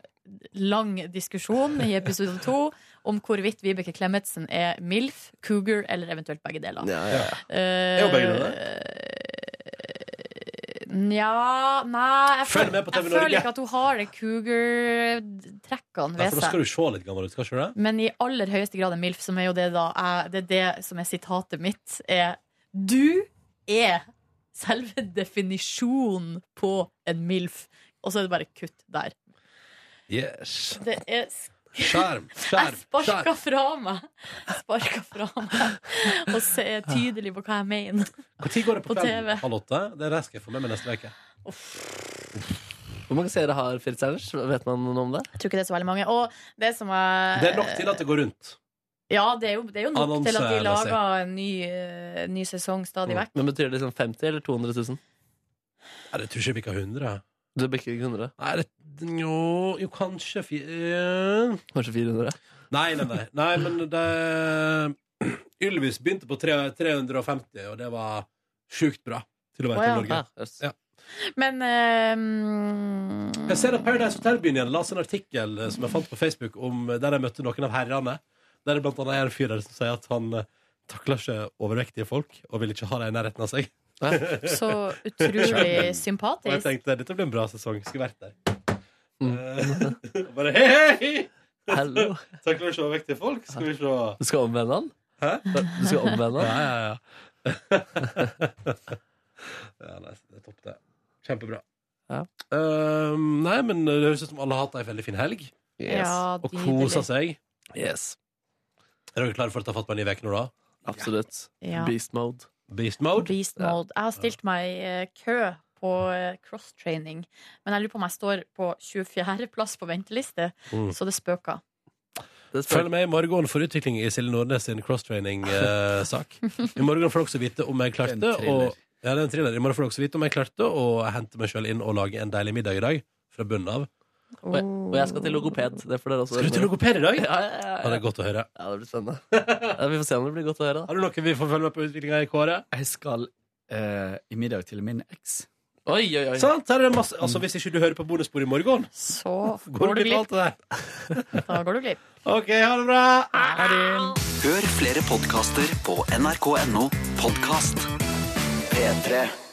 lang diskusjon i episode to om hvorvidt Vibeke Klemetsen er MILF, cougar eller eventuelt begge deler.
Ja, ja.
Eh,
Er hun begge deler?
Nja Nei, jeg,
Følg
føl,
med på
jeg
TV
føler
Norge.
ikke at hun har det cougar-trekkene
Nei, for
ved
da skal
seg.
du se litt gammel ut, skal ikke du det?
Men i aller høyeste grad en MILF, som er jo det da jeg, Det er det som er sitatet mitt, er Du er selve definisjonen på en MILF. Og så er det bare kutt der.
Yes.
Det er sk-
Skjerm, skjerm,
Jeg sparka
skjerm.
fra meg. Jeg Sparka fra meg og ser tydelig på hva jeg mener.
Når går det på,
På
kvelden?
TV.
Halv åtte? Det er det jeg skal få med meg neste uke.
Hvor mange seere har Fritz Ernst? Vet man noe om det?
Jeg tror ikke det er så veldig mange. Og det som jeg
Det er nok til at det går rundt.
Ja, det er jo, det er jo nok
Annonse,
til at de
la oss si.
lager en ny, eh, ny sesong stadig
Mm.
vekk.
Men betyr det liksom 50 eller 200 000?
Nei, det tror ikke jeg bikka 100.
Du bikker ikke 100?
Nei, det, jo, jo, kanskje fi, eh,
Kanskje 400?
Nei, nei, nei. nei men det Ylvis begynte på tre- 350, og det var sjukt bra til å være
Å,
til
ja.
Norge. Ja.
Men eh, mm,
Jeg ser at Paradise Hotel-byen igjen las en artikkel eh, som jeg fant på Facebook, om, eh, der jeg møtte noen av herrene. Der det blant annet er en fyr der som sier at han eh, takler ikke overvektige folk, og vil ikke ha dem i nærheten av seg.
Så utrolig sympatisk.
Og jeg tenkte dette blir en bra sesong. Skulle vært der.
Mm.
Eh, og bare hei, hei!
Hallo.
Takler ikke overvektige folk. Skal vi se.
Du skal omvende han?
Hæ?
Du skal omvende han?
Ja, ja, ja. ja, nei, det er topp, det. Kjempebra. Eh, nei, men det høres ut som alle har hatt ei veldig fin helg.
Yes. Ja,
og
nydelig.
kosa seg.
Yes.
Er dere klare for å ta fatt på en ny uke nå, da?
Absolutt.
Ja.
Beast mode.
Beast mode?
Beast mode. Jeg har stilt meg i eh, kø på eh, cross-training, men jeg lurer på om jeg står på 24. plass på venteliste,
Mm.
så det spøker.
Følg med i morgen for utvikling i Silje Nordnes sin crosstraining-sak. I morgen får dere også vite om jeg klarte
En thriller.
å ja, det er en thriller. I morgen får dere også vite om jeg klarte å hente meg sjøl inn og lage en deilig middag i dag. Fra bunnen av.
Og jeg, og jeg skal til logoped. Det får dere også
Skal du til logoped i dag?
Ja, ja, ja,
Ja, det er godt å høre.
Ja, det blir spennende. Ja, vi får se om det blir godt å høre.
Har du noe vi får følge med på utviklinga i Kåre?
Jeg skal eh, i middag til min eks.
Oi, oi, oi.
Sant? Her er det masse, altså, hvis ikke du hører på bonusbordet i morgen,
så
går du glipp av alt det der.
Da går du glipp.
OK, ha det bra!
Hør flere podkaster på nrk.no podkast. P3.